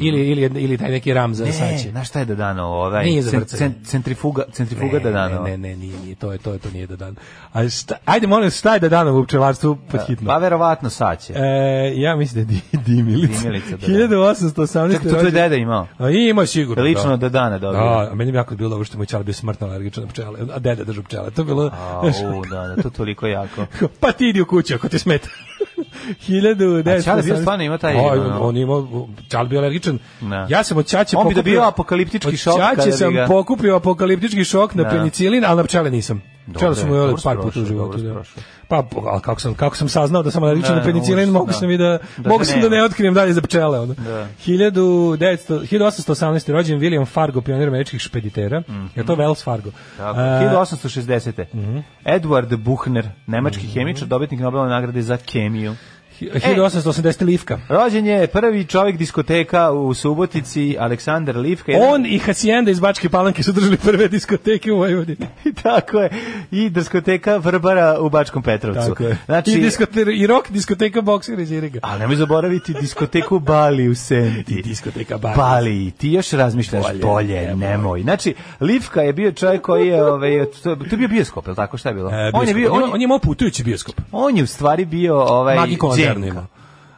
Speaker 7: Ili, ili, ili, taj neki ram za
Speaker 6: Ne,
Speaker 7: saće.
Speaker 6: E, znaš šta je Dadanovo? Ovaj,
Speaker 7: Nije za
Speaker 6: cen-
Speaker 7: vrtanje.
Speaker 6: cen- centrifuga, centrifuga
Speaker 7: Ne,
Speaker 6: Dadanova.
Speaker 7: Ne, ne, ne, nije, nije, to je, to je, to nije Dadan. A šta, ajde, molim, vas, šta je Dadanov u pčelarstvu pod hitno?
Speaker 6: Pa verovatno saće.
Speaker 7: E, ja mislim da je Di- Dimilica.
Speaker 6: Dimilica, da, da.
Speaker 7: 1818.
Speaker 6: Čekaj, to tvoj
Speaker 7: rođen-
Speaker 6: deda imao.
Speaker 7: A ima sigurno.
Speaker 6: Lično do dana dobio.
Speaker 7: Da, a meni bi jako bilo dobro što je moj čale bio smrtno alergičan na pčele, a deda držao pčele. To je bilo,
Speaker 6: A,
Speaker 7: znaš,
Speaker 6: u, da, da, to toliko jako.
Speaker 7: pa ti idi u kuću ako ti smeta. 1900.
Speaker 6: A Ćale bio stvarno imao taj,
Speaker 7: Aj,
Speaker 6: ono-
Speaker 7: on imao Čale bio alergičan.
Speaker 6: Da.
Speaker 7: Ja sam od ćaće
Speaker 6: On bi
Speaker 7: pokupio-
Speaker 6: dobio apokaliptički
Speaker 7: od
Speaker 6: šok kada
Speaker 7: Pa Ćaće
Speaker 6: bi
Speaker 7: sam
Speaker 6: ga-
Speaker 7: pokupio apokaliptički šok na
Speaker 6: Da.
Speaker 7: penicilin, al na pčele nisam.
Speaker 6: Dobro
Speaker 7: Pčele su
Speaker 6: je,
Speaker 7: mu jele
Speaker 6: dobro si
Speaker 7: par puta u
Speaker 6: prošao,
Speaker 7: životu.
Speaker 6: dobro si
Speaker 7: da.
Speaker 6: prošao.
Speaker 7: Pa, al kako sam kako sam saznao da sam alergičan
Speaker 6: Da,
Speaker 7: na penicilin,
Speaker 6: užas,
Speaker 7: mogu
Speaker 6: da.
Speaker 7: sam i da
Speaker 6: Da
Speaker 7: mogu
Speaker 6: te
Speaker 7: sam da
Speaker 6: nema.
Speaker 7: ne otkrijem dalje za pčele. Ono.
Speaker 6: Da.
Speaker 7: 1900 1818 rođen William Fargo, pionir američkih špeditera. Je to Wells Fargo.
Speaker 6: Mhm. Tako,
Speaker 7: A,
Speaker 6: 1860.
Speaker 7: mhm.
Speaker 6: Edward Buchner, nemački hemičar, dobitnik Nobelove nagrade za kemiju.
Speaker 7: 1880 Livka.
Speaker 6: Rođen je prvi čovjek diskoteka u Subotici, Aleksandar Livka. jedan-
Speaker 7: On i Hacienda iz Bačke Palanke su držali prve diskoteke u Vojvodini.
Speaker 6: Tako je. I diskoteka Vrbara u Bačkom Petrovcu.
Speaker 7: Tako je.
Speaker 6: Znači,
Speaker 7: I, diskote, I rock diskoteka Boksera iz Iriga.
Speaker 6: ali nemoj zaboraviti diskoteku Bali u Senti.
Speaker 7: I diskoteka Bali.
Speaker 6: Bali, ti još razmišljaš bolje,
Speaker 7: Bolje, nemoj.
Speaker 6: nemoj. Znači, Livka je bio čovjek koji je, ovaj, to, to je bio bioskop, je li tako šta je bilo?
Speaker 7: E,
Speaker 6: on je bio, on,
Speaker 7: on je imao putujući bioskop.
Speaker 6: on je u stvari bio ovaj
Speaker 7: Magi koncern
Speaker 6: Đenka.
Speaker 7: imao.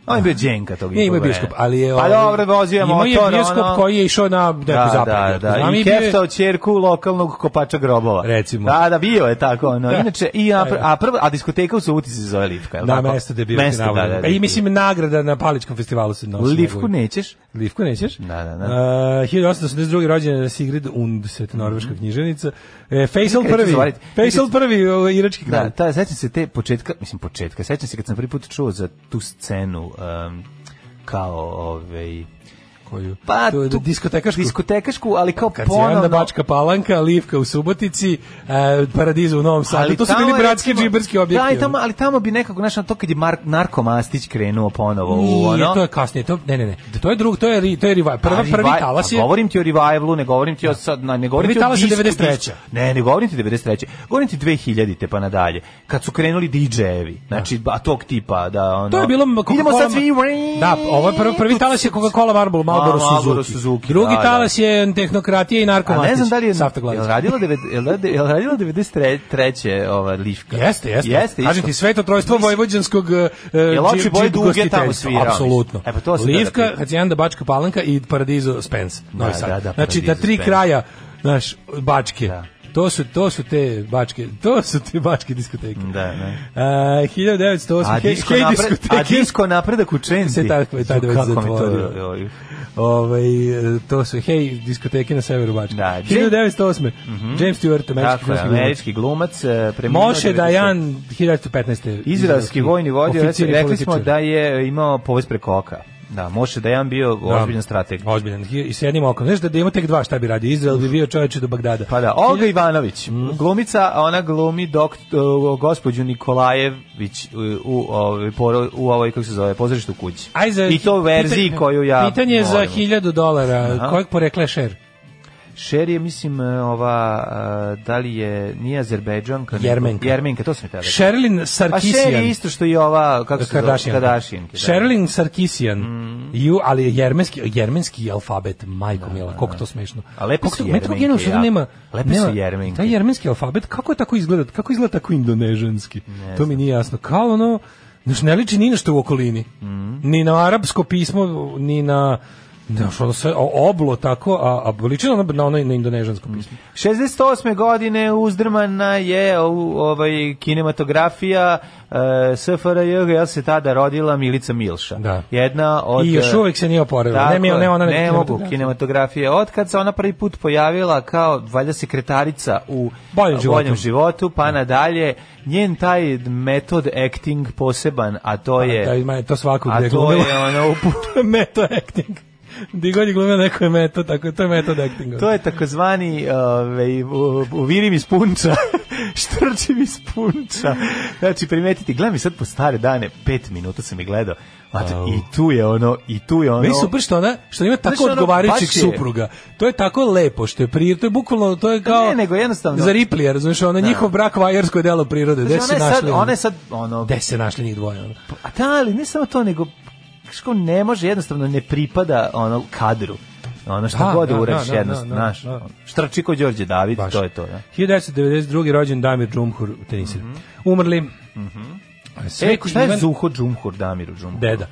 Speaker 6: On je bio Đenka tog
Speaker 7: Nije imao
Speaker 6: njihovog
Speaker 7: bioskop,
Speaker 6: vremena.
Speaker 7: ali je...
Speaker 6: Pa
Speaker 7: ovaj,
Speaker 6: dobro, vozio je
Speaker 7: imao
Speaker 6: motor,
Speaker 7: je bioskop
Speaker 6: ono...
Speaker 7: koji je išao na neku
Speaker 6: Da,
Speaker 7: zapradu.
Speaker 6: da, da.
Speaker 7: Znam,
Speaker 6: I
Speaker 7: bio je-
Speaker 6: heftao ćerku lokalnog kopača grobova.
Speaker 7: Recimo.
Speaker 6: Da, da, bio je tako. Ono. Inače, i, a, pr- a, prva, a diskoteka u Subuti se zove Livka. je li
Speaker 7: Da,
Speaker 6: tako?
Speaker 7: mesto gde je bio
Speaker 6: Mesto, da, da,
Speaker 7: da, I mislim, nagrada na Paličkom festivalu se nosi.
Speaker 6: Livku
Speaker 7: njegovi.
Speaker 6: nećeš?
Speaker 7: Livku nećeš?
Speaker 6: Da, da, da.
Speaker 7: Uh, 1882. rođena je Sigrid Undset, norveška književnica. E, Faisal
Speaker 6: Nikad neću
Speaker 7: prvi,
Speaker 6: zaboraviti.
Speaker 7: Faisal prvi, ovaj, irački kralj.
Speaker 6: Da, ta, sećam se te početka, mislim početka, sećam se kad sam prvi put čuo za tu scenu um, kao ovaj
Speaker 7: Koju?
Speaker 6: pa
Speaker 7: to je
Speaker 6: tu
Speaker 7: diskotekašku.
Speaker 6: diskotekašku, ali kao
Speaker 7: Kad si
Speaker 6: ponovno
Speaker 7: Janda Bačka Palanka, Livka u Subotici, e, Paradiz u Novom Sadu. to su
Speaker 6: tamo
Speaker 7: bili
Speaker 6: je,
Speaker 7: bratski
Speaker 6: recimo,
Speaker 7: džiberski objekti. ono.
Speaker 6: Da, i tamo, ali tamo bi nekako, znaš, ono, to kad je Mark, Narko Mastić krenuo ponovo u
Speaker 7: Nije,
Speaker 6: ono...
Speaker 7: to je kasnije, to, ne, ne, ne, to je drug, to je, ri- to je riva, prva,
Speaker 6: Ali
Speaker 7: prvi
Speaker 6: revi-
Speaker 7: talas je,
Speaker 6: a govorim ti o revivalu, ne govorim ti o sad, na- ne govorim
Speaker 7: Prvi
Speaker 6: ti o
Speaker 7: talas je
Speaker 6: disku,
Speaker 7: 93..
Speaker 6: disku. Ne, ne govorim ti 93. Govorim ti 2000-te pa nadalje. Kad su krenuli DJ-evi. Znači, a tog tipa da ono.
Speaker 7: to je bilo Coca-Cola,
Speaker 6: Idemo sad svi.
Speaker 7: da, ovo je prvi, prvi talas je Coca-Cola, Marlboro, Marlboro,
Speaker 6: Marlboro,
Speaker 7: Suzuki.
Speaker 6: Suzuki,
Speaker 7: drugi
Speaker 6: da, da.
Speaker 7: talas je tehnokratija i
Speaker 6: A
Speaker 7: narkomatić,
Speaker 6: ne znam da li je,
Speaker 7: Safta Glavić.
Speaker 6: jel radila, devet, jel, radi- jel radila 93. ova Livka?
Speaker 7: Jeste, jeste.
Speaker 6: jeste
Speaker 7: Kažem
Speaker 6: išla.
Speaker 7: ti, sveto trojstvo vojvođanskog uh,
Speaker 6: Jel Oči boje duge tamo svirao, mislim?
Speaker 7: Apsolutno.
Speaker 6: E, pa to sam
Speaker 7: Livka,
Speaker 6: tada pitao.
Speaker 7: Hacijanda, Bačka Palanka i Paradizo Spence. Novi
Speaker 6: Da,
Speaker 7: Sad.
Speaker 6: da, da,
Speaker 7: znači,
Speaker 6: Paradiso
Speaker 7: da tri
Speaker 6: Spence.
Speaker 7: kraja, znaš, Bačke.
Speaker 6: Da.
Speaker 7: To su, to su te bačke, to su te bačke diskoteke.
Speaker 6: Da, da.
Speaker 7: Uh, 1908.
Speaker 6: A
Speaker 7: hej-
Speaker 6: disko,
Speaker 7: hej
Speaker 6: napred,
Speaker 7: diskoteke.
Speaker 6: a disko napredak u Čenti.
Speaker 7: Se tako je, taj da već
Speaker 6: Kako mi to,
Speaker 7: zatvorio.
Speaker 6: joj.
Speaker 7: Ovaj, e, to su, hej, diskoteke na severu Bačke.
Speaker 6: Da, Jam-
Speaker 7: 1908. James Stewart, američki
Speaker 6: Tako je,
Speaker 7: filmski glumac.
Speaker 6: američki glumac. e, preminuo
Speaker 7: Moše
Speaker 6: 90.
Speaker 7: Dajan 1915.
Speaker 6: Izraelski vojni vođa,
Speaker 7: oficir i
Speaker 6: rekli smo
Speaker 7: političar.
Speaker 6: da je imao povez preko oka. Da, Moše Dajan bio
Speaker 7: Da.
Speaker 6: ozbiljan strateg.
Speaker 7: Pa, Ozbiljan. Hi- I s jednim okom. Znaš da, da ima tek dva šta bi radio. Izrael bi bio čoveče do Bagdada.
Speaker 6: Pa da, Olga Ivanović,
Speaker 7: Mm.
Speaker 6: glumica, a ona glumi dokt, uh, gospođu Nikolajević u, u, ovoj poro- u ovoj, kako se zove, pozorištu u kući.
Speaker 7: Aj za,
Speaker 6: I to u verziji
Speaker 7: pitanje-
Speaker 6: koju ja...
Speaker 7: Pitanje je za
Speaker 6: volim.
Speaker 7: 1000 dolara.
Speaker 6: Aha.
Speaker 7: Kojeg porekla je šer?
Speaker 6: Šer je, mislim, e, ova, e, da li je, nije Azerbejdžanka? nego-
Speaker 7: Jermenka.
Speaker 6: Jermenka, to sam te rekao.
Speaker 7: Sherilyn
Speaker 6: A Šer Pa je
Speaker 7: Sarkisian.
Speaker 6: isto što i ova, kako se zove, Mm.
Speaker 7: Kardashian.
Speaker 6: Kardashian.
Speaker 7: Sherilyn Sarkisian. Ju, ali je jermenski, jermenski alfabet, majko mila, koliko to smešno.
Speaker 6: A lepe
Speaker 7: Koliko
Speaker 6: su
Speaker 7: to- meni to
Speaker 6: jermenke,
Speaker 7: generalno što
Speaker 6: ja.
Speaker 7: nema,
Speaker 6: Lepe
Speaker 7: nema,
Speaker 6: su jermenke.
Speaker 7: Taj jermenski alfabet, kako je tako izgleda, kako izgleda tako indonežanski? to mi nije jasno. Kao ono, znaš, ne liči ni na što u okolini.
Speaker 6: Mm.
Speaker 7: Ni na arapsko pismo, ni na... Znaš, ono sve o- oblo tako, a, a liči na ono, na ono na indonežansko pismo.
Speaker 6: 68. godine uzdrmana je u- ovaj kinematografija e, SFRJ, jel se tada rodila Milica Milša.
Speaker 7: Da.
Speaker 6: Jedna od
Speaker 7: I još uvek se nije oporavila.
Speaker 6: Tako
Speaker 7: Ne, mi-
Speaker 6: je,
Speaker 7: ne, ona, nego
Speaker 6: ne mogu
Speaker 7: kinematografija.
Speaker 6: kinematografije. Od kad se ona prvi put pojavila kao valjda sekretarica u
Speaker 7: Boljem životu.
Speaker 6: boljem životu, pa nadalje njen taj metod acting poseban, a
Speaker 7: Pa,
Speaker 6: to je
Speaker 7: Taj, ma, to svako
Speaker 6: E. a
Speaker 7: gde
Speaker 6: to
Speaker 7: glumila.
Speaker 6: je ono upu-
Speaker 7: to je meta acting. Gdje god je glumio neko je meta, tako je, to je meta acting.
Speaker 6: To je takozvani ovaj u- uviri mi iz punča štrčim iz punča. Znači, primetiti, gledam i sad po stare dane, pet minuta sam je gledao, Mate, i tu je ono, i tu je ono...
Speaker 7: Meni je super što ona, što ima tako
Speaker 6: ono,
Speaker 7: odgovarajućih
Speaker 6: baš je-
Speaker 7: supruga. To je tako lepo što je pri, to je bukvalno, to je kao
Speaker 6: ne, nego jednostavno-
Speaker 7: za Ripley, razumeš, ono njihov brak vajarsko je delo prirode. Gde
Speaker 6: Znači,
Speaker 7: se
Speaker 6: ona je sad,
Speaker 7: našli?
Speaker 6: ona
Speaker 7: One
Speaker 6: je sad, ono,
Speaker 7: Gde se našli njih dvoje? Ono?
Speaker 6: A da, ali ne samo to, nego što ne može, jednostavno ne pripada ono kadru. Ono što
Speaker 7: Da,
Speaker 6: god
Speaker 7: da,
Speaker 6: da,
Speaker 7: da,
Speaker 6: uradiš
Speaker 7: da,
Speaker 6: jednostavno,
Speaker 7: da, da,
Speaker 6: znaš. ono,
Speaker 7: da.
Speaker 6: Štrči ko Đorđe David,
Speaker 7: Baš.
Speaker 6: to je to, da.
Speaker 7: 1992. rođen Damir Džumhur, tenisir. Umrli. Mm
Speaker 6: Mhm. E, šta je Zuho Džumhur, Damiru Džumhur?
Speaker 7: Deda.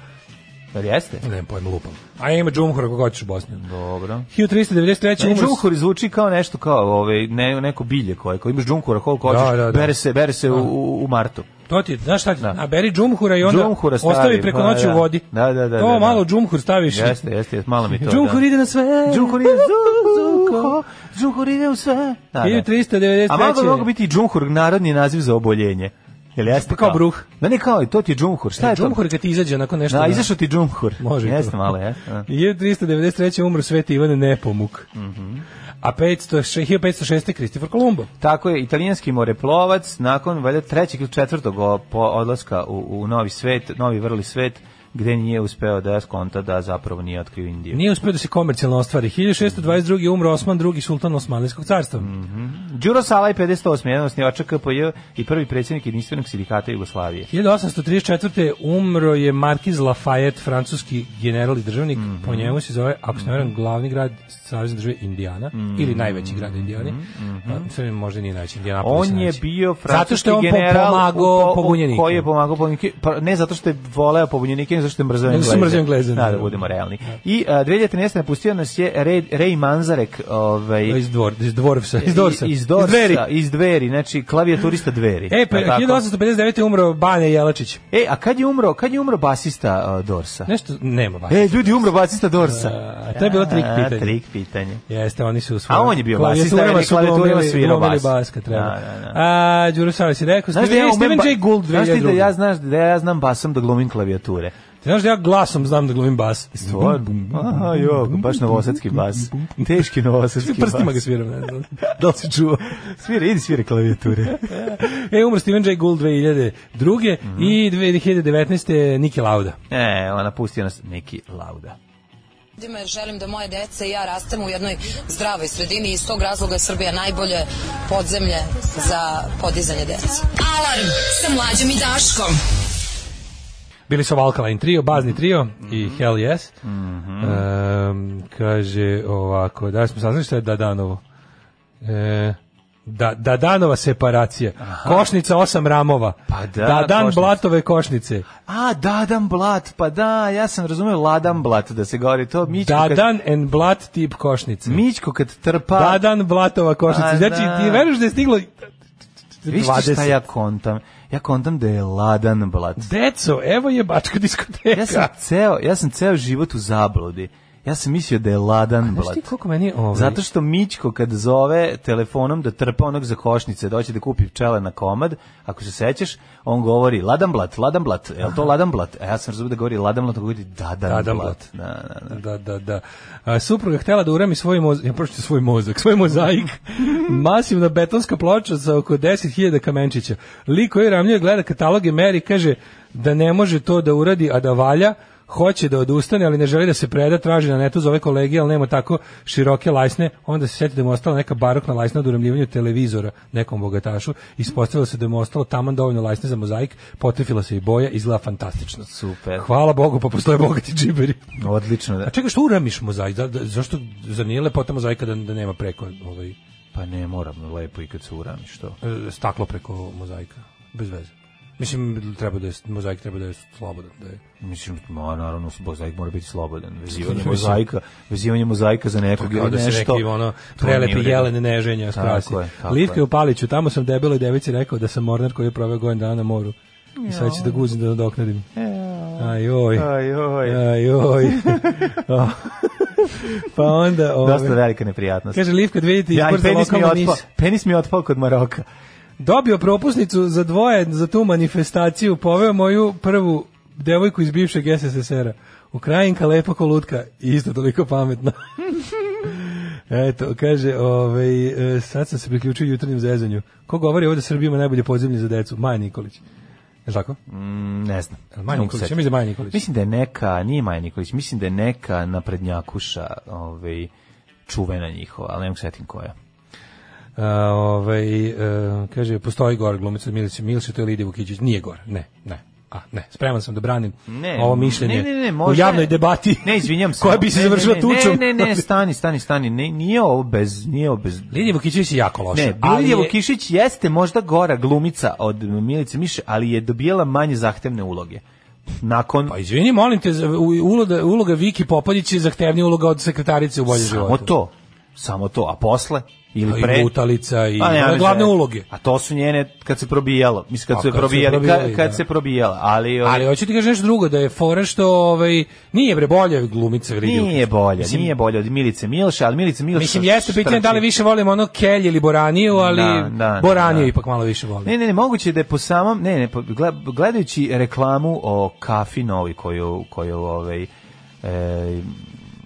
Speaker 6: Jel jeste?
Speaker 7: Nemam pojma, lupam. A ima Džumhur ako hoćeš u Bosni.
Speaker 6: Dobro.
Speaker 7: 1393.
Speaker 6: Znači,
Speaker 7: umro...
Speaker 6: džumhur zvuči kao nešto kao ovaj, ne, neko bilje koje, ako imaš džumhura koliko
Speaker 7: Da,
Speaker 6: hoćeš,
Speaker 7: da, da.
Speaker 6: bere se, bere se u, u, u martu.
Speaker 7: To ti, je, znaš šta ti,
Speaker 6: Da.
Speaker 7: a beri džumhura i onda
Speaker 6: Džumhura stavi,
Speaker 7: ostavi preko
Speaker 6: pa,
Speaker 7: noći
Speaker 6: da.
Speaker 7: u vodi.
Speaker 6: Da, da, da,
Speaker 7: To
Speaker 6: da, da.
Speaker 7: malo džumhur staviš.
Speaker 6: Jeste, jeste, jeste, malo mi to.
Speaker 7: Džumhur
Speaker 6: da.
Speaker 7: ide na sve.
Speaker 6: Džumhur ide, zu, zuko, džumhur ide u sve. Da, da.
Speaker 7: 1393.
Speaker 6: A malo bi mogao biti i džumhur, narodni naziv za oboljenje. Jel jeste
Speaker 7: Pa kao bruh.
Speaker 6: Da ne kao, i to ti je džumhur. Šta je
Speaker 7: Džumhur
Speaker 6: to?
Speaker 7: kad ti izađe onako nešto.
Speaker 6: Da,
Speaker 7: na-
Speaker 6: izašao ti džumhur.
Speaker 7: Može i to.
Speaker 6: Jeste malo, jeste. da.
Speaker 7: 1393. umro Sveti Ivan Nepomuk.
Speaker 6: Mhm.
Speaker 7: A 500, 1506. Kristofor Kolumbo.
Speaker 6: Tako je, italijanski moreplovac, nakon valjda trećeg ili četvrtog o- po- odlaska u, u novi svet, novi vrli svet, gde nije uspeo da skonta da zapravo nije otkrio Indiju.
Speaker 7: Nije uspio da se komercijalno ostvari. 1622. umro Osman II. sultan Osmanlijskog carstva.
Speaker 6: Mhm. Đuro Salaj, 58. jedan osnivača KPJ i prvi predsjednik jedinstvenog sindikata Jugoslavije.
Speaker 7: 1834. umro je Markiz Lafayette, francuski general i državnik.
Speaker 6: Mhm.
Speaker 7: Po njemu se zove, ako se ne varam, glavni grad Savezne države Indijana,
Speaker 6: Mhm.
Speaker 7: ili najveći grad Indijani. Pa, sve možda nije najveći Indijanapolis.
Speaker 6: On je
Speaker 7: najveći.
Speaker 6: bio
Speaker 7: Zato
Speaker 6: francuski
Speaker 7: što je on po-
Speaker 6: general
Speaker 7: pomagao
Speaker 6: u- po-
Speaker 7: pobunjeniku.
Speaker 6: Koji je pomagao pobunjenike, pa ne zato što je voleo pobunjenike, nego zato što je mrzeo
Speaker 7: Nego što
Speaker 6: Engleze.
Speaker 7: je mrzeo Engleze,
Speaker 6: Da, da
Speaker 7: naravno.
Speaker 6: budemo realni. I a, 2013. napustio nas je Ray, Ray Manzarek, ovaj,
Speaker 7: Iz, dvor, iz Dvorfsa. Iz Dorsa.
Speaker 6: iz Dorsa,
Speaker 7: Dveri.
Speaker 6: iz dveri, znači klavijaturista dveri.
Speaker 7: E, pa,
Speaker 6: Jel tako?
Speaker 7: 1859. je umro Bane Jelačić.
Speaker 6: E, a kad je umro, kad je umro basista a, Dorsa?
Speaker 7: Nešto, nema baš.
Speaker 6: E, ljudi, umro basista Dorsa.
Speaker 7: A, to je bilo E, trik
Speaker 6: A,
Speaker 7: pitanje.
Speaker 6: Trik pitanje.
Speaker 7: Jeste, oni su u
Speaker 6: A on je bio basista, jer
Speaker 7: klavijaturama
Speaker 6: je
Speaker 7: su
Speaker 6: klavijaturama
Speaker 7: glomili-
Speaker 6: svirao
Speaker 7: glomili
Speaker 6: bas.
Speaker 7: bas kad treba.
Speaker 6: Da, da, da.
Speaker 7: A, Đuro Savić je rekao,
Speaker 6: Znaš da ja,
Speaker 7: Steven,
Speaker 6: umem ba-
Speaker 7: Steven J. Gould 2002.
Speaker 6: znaš ti da ja, znaš, da ja znam basom da glumim klavijature.
Speaker 7: Ti znaš da ja glasom znam da glumim bas.
Speaker 6: Stvarno? Aha, jo, baš novosadski bas. Teški novosadski bas.
Speaker 7: Prstima ga sviram, ne znam. Da li si čuo?
Speaker 6: Svira, idi svira klavijature.
Speaker 7: E, umro Steven J. Gould 2002.
Speaker 6: Mhm.
Speaker 7: I 2019. Niki Lauda.
Speaker 6: e, ona pustio nas neki lauda.
Speaker 9: ljudima jer želim da moje dece i ja rastemo u jednoj zdravoj sredini i iz tog razloga je Srbija najbolje podzemlje za podizanje dece.
Speaker 5: Alarm sa mlađom i Daškom.
Speaker 7: Bili su Valkaline trio,
Speaker 6: Mhm.
Speaker 7: bazni trio i Hell Yes. Ehm, kaže ovako, da smo saznali šta je Dadanovo. E, da, Dadanova separacija. Košnica osam ramova.
Speaker 6: Pa da,
Speaker 7: Dadan
Speaker 6: košnica.
Speaker 7: Blatove košnice.
Speaker 6: A, Dadan Blat, pa da, ja sam razumeo Ladan Blat da se govori to. Mićko Kad,
Speaker 7: Dadan and Blat tip košnice.
Speaker 6: Mićko kad trpa...
Speaker 7: Dadan Blatova košnica.
Speaker 6: Pa
Speaker 7: Znači,
Speaker 6: da.
Speaker 7: ti veruješ da je stiglo...
Speaker 6: Viš ti šta ja kontam? Ja kontam da je Ladan Blat.
Speaker 7: Deco, evo je bačka diskoteka.
Speaker 6: Ja sam ceo, ja sam ceo život u zabludi. Ja sam mislio da je Ladan
Speaker 7: Znaš
Speaker 6: Blat.
Speaker 7: ti koliko meni je ovaj...
Speaker 6: Zato što Mićko kad zove telefonom da trpa onog za košnice, doći da kupi pčele na komad, ako se sećaš, on govori ladanblat, ladanblat, je li to ladanblat? A ja sam razumio da govori ladanblat, on govori dadanblat.
Speaker 7: Dadanblat.
Speaker 6: Da, da, da.
Speaker 7: Da, da, da. A, supruga htela da urami svoj mozak, ja pročito svoj mozak, svoj mozaik, masivna betonska ploča sa oko 10.000 kamenčića. Lik koji ramljuje gleda kataloge meri, kaže da ne može to da uradi, a da valja, hoće da odustane, ali ne želi da se preda, traži na netu zove kolege, ali nema tako široke lajsne, onda se sjeti da mu je ostala neka barokna lajsna od uramljivanju televizora nekom bogatašu, ispostavilo se da mu je ostalo taman dovoljno lajsne za mozaik, potrefila se i boja, izgleda fantastično.
Speaker 6: Super.
Speaker 7: Hvala Bogu, pa postoje bogati džiberi.
Speaker 6: Odlično. Da.
Speaker 7: A čekaj, što uramiš mozaik? Da, da, zašto, zar nije lepota mozaika da, da nema preko, ovaj, e,
Speaker 6: Pa ne, moram lepo i kad se urami, što?
Speaker 7: staklo preko mozaika? Bez veze. Mislim, treba da je, mozaik treba da je slobodan. Da je.
Speaker 6: Mislim, ma, naravno, mozaik mora biti slobodan. Vezivanje
Speaker 7: Mislim-
Speaker 6: mozaika, vezivanje mozaika za nekog ili
Speaker 7: Kao da se
Speaker 6: nešto.
Speaker 7: neki ono,
Speaker 6: to nije u
Speaker 7: prelepi
Speaker 6: redu.
Speaker 7: jelene neženja
Speaker 6: Tako
Speaker 7: skrasi.
Speaker 6: je, tako
Speaker 7: Livka
Speaker 6: je.
Speaker 7: je u Paliću, tamo sam debeloj devici rekao da sam mornar koji je proveo godin dana na moru. I sad ću da guzim da nadoknadim. Ajoj. E,
Speaker 6: Ajoj.
Speaker 7: Ajoj. pa onda... Ovaj,
Speaker 6: Dosta velika neprijatnost.
Speaker 7: Kaže, Livka, da vidite
Speaker 6: ja, i
Speaker 7: izbor za
Speaker 6: penis mi, je
Speaker 7: lokalnu
Speaker 6: otpao,
Speaker 7: mis.
Speaker 6: penis mi je otpao kod Maroka.
Speaker 7: Dobio propusnicu za dvoje za tu manifestaciju, poveo moju prvu devojku iz bivšeg SSSR-a. Ukrajinka lepa kolutka i isto toliko pametna. E, Eto, kaže, ovaj, e, sad sam se priključio jutarnjem zezanju. Ko govori ovo da Srbija ima najbolje podzemlje za decu? Maja Nikolić. Je li tako?
Speaker 6: Mm. Ne znam.
Speaker 7: Jel Maja
Speaker 6: Ne mogu
Speaker 7: Nikolić?
Speaker 6: se
Speaker 7: Ja mislim da je Maja
Speaker 6: setiti.
Speaker 7: Nikolić.
Speaker 6: Mislim da je neka, nije Maja Nikolić, mislim da je neka naprednjakuša ovaj, čuvena njihova, ali ne mogu setim koja.
Speaker 7: E, ovaj, e, kaže, postoji gore glumica od Milice Milše, to je Lidija Vukićić. Nije gore, ne, ne. A, ne, spreman sam da branim
Speaker 6: Ne,
Speaker 7: ovo mišljenje
Speaker 6: ne, ne, ne,
Speaker 7: u
Speaker 6: možda
Speaker 7: javnoj
Speaker 6: je-
Speaker 7: debati
Speaker 6: Ne, izvinjam se.
Speaker 7: koja bi se
Speaker 6: Ne, ne,
Speaker 7: završila
Speaker 6: ne,
Speaker 7: tučom.
Speaker 6: Ne, ne, ne, stani, stani, stani. Ne, nije ovo bez, nije ovo bez...
Speaker 7: Lidija Vukićević je jako loša.
Speaker 6: Ne,
Speaker 7: ali
Speaker 6: Lidija
Speaker 7: je-
Speaker 6: Vokišić jeste možda gora glumica od Milice Miše, ali je dobijala manje zahtevne uloge. Nakon
Speaker 7: Pa izvini, molim te, za- u- uloga, uloga Viki Popadić je zahtevnija uloga od sekretarice u bolje životu.
Speaker 6: samo to, samo to, a posle ili
Speaker 7: Pa
Speaker 6: pre
Speaker 7: I Butalica i
Speaker 6: Pa nema
Speaker 7: ove
Speaker 6: veze.
Speaker 7: glavne uloge.
Speaker 6: A to su njene kad se probijalo, mislim
Speaker 7: A,
Speaker 6: kad su je
Speaker 7: kad su je
Speaker 6: probijali, ka-
Speaker 7: probijali,
Speaker 6: kad,
Speaker 7: da.
Speaker 6: se probijala, ali, ovaj,
Speaker 7: Ali hoću ti kažem nešto drugo, da je fora što ovaj, nije bre bolje glumica. Lidija
Speaker 6: nije
Speaker 7: Vukićević.
Speaker 6: bolje,
Speaker 7: Mislim,
Speaker 6: nije bolje od Milice Milše, ali Milice Milše
Speaker 7: Mislim, jeste pitanje
Speaker 6: štrči.
Speaker 7: da li više volimo ono Kelj ili Boraniju, ali
Speaker 6: Da, da,
Speaker 7: Boraniju
Speaker 6: da.
Speaker 7: ipak malo više volim.
Speaker 6: Ne, ne, ne, moguće da je po samom, ne, ne, po- gle- gledajući reklamu o kafi novi koju, koju ovaj, e,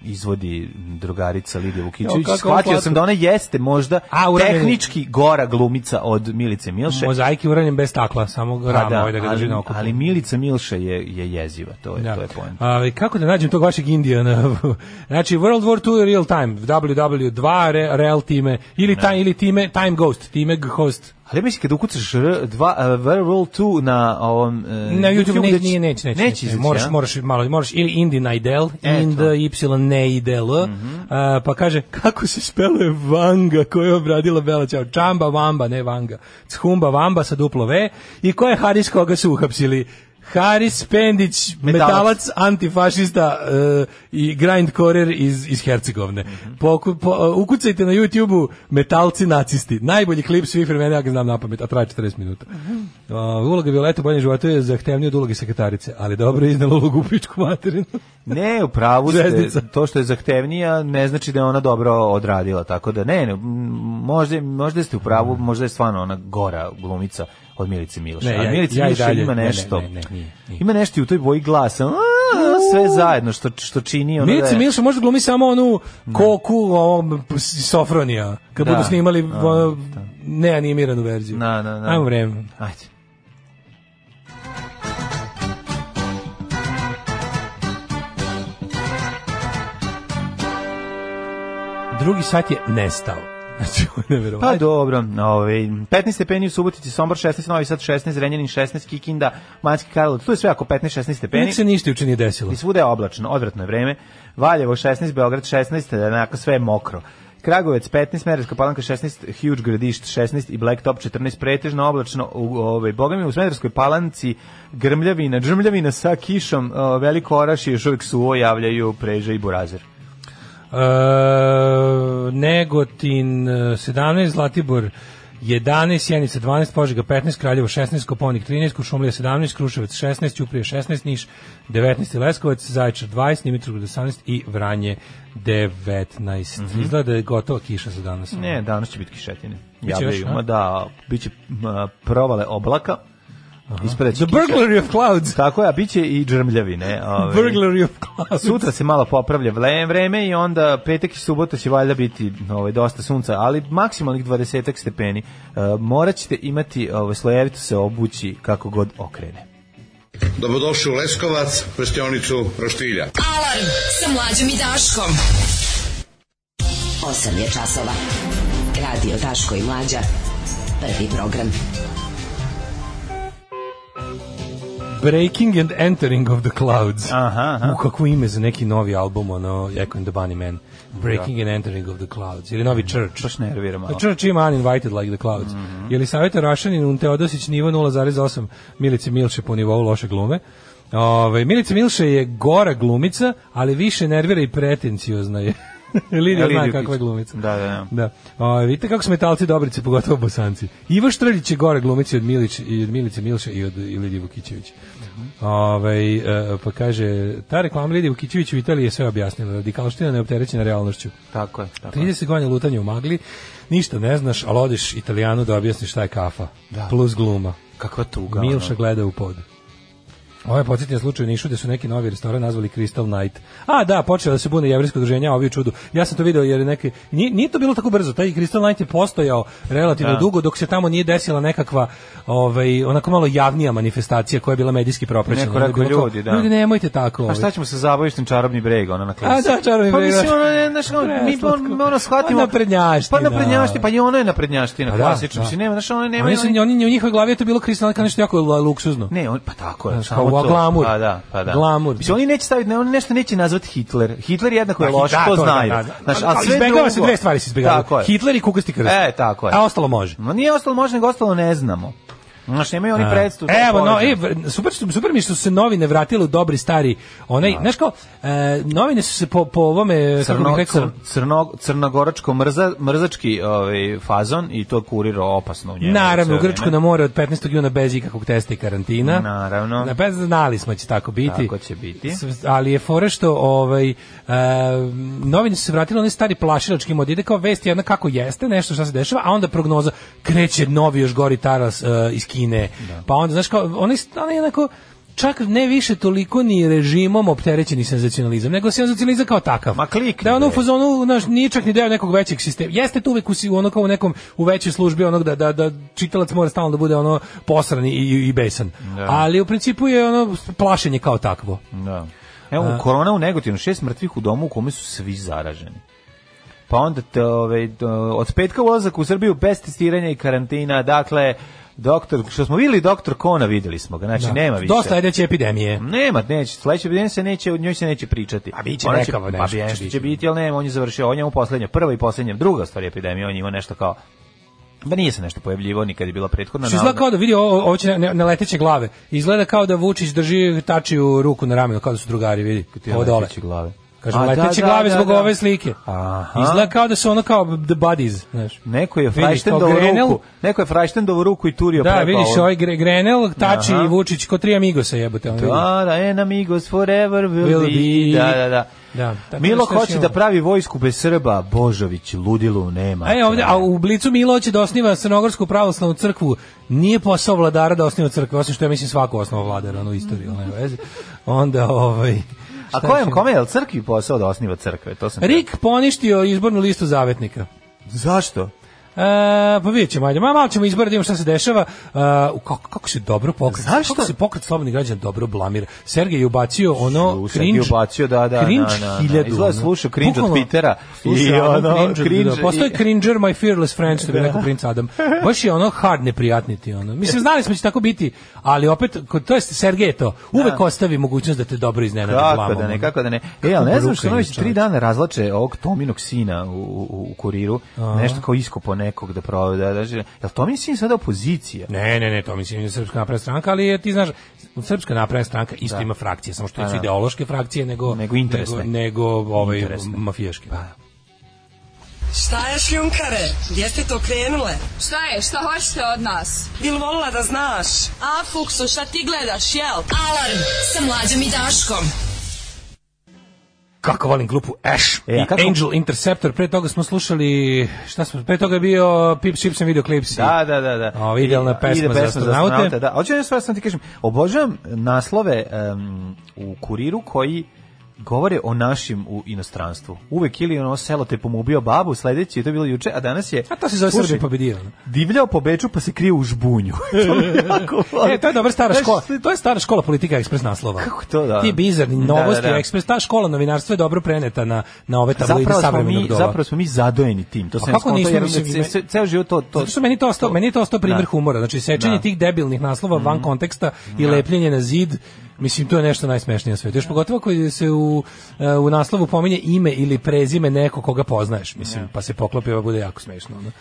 Speaker 6: izvodi drugarica Lidija Vukićević,
Speaker 7: kako
Speaker 6: shvatio
Speaker 7: slatko.
Speaker 6: sam da ona jeste možda
Speaker 7: A, uravnjeni.
Speaker 6: tehnički gora glumica od Milice Milše.
Speaker 7: Mozaike uranjen bez stakla, samo
Speaker 6: Pa
Speaker 7: rama
Speaker 6: da,
Speaker 7: ovaj da ga drži
Speaker 6: ali,
Speaker 7: na okupu.
Speaker 6: ali Milica Milša je, je jeziva, to je, to je point.
Speaker 7: Ali kako da nađem tog vašeg Indijana? znači World War 2 real time, WW2 re, real time ili time ili time time ghost, time g- host.
Speaker 6: Ali mislim kad ukucaš R2 uh, World 2 na ovom e,
Speaker 7: Na YouTube
Speaker 6: da
Speaker 7: ne,
Speaker 6: će-
Speaker 7: nije neće, neće.
Speaker 6: Neće izaći,
Speaker 7: moraš,
Speaker 6: a?
Speaker 7: moraš malo, moraš ili Indi na idel,
Speaker 6: Eto. Mhm.
Speaker 7: Inda Y ne idel, a, pa kaže, kako se speluje Vanga koju je obradila Bela Ćao? Čamba Vamba, ne Vanga. Chumba Vamba sa duplo V. I ko je Haris koga su uhapsili? Haris Pendić,
Speaker 6: Metalac.
Speaker 7: metalac, antifašista e, i grindcorer iz, iz Hercegovine.
Speaker 6: Mhm.
Speaker 7: Poku- po- e, ukucajte na YouTube-u metalci nacisti. Najbolji klip svih vremena, ja ga znam na pamet, a traje 40 minuta.
Speaker 6: Mhm.
Speaker 7: Uh, uloga Violeta u boljem životu je zahtevnija od uloge sekretarice, ali dobro je iznala ulogu u pičku materinu.
Speaker 6: Ne, u pravu ste,
Speaker 7: Zvezdica.
Speaker 6: to što je zahtevnija ne znači da je ona dobro odradila, tako da ne, ne m, možda, možda ste u pravu, možda je stvarno ona gora glumica od Milice Milša.
Speaker 7: Mm. Ne,
Speaker 6: A
Speaker 7: ja-
Speaker 6: Milica
Speaker 7: ja i
Speaker 6: Milša
Speaker 7: dalje-
Speaker 6: ima
Speaker 7: ne, ne,
Speaker 6: nešto.
Speaker 7: ne, ne, nije, nije.
Speaker 6: Ima nešto i u toj boji glasa. a, sve zajedno što što čini ono ona
Speaker 7: Milica Milša možda glumi samo onu koku ovom p- Sofronija, kad
Speaker 6: Mhm. Da.
Speaker 7: budu snimali
Speaker 6: A,
Speaker 7: o, neanimiranu verziju.
Speaker 6: Na, na, na.
Speaker 7: Ajmo vreme.
Speaker 6: Ajde.
Speaker 7: Drugi sat je nestao. Znači, ovo je
Speaker 6: Pa
Speaker 7: neverovatno.
Speaker 6: dobro, ovaj 15 stepeni u Subotici, Sombor 16, Novi Sad 16, Renjanin 16, Kikinda, Manski Karlovac, tu je sve oko 15 16 stepeni.
Speaker 7: Nek se ništa juče nije desilo.
Speaker 6: I svuda je oblačno, odvratno je vreme. Valjevo 16, Beograd 16, da onako sve je mokro. Kragovec 15, Smederska Palanka 16, Huge Gradišt 16 i Blacktop 14, pretežno oblačno u ovaj Bogami u Smederskoj Palanci grmljavina, džmljavina sa kišom, o, veliko orašje, još uvijek suvo javljaju preže i burazer.
Speaker 7: E, Negotin e, 17, Zlatibor 11, Sjenica 12, Požega 15, Kraljevo 16, Koponik 13, Kušumlija 17, Kruševac 16, Ćuprije 16, Niš 19, Leskovac, Zaječar 20, Dimitrovgrad 18 i Vranje 19. Izgleda da je gotova kiša za danas.
Speaker 6: Mhm. Ne, danas će biti kišetine.
Speaker 7: Biće
Speaker 6: Javljaju,
Speaker 7: još, a?
Speaker 6: ma da, biće m, provale oblaka. Ispada će
Speaker 7: The
Speaker 6: kiša.
Speaker 7: burglary of clouds.
Speaker 6: Tako je, a biće i džrmljavine. ovaj.
Speaker 7: Burglary of clouds.
Speaker 6: Sutra se malo popravlja vle- vreme i onda petak i subota će valjda biti ovaj, dosta sunca, ali maksimalnih 20 stepeni. E, morat ćete imati ovaj, slojevito se obući kako god okrene.
Speaker 4: Dobrodošli u Leskovac, prštionicu Roštilja.
Speaker 5: Alarm sa mlađom i Daškom.
Speaker 9: 8 je časova. Radio Daško i Mlađa. Prvi program.
Speaker 7: Breaking and Entering of the Clouds.
Speaker 6: Aha, aha.
Speaker 7: U kakvo ime za neki novi album, ono, Echo and the Bunny Man. Breaking and Entering of the Clouds. Ili novi Church.
Speaker 6: Baš nervira malo.
Speaker 7: The Church ima ono Uninvited Like the Clouds. Je li savjeta Rašanin un Teodosić nivo 0,8 Milice Milše po nivou loše glume? Ove, Milice Milše je gora glumica, ali više nervira i pretenciozna je. Lidija zna
Speaker 6: Lidiju
Speaker 7: kakva je
Speaker 6: Kić.
Speaker 7: glumica.
Speaker 6: Da, da, da.
Speaker 7: Da. O, vidite kako su metalci dobrice, pogotovo bosanci. Ivo Štrljić je gore glumici od, Milić, i od Milice Milše i od i Lidije Vukićević. Ovaj, e, pa kaže, ta reklama Lidije Vukićević u Italiji je sve objasnila. Radikalština neopterećena realnošću.
Speaker 6: Tako je. Tako je.
Speaker 7: 30 godina lutanja u magli, ništa ne znaš, ali odeš Italijanu da objasniš šta je kafa. Plus gluma.
Speaker 6: Kakva tuga.
Speaker 7: Milša
Speaker 6: ono.
Speaker 7: gleda u pod. Ovo je podsjetio slučaj u Nišu gde su neki novi restoran nazvali Crystal Night. A da, počelo da se bune jevrejsko udruženje, a ovi u čudu. Ja sam to video jer je neke nije, nije to bilo tako brzo. Taj Crystal Night je postojao relativno dugo dok se tamo nije desila nekakva ovaj onako malo javnija manifestacija koja je bila medijski propraćena.
Speaker 6: Neko
Speaker 7: Onda je
Speaker 6: rekao,
Speaker 7: bilo kao,
Speaker 6: "Ljudi, da."
Speaker 7: Ljudi nemojte tako.
Speaker 6: A
Speaker 7: ovaj.
Speaker 6: Pa šta ćemo sa zabavištem čarobni breg, ono na klasi?
Speaker 7: A, da, čarobni breg,
Speaker 6: Pa mislim,
Speaker 7: da.
Speaker 6: ono, ne, znaš, ono, mi
Speaker 7: Preslatko.
Speaker 6: on, ono shvatimo...
Speaker 7: Pa naprednjaština.
Speaker 6: Pa naprednjaština, pa i ona je naprednjaština,
Speaker 7: A
Speaker 6: da, klasično. Da. Nema, znaš, ono, nema...
Speaker 7: Oni su- oni, u njihovoj glavi je to bilo Crystal Night kao nešto jako la- luksuzno.
Speaker 6: Ne, on, pa tako je,
Speaker 7: Znaš,
Speaker 6: samo
Speaker 7: kao
Speaker 6: to.
Speaker 7: glamur.
Speaker 6: Pa da, pa da.
Speaker 7: Glamur.
Speaker 6: Mislim, oni neće staviti, ne, oni nešto neće nazvati Hitler. Hitler jednako je
Speaker 7: Da,
Speaker 6: loš,
Speaker 7: da,
Speaker 6: to
Speaker 7: je,
Speaker 6: znaju.
Speaker 7: da, da.
Speaker 6: Znaš,
Speaker 7: Ali
Speaker 6: a sve
Speaker 7: izbegava
Speaker 6: drugo...
Speaker 7: se dve stvari se izbegavaju.
Speaker 6: Tako je.
Speaker 7: Hitler i kukasti krst.
Speaker 6: E, tako je.
Speaker 7: A ostalo može.
Speaker 6: No nije ostalo možda, nego ostalo ne znamo. Znaš, nemaju oni predstavu.
Speaker 7: Evo, no, e, v- super, su- super mi je što su se novine vratile u dobri stari, onaj, znaš kao, e, novine su se po, po ovome, kako bih
Speaker 6: Crno,
Speaker 7: rekao,
Speaker 6: cr, crno, crnogoračko mrza, mrzački ovaj, fazon i to kurira opasno u njemu.
Speaker 7: Naravno, u
Speaker 6: sve
Speaker 7: Grčku
Speaker 6: vreme.
Speaker 7: na more od 15. juna bez ikakvog testa i karantina.
Speaker 6: Naravno.
Speaker 7: Na bez znali smo da će tako biti.
Speaker 6: Tako će biti.
Speaker 7: S- Ali je fore što ovaj e, novine su se vratile onaj stari plašilački mod ide kao vest jedna kako jeste, nešto šta se dešava, a onda prognoza kreće novi još gori taras e, iz Kine. Pa onda znaš kao onaj onaj jednako čak ne više toliko ni režimom opterećeni senzacionalizam, nego senzacionalizam kao takav.
Speaker 6: Ma klikni,
Speaker 7: Da je ono u
Speaker 6: bre.
Speaker 7: fazonu, znaš, nije čak ni deo nekog većeg sistema. Jeste tu uvek u, si- ono kao u nekom u većoj službi onog da, da, da čitalac mora stalno da bude ono posran i, i, i besan. Ali u principu je ono plašenje kao takvo.
Speaker 6: Da. Evo, korona u Negotinu, šest mrtvih u domu u kome su svi zaraženi. Pa onda, te, ove, d- od petka ulazak u Srbiju bez testiranja i karantina, dakle, doktor, što smo videli doktor Kona, videli smo ga, znači
Speaker 7: Da.
Speaker 6: nema više.
Speaker 7: Do sledeće epidemije.
Speaker 6: Nema, neće. Sledeće epidemije se neće, o njoj se neće pričati. A
Speaker 7: biće
Speaker 6: Ona
Speaker 7: nekako
Speaker 6: Pa
Speaker 7: nešto će
Speaker 6: nešto će
Speaker 7: biti.
Speaker 6: biti, ali nema, on je završio, on je u poslednja, prva i poslednja, druga stvar epidemija, on je imao nešto kao, ba nije se nešto pojavljivo nikad je bila prethodna.
Speaker 7: Što Znači, izgleda
Speaker 6: navodno.
Speaker 7: kao da vidi ovo, ovo će ne, ne, leteće glave. Izgleda kao da Vučić drži tačiju ruku na ramenu, kao da su drugari, vidi.
Speaker 6: Ti
Speaker 7: Ovo dole.
Speaker 6: leteće glave.
Speaker 7: Kažem,
Speaker 6: A, da,
Speaker 7: leteće
Speaker 6: da,
Speaker 7: glave
Speaker 6: da,
Speaker 7: zbog
Speaker 6: da.
Speaker 7: ove slike.
Speaker 6: Aha.
Speaker 7: Izgleda kao da su ono kao the buddies, znaš.
Speaker 6: Neko je
Speaker 7: Vidiš, kao
Speaker 6: Frajštendovu
Speaker 7: Grenell.
Speaker 6: ruku, neko je Frajštendovu ruku i turio ono.
Speaker 7: Da,
Speaker 6: preko
Speaker 7: vidiš,
Speaker 6: ovog.
Speaker 7: ovaj Gre- Grenell, Tači
Speaker 6: Aha.
Speaker 7: i Vučić, ko tri Amigosa jebote. Ono, vidi.
Speaker 6: Da, da, en amigos forever will,
Speaker 7: Will
Speaker 6: be.
Speaker 7: be.
Speaker 6: Da, da, da.
Speaker 7: Da, tako
Speaker 6: Milo
Speaker 7: nešto još
Speaker 6: hoće
Speaker 7: imamo.
Speaker 6: da pravi vojsku bez Srba, Božović, ludilu nema.
Speaker 7: E, ovde, a u Blicu Milo hoće da osniva Crnogorsku pravoslavnu crkvu. Nije posao vladara da osniva crkve, osim što ja mislim svako osnova vladara ono, u istoriji, ali nema veze. Onda, ovaj...
Speaker 6: A
Speaker 7: šta
Speaker 6: kojem,
Speaker 7: ćemo?
Speaker 6: kome je li crkvi posao da osniva crkve? To sam
Speaker 7: Rik poništio izbornu listu zavetnika.
Speaker 6: Zašto?
Speaker 7: E, pa vidjet ćemo, ajde, ma, malo ćemo izbora da vidimo šta se dešava. E, u kako, kako se dobro pokret,
Speaker 6: Znaš šta?
Speaker 7: kako se pokret slobodnih građana dobro blamira. Sergej je ubacio ono
Speaker 6: U, Sergej
Speaker 7: cringe,
Speaker 6: je ubacio, da, da,
Speaker 7: cringe
Speaker 6: na, na, na.
Speaker 7: hiljadu.
Speaker 6: Izgleda
Speaker 7: ono.
Speaker 6: slušao cringe od
Speaker 7: Bukvalno,
Speaker 6: Pitera
Speaker 7: slušao
Speaker 6: i
Speaker 7: ono
Speaker 6: ono,
Speaker 7: cringe od-
Speaker 6: cringe
Speaker 7: da, postoji
Speaker 6: i-
Speaker 7: cringer, my fearless friend, što bi rekao princ Adam. Baš je ono hard neprijatniti. Ono. Mislim, znali smo da će tako biti, ali opet, kod- to je Sergej je to. Uvek ostavi mogućnost da te dobro iznenadi
Speaker 6: Kako
Speaker 7: glamom,
Speaker 6: da ne,
Speaker 7: ono.
Speaker 6: kako da ne. E, ali ne znam
Speaker 7: bruka
Speaker 6: što
Speaker 7: ide,
Speaker 6: novići tri
Speaker 7: čoveče.
Speaker 6: dana razlače ovog Tominog sina u, u, u kuriru, nešto kao iskopo nekog da prove, da, da, jel Tomin sin sada opozicija?
Speaker 7: Ne, ne, ne, to mislim je Srpska napredna stranka, ali je, ti znaš, Srpska napredna stranka isto ima frakcije, samo što nisu ideološke frakcije, nego,
Speaker 6: Pa Nego interesne.
Speaker 7: Nego, nego ovaj,
Speaker 6: Interesne. Pa.
Speaker 7: mafijaške.
Speaker 9: Šta je šljunkare? Gdje ste to krenule?
Speaker 5: Šta je? Šta hoćete od nas?
Speaker 9: Bil volila da znaš? A, Fuksu, šta ti gledaš, jel?
Speaker 5: Alarm sa mlađom i Daškom.
Speaker 7: Kako volim grupu Ash
Speaker 6: E, a
Speaker 7: i
Speaker 6: kako-
Speaker 7: Angel Interceptor, pre toga smo slušali, šta smo, pre toga je bio Pip Chips and Videoclips.
Speaker 6: Da, da, da, da.
Speaker 7: Ovo, idealna
Speaker 6: I-
Speaker 7: pesma
Speaker 6: ide
Speaker 7: za astronaute.
Speaker 6: Da, hoću jednu stvar sam ti kažem. Obožavam naslove em, u kuriru koji govore o našim u inostranstvu. Uvek ili ono selo te pomubio babu, sledeći je to bilo juče, a danas je...
Speaker 7: A to se zove
Speaker 6: Slušaj,
Speaker 7: Srbi pobedio. ono.
Speaker 6: Divljao po Beču pa se krije u žbunju. to mi jako volim.
Speaker 7: E, to je dobra stara
Speaker 6: Znaš,
Speaker 7: škola. To je stara škola politika ekspres naslova.
Speaker 6: Kako to da?
Speaker 7: Ti bizarni
Speaker 6: Da,
Speaker 7: novosti,
Speaker 6: da, da.
Speaker 7: ekspres, ta škola novinarstva je dobro preneta na, na ove tabloide
Speaker 6: Zapravo smo, mi,
Speaker 7: savremenog doba.
Speaker 6: zapravo smo mi zadojeni tim. To
Speaker 7: A
Speaker 6: sam
Speaker 7: Pa kako
Speaker 6: skonto,
Speaker 7: nismo,
Speaker 6: jer
Speaker 7: mislim,
Speaker 6: se-
Speaker 7: ime-
Speaker 6: se- ceo život to... to
Speaker 7: Zato što meni je to ostao, meni je to ostao primer
Speaker 6: Da.
Speaker 7: humora. Znači sečenje
Speaker 6: Da. Mhm.
Speaker 7: tih debilnih naslova van konteksta i lepljenje na zid. Mislim to je nešto najsmešnije na svetu. Još pogotovo koji se u, e, u naslovu pominje ime ili prezime nekog koga poznaješ, mislim, pa se poklopi, ovo bude jako smešno. ono.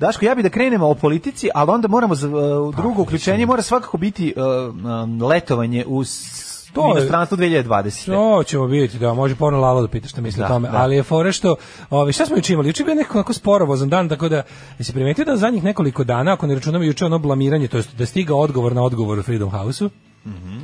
Speaker 6: Daško, ja bi da krenemo o politici, ali onda moramo za, uh,
Speaker 7: Pa,
Speaker 6: drugo uključenje mora svakako biti uh, um, letovanje u s-
Speaker 7: To je-
Speaker 6: inostranstvu 2020.
Speaker 7: To ćemo vidjeti, da, može ponovno Lalo da pita šta misli
Speaker 6: Da,
Speaker 7: o tome,
Speaker 6: da.
Speaker 7: ali je fore što, ovi, šta smo juče imali, juče je bio neko onako sporovozan dan, tako da, jesi primetio da zadnjih nekoliko dana, ako ne računamo juče ono blamiranje, to jest da stiga odgovor na odgovor u Freedom House-u,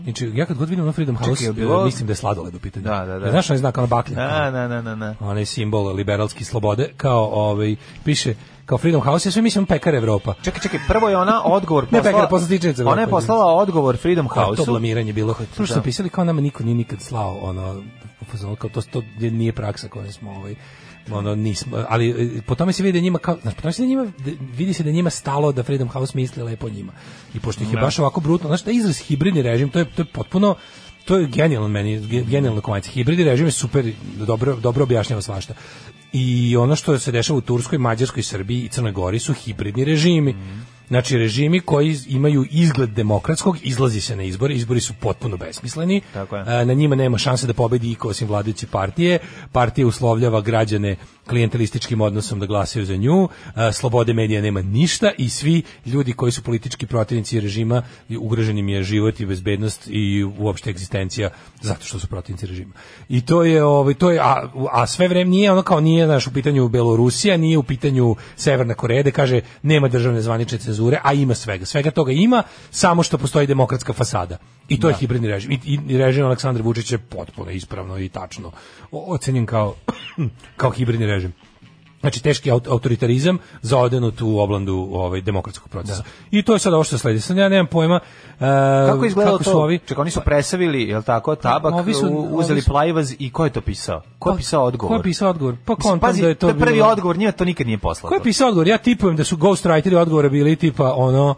Speaker 7: Znači, ja kad god vidim na Freedom House,
Speaker 6: Mhm. je bilo-
Speaker 7: e, mislim da je sladoled u pitanju.
Speaker 6: Da, da, da.
Speaker 7: Znaš onaj znak, ono baklja?
Speaker 6: Na, na, na, na, na.
Speaker 7: onaj simbol liberalski slobode, kao ovaj, piše kao Freedom House, ja sve mislim pekar Evropa.
Speaker 6: Čekaj, čekaj, prvo je ona odgovor
Speaker 7: Ne,
Speaker 6: poslala.
Speaker 7: pekar, poslastičnica,
Speaker 6: Ona je
Speaker 7: verovatno.
Speaker 6: poslala odgovor Freedom
Speaker 7: Kao Pa, to
Speaker 6: House-u.
Speaker 7: blamiranje bilo. Prvo što
Speaker 6: Da.
Speaker 7: su pisali kao nama niko nije nikad slao ono u fazonu, kao to to nije praksa koju smo ovaj ono nismo ali e, po tome se vidi da njima kao znači po tome se da njima da- vidi se da njima stalo da Freedom House misli lepo o njima. I pošto ih je baš ovako brutno, znači taj izraz hibridni režim, to je to je potpuno to je genijalno meni, ge- genijalno komac. Hibridni režim je super, dobro, dobro objašnjava svašta. I ono što se dešava u Turskoj, Mađarskoj, Srbiji i Crnoj Gori su hibridni režimi. Znači, režimi koji iz- imaju izgled demokratskog, izlazi se na izbore, izbori su potpuno besmisleni,
Speaker 6: Tako je.
Speaker 7: E, na njima nema šanse da pobedi iko osim vladajuće partije, partija uslovljava građane klijentelističkim odnosom da glasaju za nju, E, slobode medija nema ništa i svi ljudi koji su politički protivnici režima, i ugrožen im je život i bezbednost i uopšte egzistencija zato što su protivnici režima. I to je, ovaj, to je a, a sve vreme nije ono kao nije naš u pitanju Belorusija, nije u pitanju Severna Koreja, da kaže nema državne zvanične cenzure, a ima svega. Svega toga ima, samo što postoji demokratska fasada. I to je hibridni režim. I, i režim Aleksandra Vučića je potpuno ispravno i tačno o- ocenjen kao, kao hibridni režim. Znači teški aut- autoritarizam zaodenut u oblandu ovaj demokratskog procesa. I to je sad ovo što sledi. Sad ja nemam pojma e,
Speaker 6: Kako je izgledalo
Speaker 7: kako su
Speaker 6: to?
Speaker 7: Ovi,
Speaker 6: Čekaj, oni su presavili, jel tako, tabak,
Speaker 7: Ovi su-
Speaker 6: u- uzeli
Speaker 7: ovi su-
Speaker 6: plajvaz i ko je to pisao? Ko je
Speaker 7: Pa,
Speaker 6: pisao odgovor?
Speaker 7: ko je pisao odgovor? Pa
Speaker 6: Mislim,
Speaker 7: kontam
Speaker 6: Pazi,
Speaker 7: da je to
Speaker 6: prvi
Speaker 7: bilo-
Speaker 6: odgovor, njima to nikad nije poslao.
Speaker 7: Ko je pisao odgovor? Ja tipujem da su ghostwriteri odgovora bili tipa ono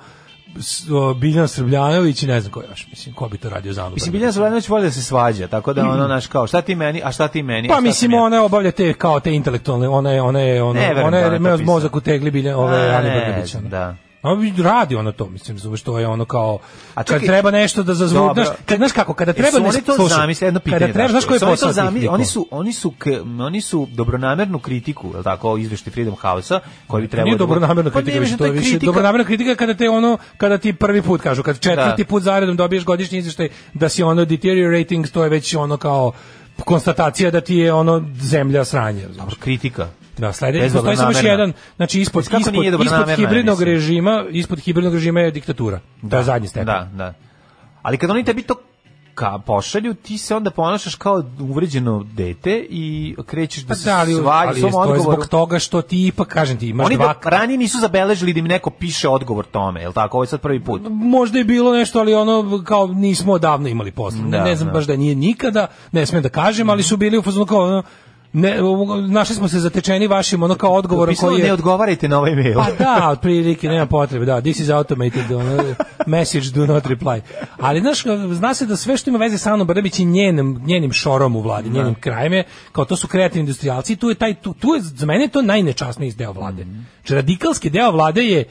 Speaker 7: s- o, Biljan Srbljanović i ne znam ko još. Mislim, ko bi to radio za ono?
Speaker 6: Mislim, Biljana Zulanović voli da se svađa, tako da ono, naš kao, šta ti meni, a šta ti meni? a
Speaker 7: Pa
Speaker 6: šta
Speaker 7: mislim
Speaker 6: sam ja?
Speaker 7: ona obavlja te kao te intelektualne, ono, ona je ona je ona,
Speaker 6: Ne verujem
Speaker 7: ona
Speaker 6: da
Speaker 7: je
Speaker 6: ona to
Speaker 7: meo
Speaker 6: pisala.
Speaker 7: mozak u tegli bilja ove
Speaker 6: A,
Speaker 7: Ane
Speaker 6: ne
Speaker 7: Brnabić.
Speaker 6: znam,
Speaker 7: ono.
Speaker 6: da.
Speaker 7: Ona bi- radi ona to, mislim, razumeš, to je ono kao
Speaker 6: A
Speaker 7: a
Speaker 6: čekaj-
Speaker 7: kad treba nešto da zazvuči,
Speaker 6: Dobro.
Speaker 7: znaš, kad znaš kako, kada treba
Speaker 6: Jesu
Speaker 7: ne
Speaker 6: oni to
Speaker 7: slušaj,
Speaker 6: zamisle, jedno pitanje.
Speaker 7: Kada treba, znaš
Speaker 6: Daško,
Speaker 7: koji je
Speaker 6: jesu oni to
Speaker 7: posao tih
Speaker 6: zamisli-
Speaker 7: likova?
Speaker 6: Oni su, oni su, k- oni su dobronamernu kritiku, je li tako, izvešte Freedom House-a, koji bi
Speaker 7: To
Speaker 6: trebalo...
Speaker 7: Nije
Speaker 6: da bude-
Speaker 7: dobronamerna
Speaker 6: Pa
Speaker 7: kritika,
Speaker 6: ne,
Speaker 7: više,
Speaker 6: mislim,
Speaker 7: to je više
Speaker 6: kritika-
Speaker 7: dobronamerna kritika kada te ono kada ti prvi put kažu, kad četvrti
Speaker 6: Da.
Speaker 7: put zaredom dobiješ godišnji izveštaj da si ono deteriorating, to je već ono kao konstatacija da ti je ono zemlja sranje. razumeš?
Speaker 6: Dobro, Kritika.
Speaker 7: Da,
Speaker 6: Bez
Speaker 7: sledeći postoji samo još
Speaker 6: dobronamerna.
Speaker 7: jedan, znači ispod
Speaker 6: Kako
Speaker 7: ispod,
Speaker 6: nije dobronamerna,
Speaker 7: ispod hibridnog
Speaker 6: mislim?
Speaker 7: režima, ispod hibridnog režima je diktatura. To je zadnji stepen.
Speaker 6: Da, da. Ali kad oni tebi to ka pošalju, ti se onda ponašaš kao uvređeno dete i krećeš da
Speaker 7: Pa
Speaker 6: se
Speaker 7: da, ali,
Speaker 6: svađaš
Speaker 7: ali
Speaker 6: u svom
Speaker 7: to je
Speaker 6: odgovoru.
Speaker 7: zbog toga što ti ipak, kažem ti, imaš
Speaker 6: Oni
Speaker 7: dva...
Speaker 6: da, ranije nisu zabeležili da im neko piše odgovor tome, je li tako? Ovo je sad prvi put.
Speaker 7: možda je bilo nešto, ali ono kao nismo odavno imali posla. Ne-
Speaker 6: Da,
Speaker 7: ne znam
Speaker 6: da. Mhm.
Speaker 7: baš da nije nikada, ne smem da kažem, ali su bili u fazonu kao ono, ne, ovo, našli smo se zatečeni vašim ono kao odgovorom
Speaker 6: Pisalo
Speaker 7: koji
Speaker 6: ne
Speaker 7: je
Speaker 6: odgovarajte na ovaj mail.
Speaker 7: Pa da, otprilike nema potrebe, da. This is automated ono, message do not reply. Ali znaš, zna se da sve što ima veze sa Anom Brnabić i njenim njenim šorom u vladi, njenim krajem je kao to su kreativni industrijalci, i tu je taj tu, tu je za mene je to najnečasniji deo vlade.
Speaker 6: Mhm.
Speaker 7: Znači, radikalski deo vlade je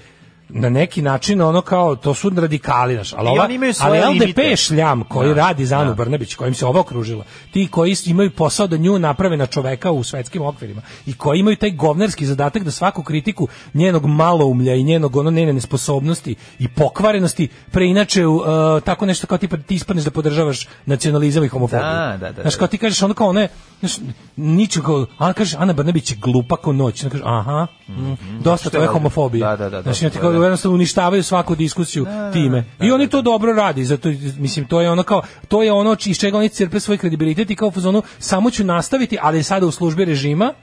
Speaker 7: na neki način ono kao to su radikali naš, ali
Speaker 6: I
Speaker 7: ova,
Speaker 6: oni imaju svoje
Speaker 7: ali LDP
Speaker 6: limite.
Speaker 7: je šljam koji radi za Anu Brnabić, kojim se ova okružila. Ti koji s- imaju posao da nju naprave na čoveka u svetskim okvirima i koji imaju taj govnerski zadatak da svaku kritiku njenog maloumlja i njenog ono njene nesposobnosti i pokvarenosti preinače u e, tako nešto kao tipa ti ispadneš da podržavaš nacionalizam i homofobiju.
Speaker 6: Da, da, da,
Speaker 7: Znaš,
Speaker 6: da.
Speaker 7: kao ti kažeš ono kao one, znaš, niču kao, Ana kaže, Ana Brnabić je glupa ko noć. Ona kaže, aha, mm, dosta
Speaker 6: Mhm. Što je
Speaker 7: tvoje
Speaker 6: ovo?
Speaker 7: homofobije.
Speaker 6: Da, da, da,
Speaker 7: Znaš,
Speaker 6: da,
Speaker 7: ja ti
Speaker 6: da,
Speaker 7: kao,
Speaker 6: da.
Speaker 7: jednostavno uništavaju svaku diskusiju time. I oni to dobro radi, zato mislim to je ono kao to je ono či- iz čega oni crpe svoj kredibilitet i kao u fazonu samo ću nastaviti, ali sada u službi režima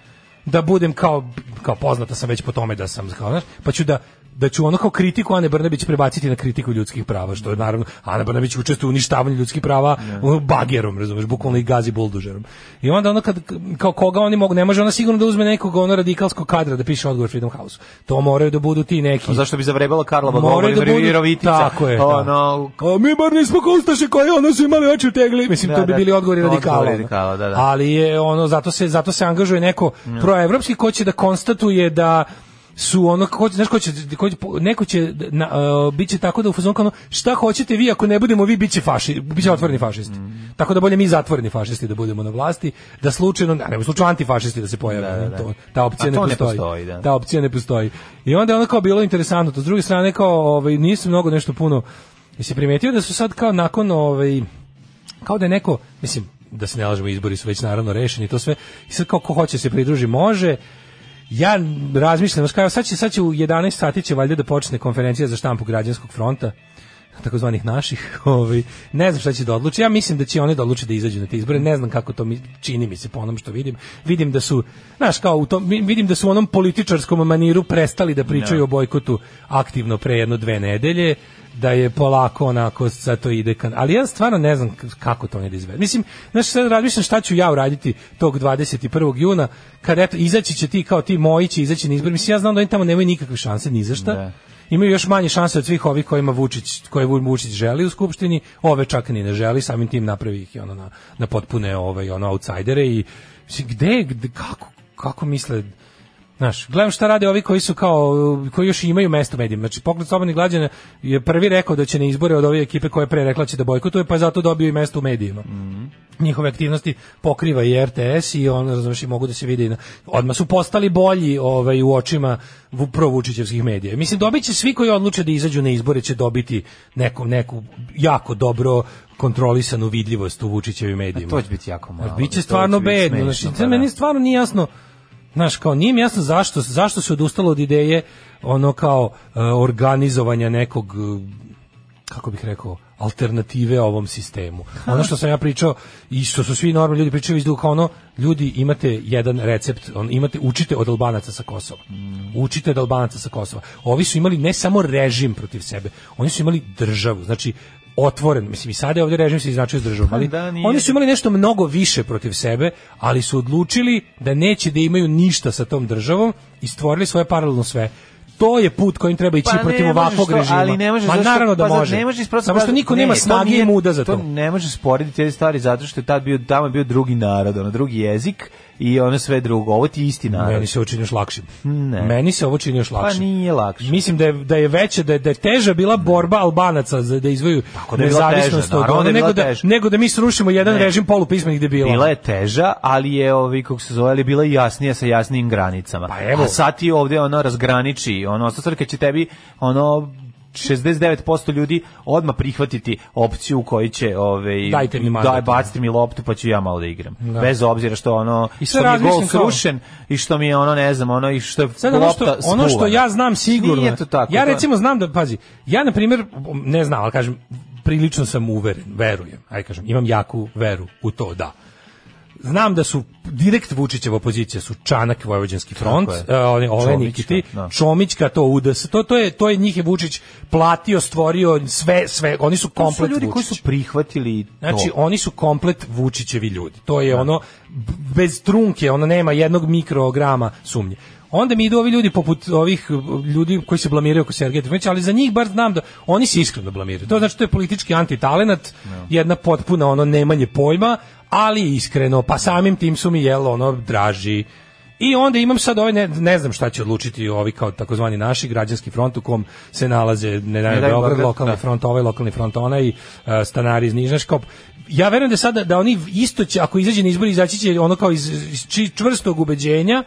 Speaker 7: da budem kao kao poznata sam već po tome da sam kao, znaš, pa ću da da ću ono kao kritiku Ane Brnabić prebaciti na kritiku ljudskih prava, što je naravno Ana Brnabić učestvuje u uništavanju ljudskih prava ono, bagerom, razumeš, bukvalno i gazi buldožerom. I onda ono kad, kao koga oni mogu, ne može ona sigurno da uzme nekog ono radikalskog kadra da piše odgovor Freedom House. To moraju da budu ti neki.
Speaker 6: Zašto bi zavrebala Karlova
Speaker 7: Pa, Moraju
Speaker 6: govori
Speaker 7: da
Speaker 6: da
Speaker 7: budu
Speaker 6: Virovitica?
Speaker 7: Tako je.
Speaker 6: Ono,
Speaker 7: da. A mi bar nismo kao ustaše koji ono su imali oči u tegli. Mislim,
Speaker 6: Da,
Speaker 7: to bi
Speaker 6: da,
Speaker 7: bili odgovori
Speaker 6: odgovori
Speaker 7: radikala. ono.
Speaker 6: radikala, da, da.
Speaker 7: Ali je ono, zato se, zato se angažuje neko proevropski ko će da konstatuje da su ono kako znaš ko će, ko će neko će na, uh, biće tako da u fazonu kao ono, šta hoćete vi ako ne budemo vi biće faši biće otvoreni fašisti.
Speaker 6: Mm.
Speaker 7: Tako da bolje mi zatvoreni fašisti da budemo na vlasti, da slučajno ne, u slučaju antifašisti da se pojave. ono,
Speaker 6: Da, da, da.
Speaker 7: To, ta opcija
Speaker 6: A
Speaker 7: ne
Speaker 6: to ne
Speaker 7: postoji.
Speaker 6: postoji, da.
Speaker 7: Ta ta opcija ne postoji. I onda je ono kao bilo interesantno. To s druge strane kao ovaj nisu mnogo nešto puno Jesi primetio da su sad kao nakon ovaj kao da je neko, mislim, da se ne lažemo, izbori su već naravno rešeni, i to sve. I sad kao ko hoće se pridruži može. Ja razmišljam, znaš, kao, sad će, sad će u 11 sati će valjda da počne konferencija za štampu građanskog fronta takozvanih naših, ovaj ne znam šta će da odluči. Ja mislim da će oni da odluče da izađu na te izbore. Ne znam kako to mi čini mi se po onom što vidim. Vidim da su, znaš, kao u tom vi- vidim da su u onom političarskom maniru prestali da pričaju o bojkotu aktivno pre jedno dve nedelje da je polako onako za to ide kan. Ali ja stvarno ne znam k- kako to oni da izvedu. Mislim, znaš, sad razmišljam šta ću ja uraditi tog 21. juna, kad eto, izaći će ti kao ti moji će izaći na izbor. Mislim, ja znam da oni tamo nemaju nikakve šanse ni za šta.
Speaker 6: Da.
Speaker 7: Imaju još manje šanse od svih ovih kojima Vučić, koje Vu- Vučić želi u skupštini, ove čak ni ne želi, samim tim napravi ih i ono na, na potpune ovaj, ono, outsidere i mislim, gde, gde, kako, kako misle, Znaš, gledam šta rade ovi koji su kao koji još imaju mesto u medijima. Znači pokret slobodnih građana je prvi rekao da će na izbore od ove ekipe koja je pre rekla će da bojkotuje, pa je zato dobio i mesto u medijima. Njihove aktivnosti pokriva i RTS i on razumeš i mogu da se vidi. i na- Odmah su postali bolji ovaj u očima vu- provučićevskih medija. Mislim dobiće svi koji odluče da izađu na izbore će dobiti neku neku jako dobro kontrolisanu vidljivost u Vučićevim medijima.
Speaker 6: to će biti jako malo.
Speaker 7: Znaš, biće
Speaker 6: To će
Speaker 7: stvarno
Speaker 6: biti
Speaker 7: bedno.
Speaker 6: smešno,
Speaker 7: znači,
Speaker 6: pa da.
Speaker 7: sad meni stvarno nije jasno Znaš, kao nije mi jasno zašto, zašto se odustalo od ideje ono kao e, organizovanja nekog e, kako bih rekao, alternative ovom sistemu. Ono što sam ja pričao i što su svi normalni ljudi pričali iz duha, ono, ljudi imate jedan recept, on, imate, učite od Albanaca sa Kosova. Učite od Albanaca sa Kosova. Ovi su imali ne samo režim protiv sebe, oni su imali državu, znači otvoren, mislim i sada je ovdje režim se izračio s državom, ali
Speaker 6: Pa da, nije.
Speaker 7: oni su imali nešto mnogo više protiv sebe, ali su odlučili da neće da imaju ništa sa tom državom i stvorili svoje paralelno sve. To je put kojim treba ići
Speaker 6: Pa ne
Speaker 7: Znači, protiv
Speaker 6: možeš
Speaker 7: ovakvog
Speaker 6: to,
Speaker 7: režima.
Speaker 6: Ali ne možeš
Speaker 7: Ma
Speaker 6: zato što-
Speaker 7: naravno da
Speaker 6: pa zato
Speaker 7: može.
Speaker 6: Ne možeš iz prostog
Speaker 7: Samo što
Speaker 6: razloga-
Speaker 7: niko
Speaker 6: ne,
Speaker 7: nema
Speaker 6: to
Speaker 7: snage
Speaker 6: nije-
Speaker 7: i muda za to.
Speaker 6: ne možeš sporediti te stvari zato što je tad bio tamo je bio drugi narod, ono drugi jezik i ono sve drugo. Ovo ti je isti narod.
Speaker 7: Meni se ovo čini još lakšim.
Speaker 6: Ne.
Speaker 7: Meni se ovo čini još
Speaker 6: pa
Speaker 7: lakšim.
Speaker 6: nije lakše.
Speaker 7: Mislim da je, da je veća, da je, da je teža bila borba Albanaca za da izvoju
Speaker 6: Tako da je bila
Speaker 7: nezavisnost
Speaker 6: teža,
Speaker 7: od
Speaker 6: naravno
Speaker 7: ono,
Speaker 6: da je bila
Speaker 7: nego, da,
Speaker 6: teža.
Speaker 7: nego da mi srušimo jedan
Speaker 6: Ne.
Speaker 7: režim polupismenih debila.
Speaker 6: Bila je teža, ali je ovi kako se zove, ali bila i jasnija sa jasnim granicama.
Speaker 7: Pa evo.
Speaker 6: A sad ti ovde ono razgraniči, ono sad će tebi ono 69% ljudi odma prihvatiti opciju u kojoj će ovaj
Speaker 7: Dajte mi mandat.
Speaker 6: daj bacite mi loptu pa ću ja malo da igram. Bez obzira što ono
Speaker 7: I
Speaker 6: što
Speaker 7: sad
Speaker 6: mi je gol
Speaker 7: razmišljam kao-
Speaker 6: srušen i što mi je ono ne znam, ono i što je
Speaker 7: Sad ono
Speaker 6: lopta
Speaker 7: što, ono što
Speaker 6: skuvana.
Speaker 7: ja znam sigurno.
Speaker 6: Nije to tako.
Speaker 7: ja
Speaker 6: to-
Speaker 7: recimo znam da, pazi, ja na primjer, ne znam, ali kažem, prilično sam uveren, verujem, aj kažem, imam jaku veru u to, da. Znam da su direkt Vučićeva opozicija su Čanak Vojvođanski front,
Speaker 6: Tako je.
Speaker 7: e, oni Olenik i
Speaker 6: Čomićka,
Speaker 7: ti,
Speaker 6: da.
Speaker 7: Čomićka to UDS, to to je to je njih je Vučić platio, stvorio sve sve, oni su
Speaker 6: To su
Speaker 7: komplet
Speaker 6: ljudi koji
Speaker 7: Vučić.
Speaker 6: su prihvatili
Speaker 7: Znači,
Speaker 6: to.
Speaker 7: oni su komplet Vučićevi ljudi. To je ono, b- bez trunke, ono nema jednog mikrograma sumnje. Onda mi idu ovi ljudi poput ovih uh, ljudi koji se blamiraju oko Sergeja Trifunovića, ali za njih bar znam da oni se iskreno blamiraju. To znači to je politički antitalenat, jedna potpuna ono nemanje pojma, ali iskreno, pa samim tim su mi jelo ono draži. I onda imam sad ove, ne, ne znam šta će odlučiti ovi kao takozvani naši građanski front u kom se nalaze, ne
Speaker 6: Ne daj
Speaker 7: daj Beograd,
Speaker 6: Beograd,
Speaker 7: lokalni
Speaker 6: da.
Speaker 7: front ovaj, lokalni front onaj, i stanari iz Nižneškop. Ja verujem da sada da oni isto će, ako izađe na izbori, izaći će ono kao iz, iz či- čvrstog ubeđenja,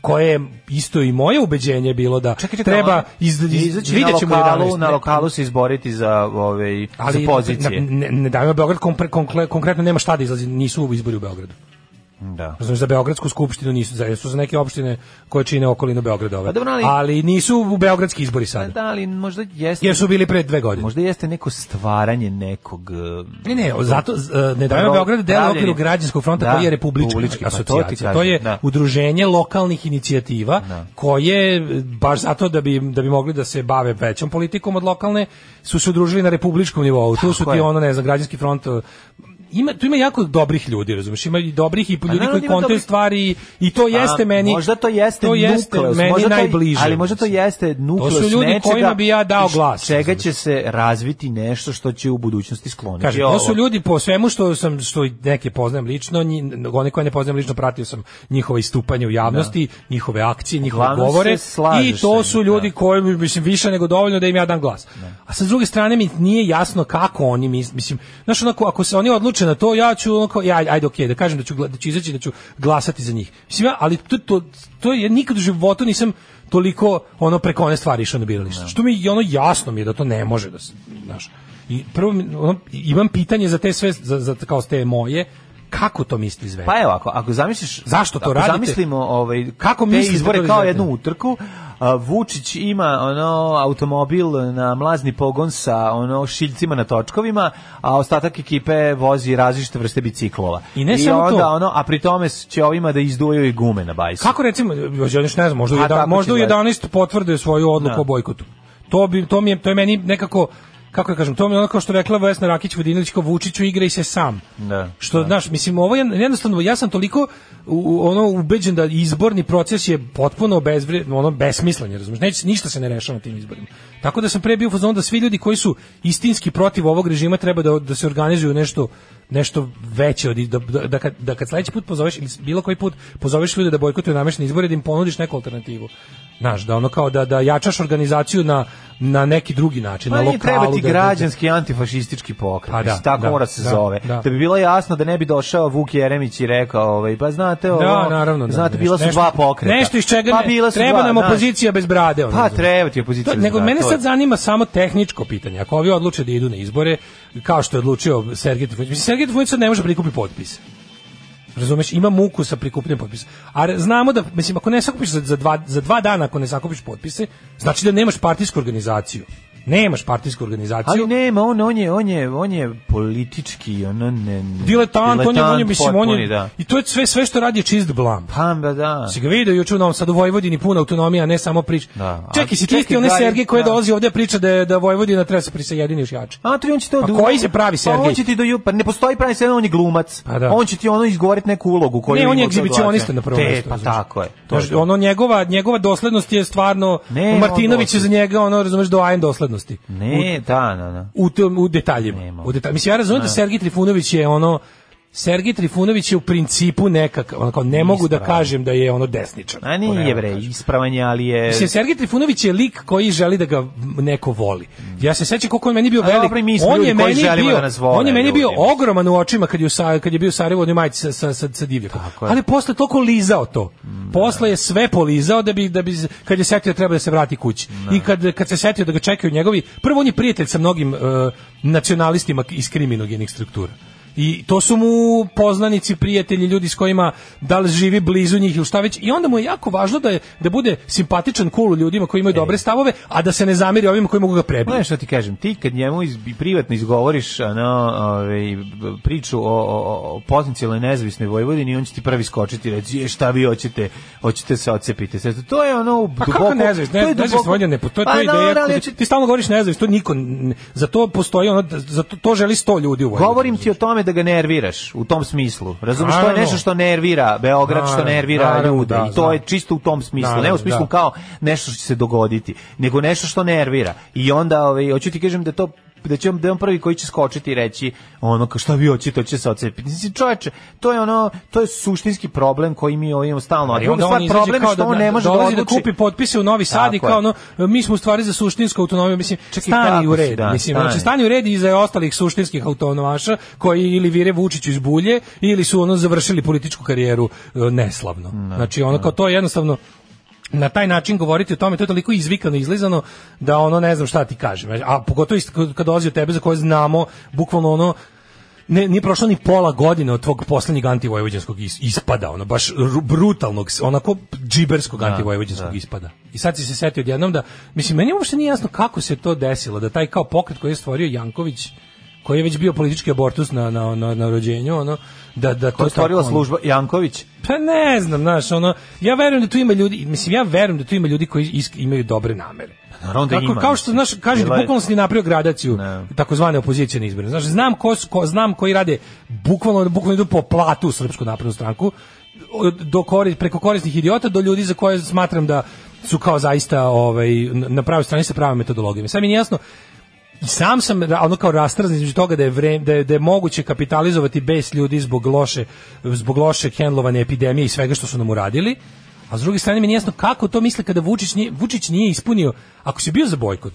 Speaker 7: koje je isto i moje ubeđenje bilo da
Speaker 6: Čekaj, čekaj,
Speaker 7: treba
Speaker 6: ono,
Speaker 7: iz, iz,
Speaker 6: izaći
Speaker 7: vidjet
Speaker 6: na
Speaker 7: ćemo
Speaker 6: lokalu,
Speaker 7: 11,
Speaker 6: na
Speaker 7: ne,
Speaker 6: lokalu se izboriti za ove
Speaker 7: ali
Speaker 6: za pozicije.
Speaker 7: na- ne, ne, dajmo Beograd kompre- konkle- konkretno nema šta da izlazi, nisu izbori u Beogradu.
Speaker 6: da.
Speaker 7: Razumeš, za Beogradsku skupštinu nisu, za, su za neke opštine koje čine okolinu Beograda ove.
Speaker 6: Pa dobro, ali-
Speaker 7: ali nisu u beogradski izbori sada.
Speaker 6: Da, ali možda jeste
Speaker 7: Jer su bili pre dve godine.
Speaker 6: možda jeste neko stvaranje nekog eh,
Speaker 7: Ne, ne, zato eh, ne dajemo
Speaker 6: Dobro,
Speaker 7: Beograd dela u okviru
Speaker 6: pravljenje.
Speaker 7: građanskog fronta
Speaker 6: Da,
Speaker 7: koji je republički
Speaker 6: republički, pa to ti
Speaker 7: asocijacija. To
Speaker 6: kažem,
Speaker 7: je
Speaker 6: da.
Speaker 7: udruženje lokalnih inicijativa koje eh, baš zato da bi da bi mogli da se bave većom politikom od lokalne su se udružili na republičkom nivou. Tu su
Speaker 6: Tako
Speaker 7: ti
Speaker 6: je.
Speaker 7: ono ne znam građanski front eh, ima tu ima jako dobrih ljudi, razumiješ? Ima i dobrih i ljudi
Speaker 6: Pa naravno
Speaker 7: koji
Speaker 6: da ima
Speaker 7: kontaju
Speaker 6: dobrih.
Speaker 7: stvari i- i to jeste
Speaker 6: A,
Speaker 7: meni
Speaker 6: Možda to jeste,
Speaker 7: to jeste
Speaker 6: nukleus,
Speaker 7: meni
Speaker 6: možda to-
Speaker 7: najbliže.
Speaker 6: ali možda to jeste nukleus
Speaker 7: To su ljudi
Speaker 6: nečega
Speaker 7: kojima bi ja dao
Speaker 6: iz
Speaker 7: glas,
Speaker 6: Čega
Speaker 7: razumeš?
Speaker 6: će se razviti nešto što će u budućnosti skloniti.
Speaker 7: Kažem,
Speaker 6: ovo.
Speaker 7: to su ljudi po svemu što sam što i neke poznajem lično, nji- one koje ne poznajem lično pratio sam njihova istupanja u javnosti, njihove akcije, njihove
Speaker 6: Uglavnom se
Speaker 7: govore
Speaker 6: slažeš
Speaker 7: i to
Speaker 6: sa
Speaker 7: su
Speaker 6: njim,
Speaker 7: ljudi
Speaker 6: da.
Speaker 7: koji mi mislim više nego dovoljno da im ja dam glas. A sa druge strane mi nije jasno kako oni mis- mislim, znaš onako ako se oni odluče na to, ja ću onako ja ajde okej, da kažem da ću gla- da ću izaći da ću glasati za njih. Mislim ja, ali to to to je nikad u životu nisam toliko ono preko one stvari išao na biralište. Što mi i ono jasno mi je da to ne može da se, znaš. I prvo mi- ono, imam pitanje za te sve za, za kao te moje kako to misli izvesti?
Speaker 6: Pa evo, ako, ako zamisliš...
Speaker 7: Zašto to
Speaker 6: ako
Speaker 7: radite?
Speaker 6: Zamislimo ovaj,
Speaker 7: Kako
Speaker 6: te
Speaker 7: mislite to
Speaker 6: izbore
Speaker 7: da
Speaker 6: kao
Speaker 7: izvedete?
Speaker 6: jednu utrku, a, Vučić ima ono automobil na mlazni pogon sa ono šiljcima na točkovima, a ostatak ekipe vozi različite vrste biciklova.
Speaker 7: I ne samo
Speaker 6: onda,
Speaker 7: to.
Speaker 6: ono, a pri tome će ovima da izdujaju i gume na bajsu.
Speaker 7: Kako recimo, još ja još ne znam, možda u
Speaker 6: A,
Speaker 7: jedan-
Speaker 6: Pa, tako
Speaker 7: možda
Speaker 6: će
Speaker 7: u
Speaker 6: gledati.
Speaker 7: 11 potvrde svoju odluku
Speaker 6: Da.
Speaker 7: o bojkotu. To bi to mi je to je meni nekako kako da kažem, to mi je ono kao što je rekla Vesna Rakić Vodinilić kao Vučiću igraj se sam.
Speaker 6: Da.
Speaker 7: Što, znaš, mislim, ovo je jednostavno, ja sam toliko u- u- ono ubeđen da izborni proces je potpuno bezvre, ono, besmislen, je, razumiješ, Neće, ništa se ne rešava na tim izborima. Tako da sam pre bio u fazonu da svi ljudi koji su istinski protiv ovog režima treba da, da se organizuju nešto nešto veće od, da, da, da, kad, da kad sledeći put pozoveš ili bilo koji put pozoveš ljude da bojkotuju nameštene izbore da im ponudiš neku alternativu. Znaš, da ono kao da, da jačaš organizaciju na, na neki drugi način,
Speaker 6: Pa
Speaker 7: na
Speaker 6: nije
Speaker 7: lokalu.
Speaker 6: treba ti
Speaker 7: da- da- da-
Speaker 6: građanski antifašistički pokret,
Speaker 7: Pa da,
Speaker 6: mislim, tako
Speaker 7: da,
Speaker 6: mora se
Speaker 7: da,
Speaker 6: zove. Da.
Speaker 7: da.
Speaker 6: bi bilo jasno da ne bi došao Vuk Jeremić i rekao, ovaj, pa znate ovo,
Speaker 7: Da, naravno. Da,
Speaker 6: znate,
Speaker 7: nešto-
Speaker 6: bila su
Speaker 7: nešto-
Speaker 6: dva pokreta.
Speaker 7: Nešto iz čega
Speaker 6: pa
Speaker 7: ne-
Speaker 6: bila su
Speaker 7: treba
Speaker 6: dva,
Speaker 7: nam
Speaker 6: znaš.
Speaker 7: opozicija bez brade. ono,
Speaker 6: Pa
Speaker 7: znaš.
Speaker 6: treba ti opozicija.
Speaker 7: To, nego
Speaker 6: znaš,
Speaker 7: mene
Speaker 6: to
Speaker 7: sad
Speaker 6: je-
Speaker 7: zanima samo tehničko pitanje. Ako ovi odluče da idu na izbore, kao što je odlučio Sergej Trifunović, mislim, Sergej Trifunović sad ne može prikupiti potpis. Razumeš, ima muku sa prikupljanjem potpisa. A re- znamo da, mislim, ako ne sakupiš za, za, dva, za dva dana, ako ne sakupiš potpise, znači da nemaš partijsku organizaciju. Nemaš partijsku organizaciju.
Speaker 6: Ali nema, on, on, je, on, je, on je politički, ono ne... ne
Speaker 7: diletant, on je, on je, mislim, on
Speaker 6: potpuni,
Speaker 7: je,
Speaker 6: Da.
Speaker 7: i to je sve, sve što radi je čist blam.
Speaker 6: Pa, da, da.
Speaker 7: Si ga vidio juče u Novom Sadu Vojvodini puna autonomija, ne samo priča.
Speaker 6: Da, a
Speaker 7: Čekaj, si
Speaker 6: čekaj,
Speaker 7: tisti onaj
Speaker 6: da li-
Speaker 7: Sergej koji
Speaker 6: da.
Speaker 7: dolazi ovde priča da je, da Vojvodina treba se prisajedini još jače.
Speaker 6: A tri on će to
Speaker 7: Pa
Speaker 6: do-
Speaker 7: koji se pravi
Speaker 6: Pa on
Speaker 7: Sergej?
Speaker 6: će ti do ju- pa ne postoji pravi Sergej, on je glumac.
Speaker 7: Pa da.
Speaker 6: On će ti ono izgovoriti neku ulogu koju
Speaker 7: Ne, on
Speaker 6: ima
Speaker 7: je
Speaker 6: u toj glavi.
Speaker 7: egzibicionista na prvom
Speaker 6: Te,
Speaker 7: mestu.
Speaker 6: Pa
Speaker 7: razumeš.
Speaker 6: tako je. to
Speaker 7: Znaš,
Speaker 6: je to.
Speaker 7: ono njegova njegova doslednost je stvarno
Speaker 6: Ne, on
Speaker 7: Martinović je za
Speaker 6: dosled.
Speaker 7: njega ono razumeš do ajn doslednosti.
Speaker 6: Ne, da, da, da.
Speaker 7: u, tom, u detaljima.
Speaker 6: Nema.
Speaker 7: U detalj, mislim, ja razumem da Sergij Trifunović je ono, Sergij Trifunović je u principu nekakav, ono kao, ne mogu da
Speaker 6: Ispravan.
Speaker 7: kažem da je ono desničan.
Speaker 6: A
Speaker 7: ako
Speaker 6: nije
Speaker 7: realno
Speaker 6: bre,
Speaker 7: kažem.
Speaker 6: ispravan je, ali je...
Speaker 7: Mislim, Sergej Trifunović je lik koji želi da ga neko voli. Ja se sećam koliko on meni bio
Speaker 6: A dobro,
Speaker 7: velik.
Speaker 6: i mi smo
Speaker 7: on
Speaker 6: ljudi
Speaker 7: je
Speaker 6: koji
Speaker 7: meni
Speaker 6: želimo
Speaker 7: bio,
Speaker 6: da nas vole,
Speaker 7: on je meni
Speaker 6: ljudi,
Speaker 7: bio
Speaker 6: mislim.
Speaker 7: ogroman u očima kad je, u Sa- kad je bio u Sarajevu u onoj majici sa, sa, sa, sa divljakom.
Speaker 6: je. Mm,
Speaker 7: Ali posle je toliko lizao to. Posle je sve polizao da bi, da bi, kad je setio da treba da se vrati kući. I kad, kad se setio da ga čekaju njegovi, prvo on je prijatelj sa mnogim e, nacionalistima iz kriminogenih struktura. I to su mu poznanici, prijatelji, ljudi s kojima da li živi blizu njih ili šta već. I onda mu je jako važno da, je, da bude simpatičan, cool ljudima koji imaju dobre stavove, a da se ne zamiri ovima koji mogu ga prebiti.
Speaker 6: E. Znaš što ti kažem, ti kad njemu iz, privatno izgovoriš ano, ovaj, b- priču o, o, o potencijalnoj nezavisnoj Vojvodini, on će ti prvi skočiti i reći, "Je, šta vi hoćete, hoćete se ocepiti. Sad, to je ono
Speaker 7: Pa
Speaker 6: duboko...
Speaker 7: kako nezavisno?
Speaker 6: to je
Speaker 7: Ne, nezavisno
Speaker 6: duboko-
Speaker 7: volja ne, po- to je to
Speaker 6: Pa
Speaker 7: je
Speaker 6: dobro,
Speaker 7: ideja.
Speaker 6: ali
Speaker 7: koju-
Speaker 6: hoće-
Speaker 7: ti stalno govoriš nezavisno, to niko n- za to postoji ono za to, to želi 100 ljudi u Vojvodini.
Speaker 6: Govorim ti o tome da ga nerviraš u tom smislu. Razumeš, to je
Speaker 7: Naravno.
Speaker 6: nešto što nervira Beograd, što
Speaker 7: Naravno,
Speaker 6: nervira
Speaker 7: naravno,
Speaker 6: ljude.
Speaker 7: da,
Speaker 6: I to je
Speaker 7: znam.
Speaker 6: čisto u tom smislu, ne u
Speaker 7: Naravno,
Speaker 6: smislu
Speaker 7: da.
Speaker 6: kao nešto što će se dogoditi, nego nešto što nervira. I onda, ovaj, hoću ti kažem da to da će on, da je on prvi koji će skočiti i reći ono kao šta vi hoćete, hoće se ocepiti. Mislim, čoveče, to je ono, to je suštinski problem koji mi ovaj imamo stalno. A
Speaker 7: Ali
Speaker 6: druga
Speaker 7: onda
Speaker 6: stvar
Speaker 7: on izađe
Speaker 6: problem je
Speaker 7: kao
Speaker 6: što
Speaker 7: da,
Speaker 6: on ne može da
Speaker 7: dolazi da,
Speaker 6: odluči.
Speaker 7: kupi potpise u Novi Sad i
Speaker 6: Tako
Speaker 7: kao
Speaker 6: je.
Speaker 7: ono mi smo u stvari za suštinsku autonomiju mislim
Speaker 6: Čekaj,
Speaker 7: stani
Speaker 6: kako
Speaker 7: u
Speaker 6: si,
Speaker 7: red
Speaker 6: da,
Speaker 7: mislim
Speaker 6: stani.
Speaker 7: znači stani u red i za ostalih suštinskih autonomaša koji ili vire Vučiću iz bulje ili su ono završili političku karijeru e, neslavno. znači ono kao to je jednostavno na taj način govoriti o tome, to je toliko izvikano, izlizano, da ono ne znam šta ti kažem. A pogotovo isto kad- kad dolazi od tebe za koje znamo, bukvalno ono, ne, nije prošlo ni pola godine od tvog poslednjeg antivojvođanskog is- ispada, ono, baš ru- brutalnog, s- onako džiberskog antivojvođanskog ispada. I sad si se setio odjednom da, mislim, meni uopšte nije jasno kako se to desilo, da taj kao pokret koji je stvorio Janković, koji je već bio politički abortus na, na, na, na rođenju, ono, da, da
Speaker 6: To
Speaker 7: to
Speaker 6: je stvorila
Speaker 7: tako, ono-
Speaker 6: služba Janković.
Speaker 7: pa ne znam, znaš, ono, ja verujem da tu ima ljudi, mislim, ja verujem da tu ima ljudi koji isk- imaju dobre namere.
Speaker 6: naravno da
Speaker 7: Kako,
Speaker 6: ima,
Speaker 7: kao što,
Speaker 6: mislim.
Speaker 7: znaš, kažem, ti,
Speaker 6: Bila je-
Speaker 7: bukvalno si napravio gradaciju
Speaker 6: Ne.
Speaker 7: takozvane opozicije na izbore. Znaš, znam, ko, su- ko- znam koji rade, bukvalno, bukvalno idu po platu u Srpsku naprednu stranku, od- do kori- preko korisnih idiota do ljudi za koje smatram da su kao zaista ovaj, na na pravoj strani sa pravom metodologijom. Sad mi nije jasno, i sam sam ra- ono kao rastrzan između toga da je, vre, da je, da je moguće kapitalizovati bes ljudi zbog loše zbog loše hendlovane epidemije i svega što su nam uradili. A s druge strane mi nije jasno kako to misle kada Vučić nije, Vučić nije ispunio, ako si bio za bojkot,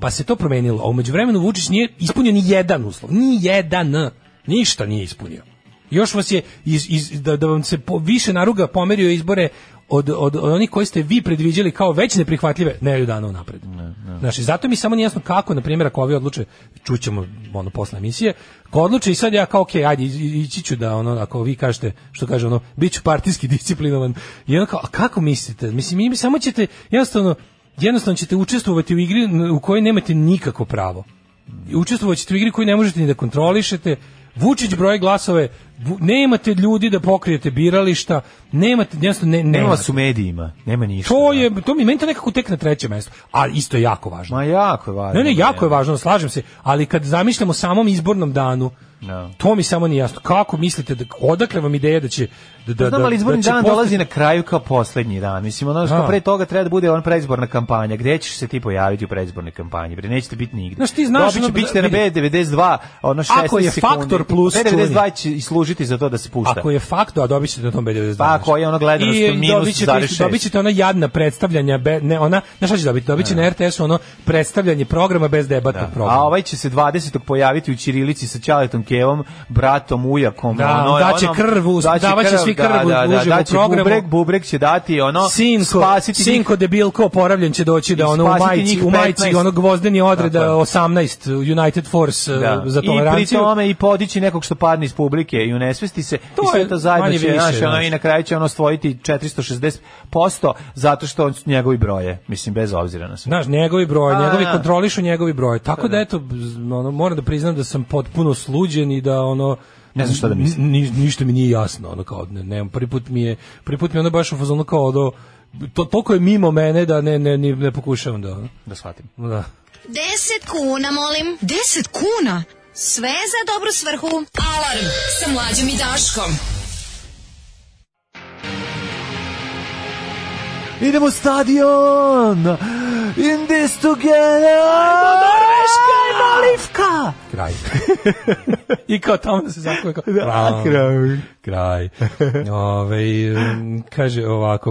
Speaker 7: pa se to promenilo, a umeđu vremenu Vučić nije ispunio ni jedan uslov, ni jedan, ništa nije ispunio. Još vas je, iz, iz, da, da vam se po, više naruga pomerio izbore od, od, od onih koji ste vi predviđali kao već neprihvatljive nedelju dana unapred. Ne, ne. Znači, zato mi samo nije jasno kako, na primjer, ako ovi odluče, čućemo ono posle emisije, ko odluče i sad ja kao, ok, ajde, i- i- ići ću da, ono, ako vi kažete, što kaže, ono, bit ću partijski disciplinovan, i ono kao, a kako mislite? Mislim, mi samo ćete, jednostavno, jednostavno ćete učestvovati u igri u kojoj nemate nikako pravo. I Učestvovat ćete u igri koju ne možete ni da kontrolišete, Vučić broje glasove, vu- nemate ljudi da pokrijete birališta, nemate, jednostavno, ne,
Speaker 6: Nema
Speaker 7: nemate.
Speaker 6: vas u medijima, nema ništa.
Speaker 7: To
Speaker 6: da.
Speaker 7: je, to mi meni to nekako tek na trećem mestu, ali isto je jako važno.
Speaker 6: Ma jako je važno.
Speaker 7: Ne, ne, jako je važno, slažem se, ali kad zamišljamo o samom izbornom danu,
Speaker 6: Da.
Speaker 7: to mi samo nije jasno. Kako mislite, da, odakle vam ideja da će... Da,
Speaker 6: Da,
Speaker 7: da,
Speaker 6: Pa znam,
Speaker 7: da-
Speaker 6: ali izborni
Speaker 7: da će
Speaker 6: dan
Speaker 7: posta-
Speaker 6: dolazi na kraju kao poslednji dan. Mislim, ono što
Speaker 7: Da.
Speaker 6: pre toga treba da bude on predizborna kampanja. Gde ćeš se ti pojaviti u predizbornoj kampanji? Bre, nećete biti nigde.
Speaker 7: Znaš, ti znaš,
Speaker 6: Dobit će,
Speaker 7: ono,
Speaker 6: bit ćete na
Speaker 7: vidi.
Speaker 6: B92, ono 16
Speaker 7: Ako je
Speaker 6: sekundi.
Speaker 7: faktor plus
Speaker 6: B92 će i služiti za to da se pušta.
Speaker 7: Ako je fakt, da dobit ćete na tom B92.
Speaker 6: Pa, ako je ono gledanost
Speaker 7: I
Speaker 6: minus
Speaker 7: dobit ćete-
Speaker 6: 0,6.
Speaker 7: Dobit ćete ona jadna predstavljanja, be, ne, ona, znaš šta će dobiti? Dobit će na RTS-u ono predstavljanje programa bez debatnog programa.
Speaker 6: A ovaj će se 20. pojaviti u Ćirilici sa Ćaletom Kevom, bratom Ujakom. ono,
Speaker 7: Da, daće krv u- davaće svi krv u-
Speaker 6: da, da,
Speaker 7: uživo u
Speaker 6: daće
Speaker 7: programu.
Speaker 6: Bubreg, Bubreg će dati ono,
Speaker 7: Sinko,
Speaker 6: spasiti njih
Speaker 7: Sinko debilko oporavljen će doći da
Speaker 6: I
Speaker 7: ono u
Speaker 6: spasiti
Speaker 7: majici,
Speaker 6: njih
Speaker 7: u majici
Speaker 6: 15.
Speaker 7: onog gvozdeni odreda
Speaker 6: Tako je.
Speaker 7: 18 United Force
Speaker 6: Da.
Speaker 7: e, za
Speaker 6: I pri
Speaker 7: toleranciju.
Speaker 6: tome i podići nekog što padne iz publike i unesvesti se
Speaker 7: To
Speaker 6: i sve
Speaker 7: je
Speaker 6: to zajedno
Speaker 7: manje
Speaker 6: će
Speaker 7: više,
Speaker 6: naš, ono,
Speaker 7: znaš.
Speaker 6: i na kraju će ono osvojiti 460% zato što on njegovi broje, mislim bez obzira na sve.
Speaker 7: Znaš, njegovi broj,
Speaker 6: A,
Speaker 7: njegovi
Speaker 6: da.
Speaker 7: kontrolišu njegovi broj. Tako da eto, z- ono, moram da priznam da sam potpuno sluđen i da ono
Speaker 6: Ne znam šta da mislim.
Speaker 7: Ni, ništa mi nije jasno, ono kao ne, ne, prvi put mi je prvi put mi je ono baš u fazonu kao do to toliko je mimo mene da ne ne ne, ne pokušavam da ono,
Speaker 6: Da shvatim.
Speaker 7: da.
Speaker 5: 10 kuna, molim. 10 kuna? Sve za dobru svrhu.
Speaker 9: Alarm sa mlađom i Daškom.
Speaker 6: Idemo u stadion! In this together! Ah! Ajmo Norveška! Ajmo Olivka!
Speaker 7: kraj. I kao tamo da se zakuje kao
Speaker 6: Da, kraj.
Speaker 7: kraj. Ove, um, kaže ovako.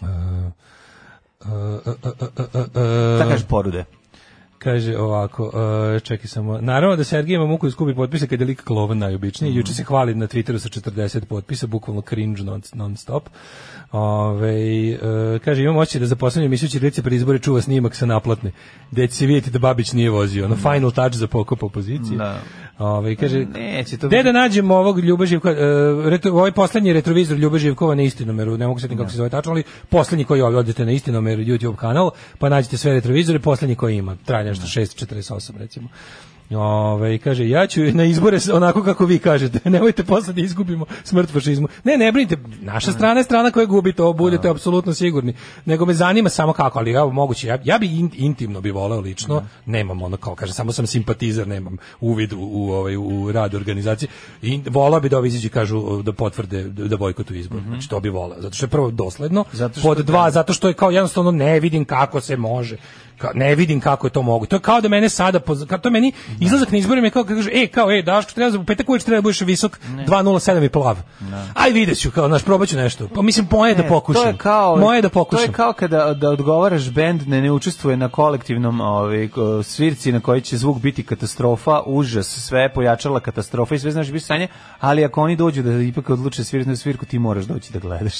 Speaker 7: Uh, uh, uh, uh, uh, uh,
Speaker 6: Šta kažeš porude?
Speaker 7: Kaže ovako, uh, čekaj samo. Naravno da Sergej ima muku da skupi potpise kad je lik klovan najobičniji. Juče se hvali na Twitteru sa 40 potpisa, bukvalno cringe non, non stop. Ove, uh, kaže, imam oči da za poslednju emisiju Čirilice pred izbore čuva snimak sa naplatne. Gde će se vidjeti da Babić nije vozio. Ono, final touch za pokop opozicije.
Speaker 6: Da.
Speaker 7: Ove, kaže,
Speaker 6: Neće to
Speaker 7: Gde
Speaker 6: biti.
Speaker 7: da nađemo ovog Ljuba Živko, e, retro, ovaj poslednji retrovizor Ljuba Živkova na istinomeru, ne mogu se kako se zove tačno, ali poslednji koji je ovaj, odete na istinomer YouTube kanal, pa nađete sve retrovizore, poslednji koji ima, traje nešto 648 recimo. Ove, kaže, ja ću na izbore s- onako kako vi kažete, nemojte posle da izgubimo smrt fašizmu. Ne, ne brinite, naša strana je strana koja gubi, to budete apsolutno sigurni. Nego me zanima samo kako, ali ja moguće, ja, ja bi in- intimno bi voleo lično, nemam ono kao, kažem, samo sam simpatizer, nemam uvid u, u, ovaj, u rad organizacije. I volao bi da ovi izađu i kažu da potvrde da bojkotu izbor. Znači to bi voleo, zato što je prvo dosledno,
Speaker 6: Mhm. Zato što
Speaker 7: pod dva, zato što je kao jednostavno ne vidim kako se može. Ka, ne vidim kako je to moguće. To je kao da mene sada poz- kao to je meni izlazak na izborima je kao kad kaže ej kao ej Daško treba za u petak uveče treba da budeš visok 207 i plav. Aj videću kao naš probaću nešto. Pa mislim moje je da
Speaker 6: Ne,
Speaker 7: pokušam.
Speaker 6: E, To je kao,
Speaker 7: moje je da
Speaker 6: To
Speaker 7: pokušam.
Speaker 6: je kao kada da odgovaraš bend ne, ne učestvuje na kolektivnom ovaj, ko- svirci na koji će zvuk biti katastrofa, užas, sve pojačala katastrofa i sve znaš biti sanje, ali ako oni dođu da ipak odluče svirati na svirku, ti moraš doći da gledaš.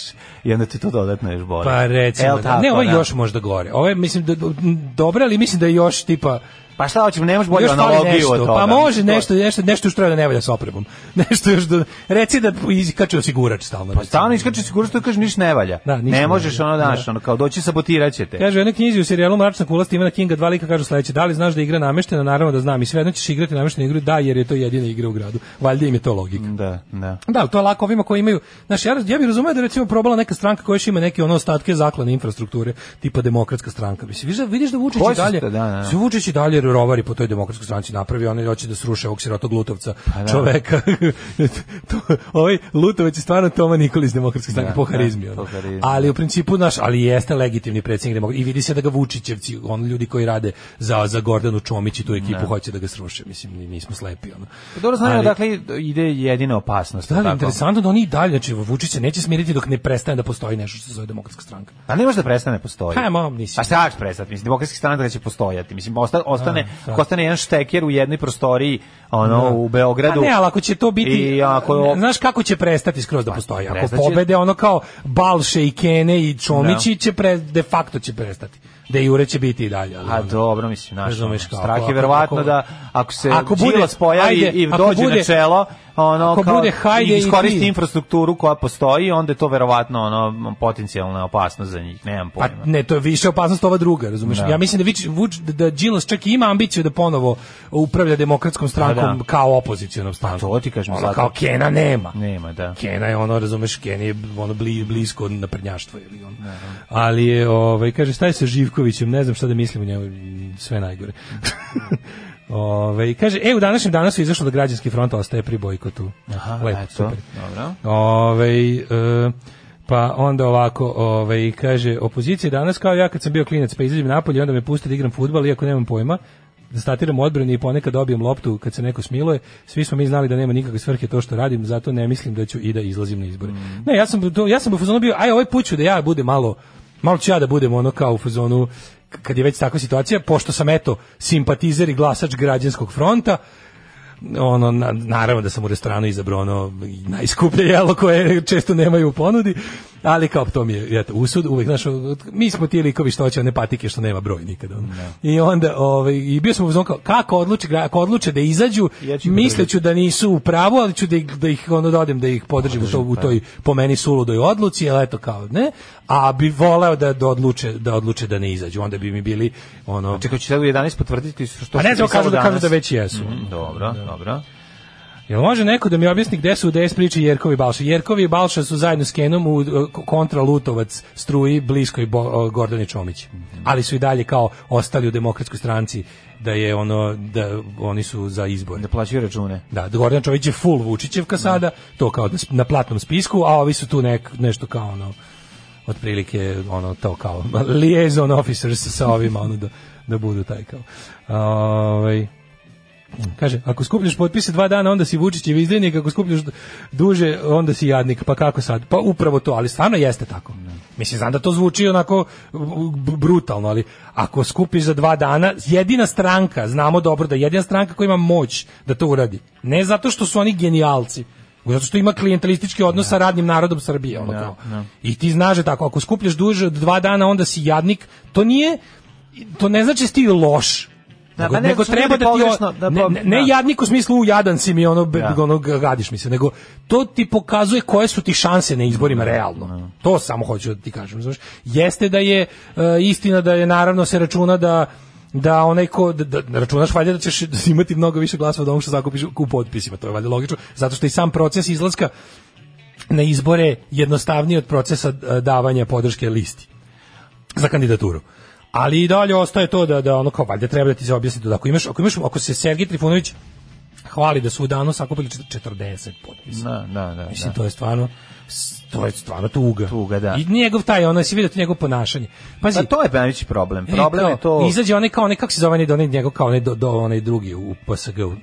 Speaker 6: I onda ti to dodatno još bolje.
Speaker 7: Pa recimo,
Speaker 6: Jel
Speaker 7: da.
Speaker 6: tako,
Speaker 7: ne, ovo je
Speaker 6: da?
Speaker 7: još možda gore. Ovo je, mislim, da, do- dobro, ali mislim da je još tipa...
Speaker 6: Pa šta hoćemo, nemaš bolju
Speaker 7: još fali
Speaker 6: analogiju
Speaker 7: nešto,
Speaker 6: od toga.
Speaker 7: Pa može
Speaker 6: To-
Speaker 7: nešto, nešto, nešto što treba da ne valja sa opremom. Nešto još da... Reci da iskaču osigurač stalno.
Speaker 6: Pa stalno iskače sigurno što kažeš ništa ne valja.
Speaker 7: Da, ništa
Speaker 6: ne
Speaker 7: ne
Speaker 6: možeš
Speaker 7: valja.
Speaker 6: ono daš,
Speaker 7: Da.
Speaker 6: ono kao doći sabotirat ćete.
Speaker 7: Kaže u jednoj knjizi u serijalu Mračna kula Stevena Kinga dva lika kažu sledeće: "Da li znaš da je igra nameštena? Naravno da znam. I svejedno ćeš igrati nameštenu igru, da, jer je to jedina igra u gradu. Valjda im je to logika."
Speaker 6: Da, da.
Speaker 7: Da, ali to je lako ovima koji imaju. Znaš, ja, ja bih razumeo da je, recimo probala neka stranka koja još ima neke ono ostatke zaklane infrastrukture, tipa demokratska stranka. Mislim, vidiš, da- vidiš da Vučić
Speaker 6: Koji
Speaker 7: i
Speaker 6: su
Speaker 7: dalje,
Speaker 6: sta- da, da.
Speaker 7: se Vučić i dalje rovari po toj demokratskoj stranci napravi, oni hoće da sruše ovog sirotog Lutovca,
Speaker 6: Pa
Speaker 7: čoveka. to, ovaj Lutovac je stvarno Toma Nikolić iz demokratske stranke
Speaker 6: Da,
Speaker 7: po
Speaker 6: da,
Speaker 7: harizmi. ono.
Speaker 6: po harizmi,
Speaker 7: ali u principu naš, ali jeste legitimni predsjednik demokratske i vidi se da ga Vučićevci, on ljudi koji rade za, za Gordanu Čomić i tu ekipu hoće da ga sruše. Mislim, ni- nismo slepi. Ono.
Speaker 6: Dobro znam
Speaker 7: Ali-
Speaker 6: dakle ide jedina opasnost.
Speaker 7: Da,
Speaker 6: jel
Speaker 7: ali
Speaker 6: tako?
Speaker 7: interesantno da oni i dalje, znači Vučić se neće smiriti dok ne prestane da postoji nešto što se zove demokratska stranka.
Speaker 6: Pa ne može da prestane postoji.
Speaker 7: Ha, mom, nisi.
Speaker 6: Pa šta će prestati? Mislim, demokratski standard će postojati. Mislim, osta, osta, ostane, ako ostane jedan štekjer u jednoj prostoriji ono u Beogradu.
Speaker 7: Pa ne, ali ako će to biti,
Speaker 6: I ako- Pa,
Speaker 7: znaš kako će prestati skroz da postoji. Ako
Speaker 6: prestaće-
Speaker 7: pobede ono kao Balše i Kene i Čomići će pre, de facto će prestati. De jure će biti i dalje. Ali
Speaker 6: A
Speaker 7: ono-
Speaker 6: dobro, mislim, naš
Speaker 7: Razumeš kako,
Speaker 6: strah
Speaker 7: ako-
Speaker 6: je verovatno
Speaker 7: ako-
Speaker 6: da ako se
Speaker 7: ako
Speaker 6: ako
Speaker 7: bude-
Speaker 6: Đilas pojavi
Speaker 7: ajde,
Speaker 6: i
Speaker 7: ako
Speaker 6: dođe
Speaker 7: bude-
Speaker 6: na čelo, ono
Speaker 7: ako
Speaker 6: kao
Speaker 7: bude, hajde
Speaker 6: i
Speaker 7: i
Speaker 6: iskoristi
Speaker 7: ti.
Speaker 6: infrastrukturu koja postoji, onda je to verovatno ono potencijalna opasnost za njih, nemam
Speaker 7: Pa
Speaker 6: pojma.
Speaker 7: ne, to je više opasnost ova druga, razumeš? Ja mislim da Vič, Vuč, da Đilas čak i ima ambiciju da ponovo upravlja demokratskom strankom
Speaker 6: Pa da. Pa
Speaker 7: kao opozicionom strankom.
Speaker 6: to ti kažem,
Speaker 7: Ono,
Speaker 6: zato.
Speaker 7: Kao Kena nema.
Speaker 6: Nema, da.
Speaker 7: Kena je ono, razumeš, Kena je ono bli, blisko naprednjaštvo. Ili ono. Ali je, ovaj, kaže, šta je sa Živkovićem? Ne znam šta da mislim o njemu, sve najgore. Ove, kaže, e, u današnjem danasu je izašlo da građanski front ostaje pri bojkotu. Aha, Lepo,
Speaker 6: eto,
Speaker 7: super.
Speaker 6: dobro.
Speaker 7: Ovaj e, pa onda ovako, ovaj kaže opozicija danas kao ja kad sam bio klinac pa izađem napolje i onda me puste da igram fudbal iako nemam pojma da statiram u odbrani i ponekad dobijem loptu kad se neko smiluje. Svi smo mi znali da nema nikakve svrhe to što radim, zato ne mislim da ću i da izlazim na izbore. Ne, ja sam to, ja sam u fazonu bio, aj ovaj put ću da ja budem malo malo ću ja da budem ono kao u fazonu k- kad je već takva situacija, pošto sam eto simpatizer i glasač građanskog fronta, ono na, naravno da sam u restoranu izabrao ono najskuplje jelo koje često nemaju u ponudi, ali kao to mi je eto, usud, uvek znaš, mi smo ti likovi što hoće one patike što nema broj nikada. ono. I onda ovaj i bio sam u fazonu kao kako odluči gra- ako odluče da izađu,
Speaker 6: Ja ću ih
Speaker 7: misleću da nisu u pravu, ali ću da ih, da ih ono dodem da ih podržim u, to, u toj po meni suludoj odluci, ali eto kao ne, a bi voleo da, da odluče da odluče da ne izađu, onda bi mi bili ono
Speaker 6: Čekaj, ću sad u 11 potvrditi što
Speaker 7: A Pa ne
Speaker 6: Znači, su
Speaker 7: znam,
Speaker 6: pisalo
Speaker 7: kažu da- kažu
Speaker 6: danas.
Speaker 7: da već jesu.
Speaker 6: Mm, dobro, dobro.
Speaker 7: Jel može neko da mi objasni gde su u DS priči Jerkovi i Balša? Jerkovi i Balša su zajedno s Kenom u e, k- kontra Lutovac struji bliskoj Bo, o, Gordani Čomić. Ali su i dalje kao ostali u demokratskoj stranci da je ono da oni su za izbor.
Speaker 6: Da plaćaju račune.
Speaker 7: Da, Gordana Čović je full Vučićevka sada, to kao da s- na platnom spisku, a ovi su tu nek, nešto kao ono otprilike ono to kao liaison officers sa ovima ono da, da budu taj kao. Ovaj Kaže, ako skupljaš potpise dva dana, onda si Vučićev izdajnik, ako skupljaš d- duže, onda si jadnik. Pa kako sad? Pa upravo to, ali stvarno jeste tako. Mislim, znam da to zvuči onako b- brutalno, ali ako skupiš za dva dana, jedina stranka, znamo dobro da je jedina stranka koja ima moć da to uradi. Ne zato što su oni genijalci, nego zato što ima klijentelistički odnos sa radnim narodom Srbije. Ono kao. I ti znaš da je tako, ako skupljaš duže od dva dana, onda si jadnik. To nije, to ne znači da si ti loš.
Speaker 6: Da,
Speaker 7: nego,
Speaker 6: pa ne,
Speaker 7: nego
Speaker 6: da su
Speaker 7: treba
Speaker 6: ljudi
Speaker 7: da ti
Speaker 6: pogrešno- da
Speaker 7: ne,
Speaker 6: po-
Speaker 7: ne, ne
Speaker 6: da.
Speaker 7: jadnik u smislu u jadan si mi ono,
Speaker 6: Da.
Speaker 7: ono gadiš mi se, nego to ti pokazuje koje su ti šanse na izborima realno. To samo hoću da ti kažem. Znaš, jeste da je e, istina da je naravno se računa da da onaj ko da, da računaš valjda da ćeš imati mnogo više glasova od onog što zakupiš u potpisima, to je valjda logično, zato što i sam proces izlaska na izbore jednostavniji od procesa e, davanja podrške listi za kandidaturu. Ali i dalje ostaje to da da ono kao valjda treba da ti se objasni to da ako imaš ako imaš ako se Sergej Trifunović hvali da su u danu sakupili čet- 40 potpisa.
Speaker 6: Da, da, da.
Speaker 7: Mislim
Speaker 6: da.
Speaker 7: to je stvarno s- to je stvarno tuga.
Speaker 6: Tuga, da.
Speaker 7: I njegov taj ono se vidi to njegov ponašanje. Pazi, e,
Speaker 6: Pa to je najveći problem. Problem
Speaker 7: kao,
Speaker 6: je to...
Speaker 7: Izađe onaj kao onaj kako se zove onaj, onaj njegov kao onaj do, do onaj drugi u PSG. -u.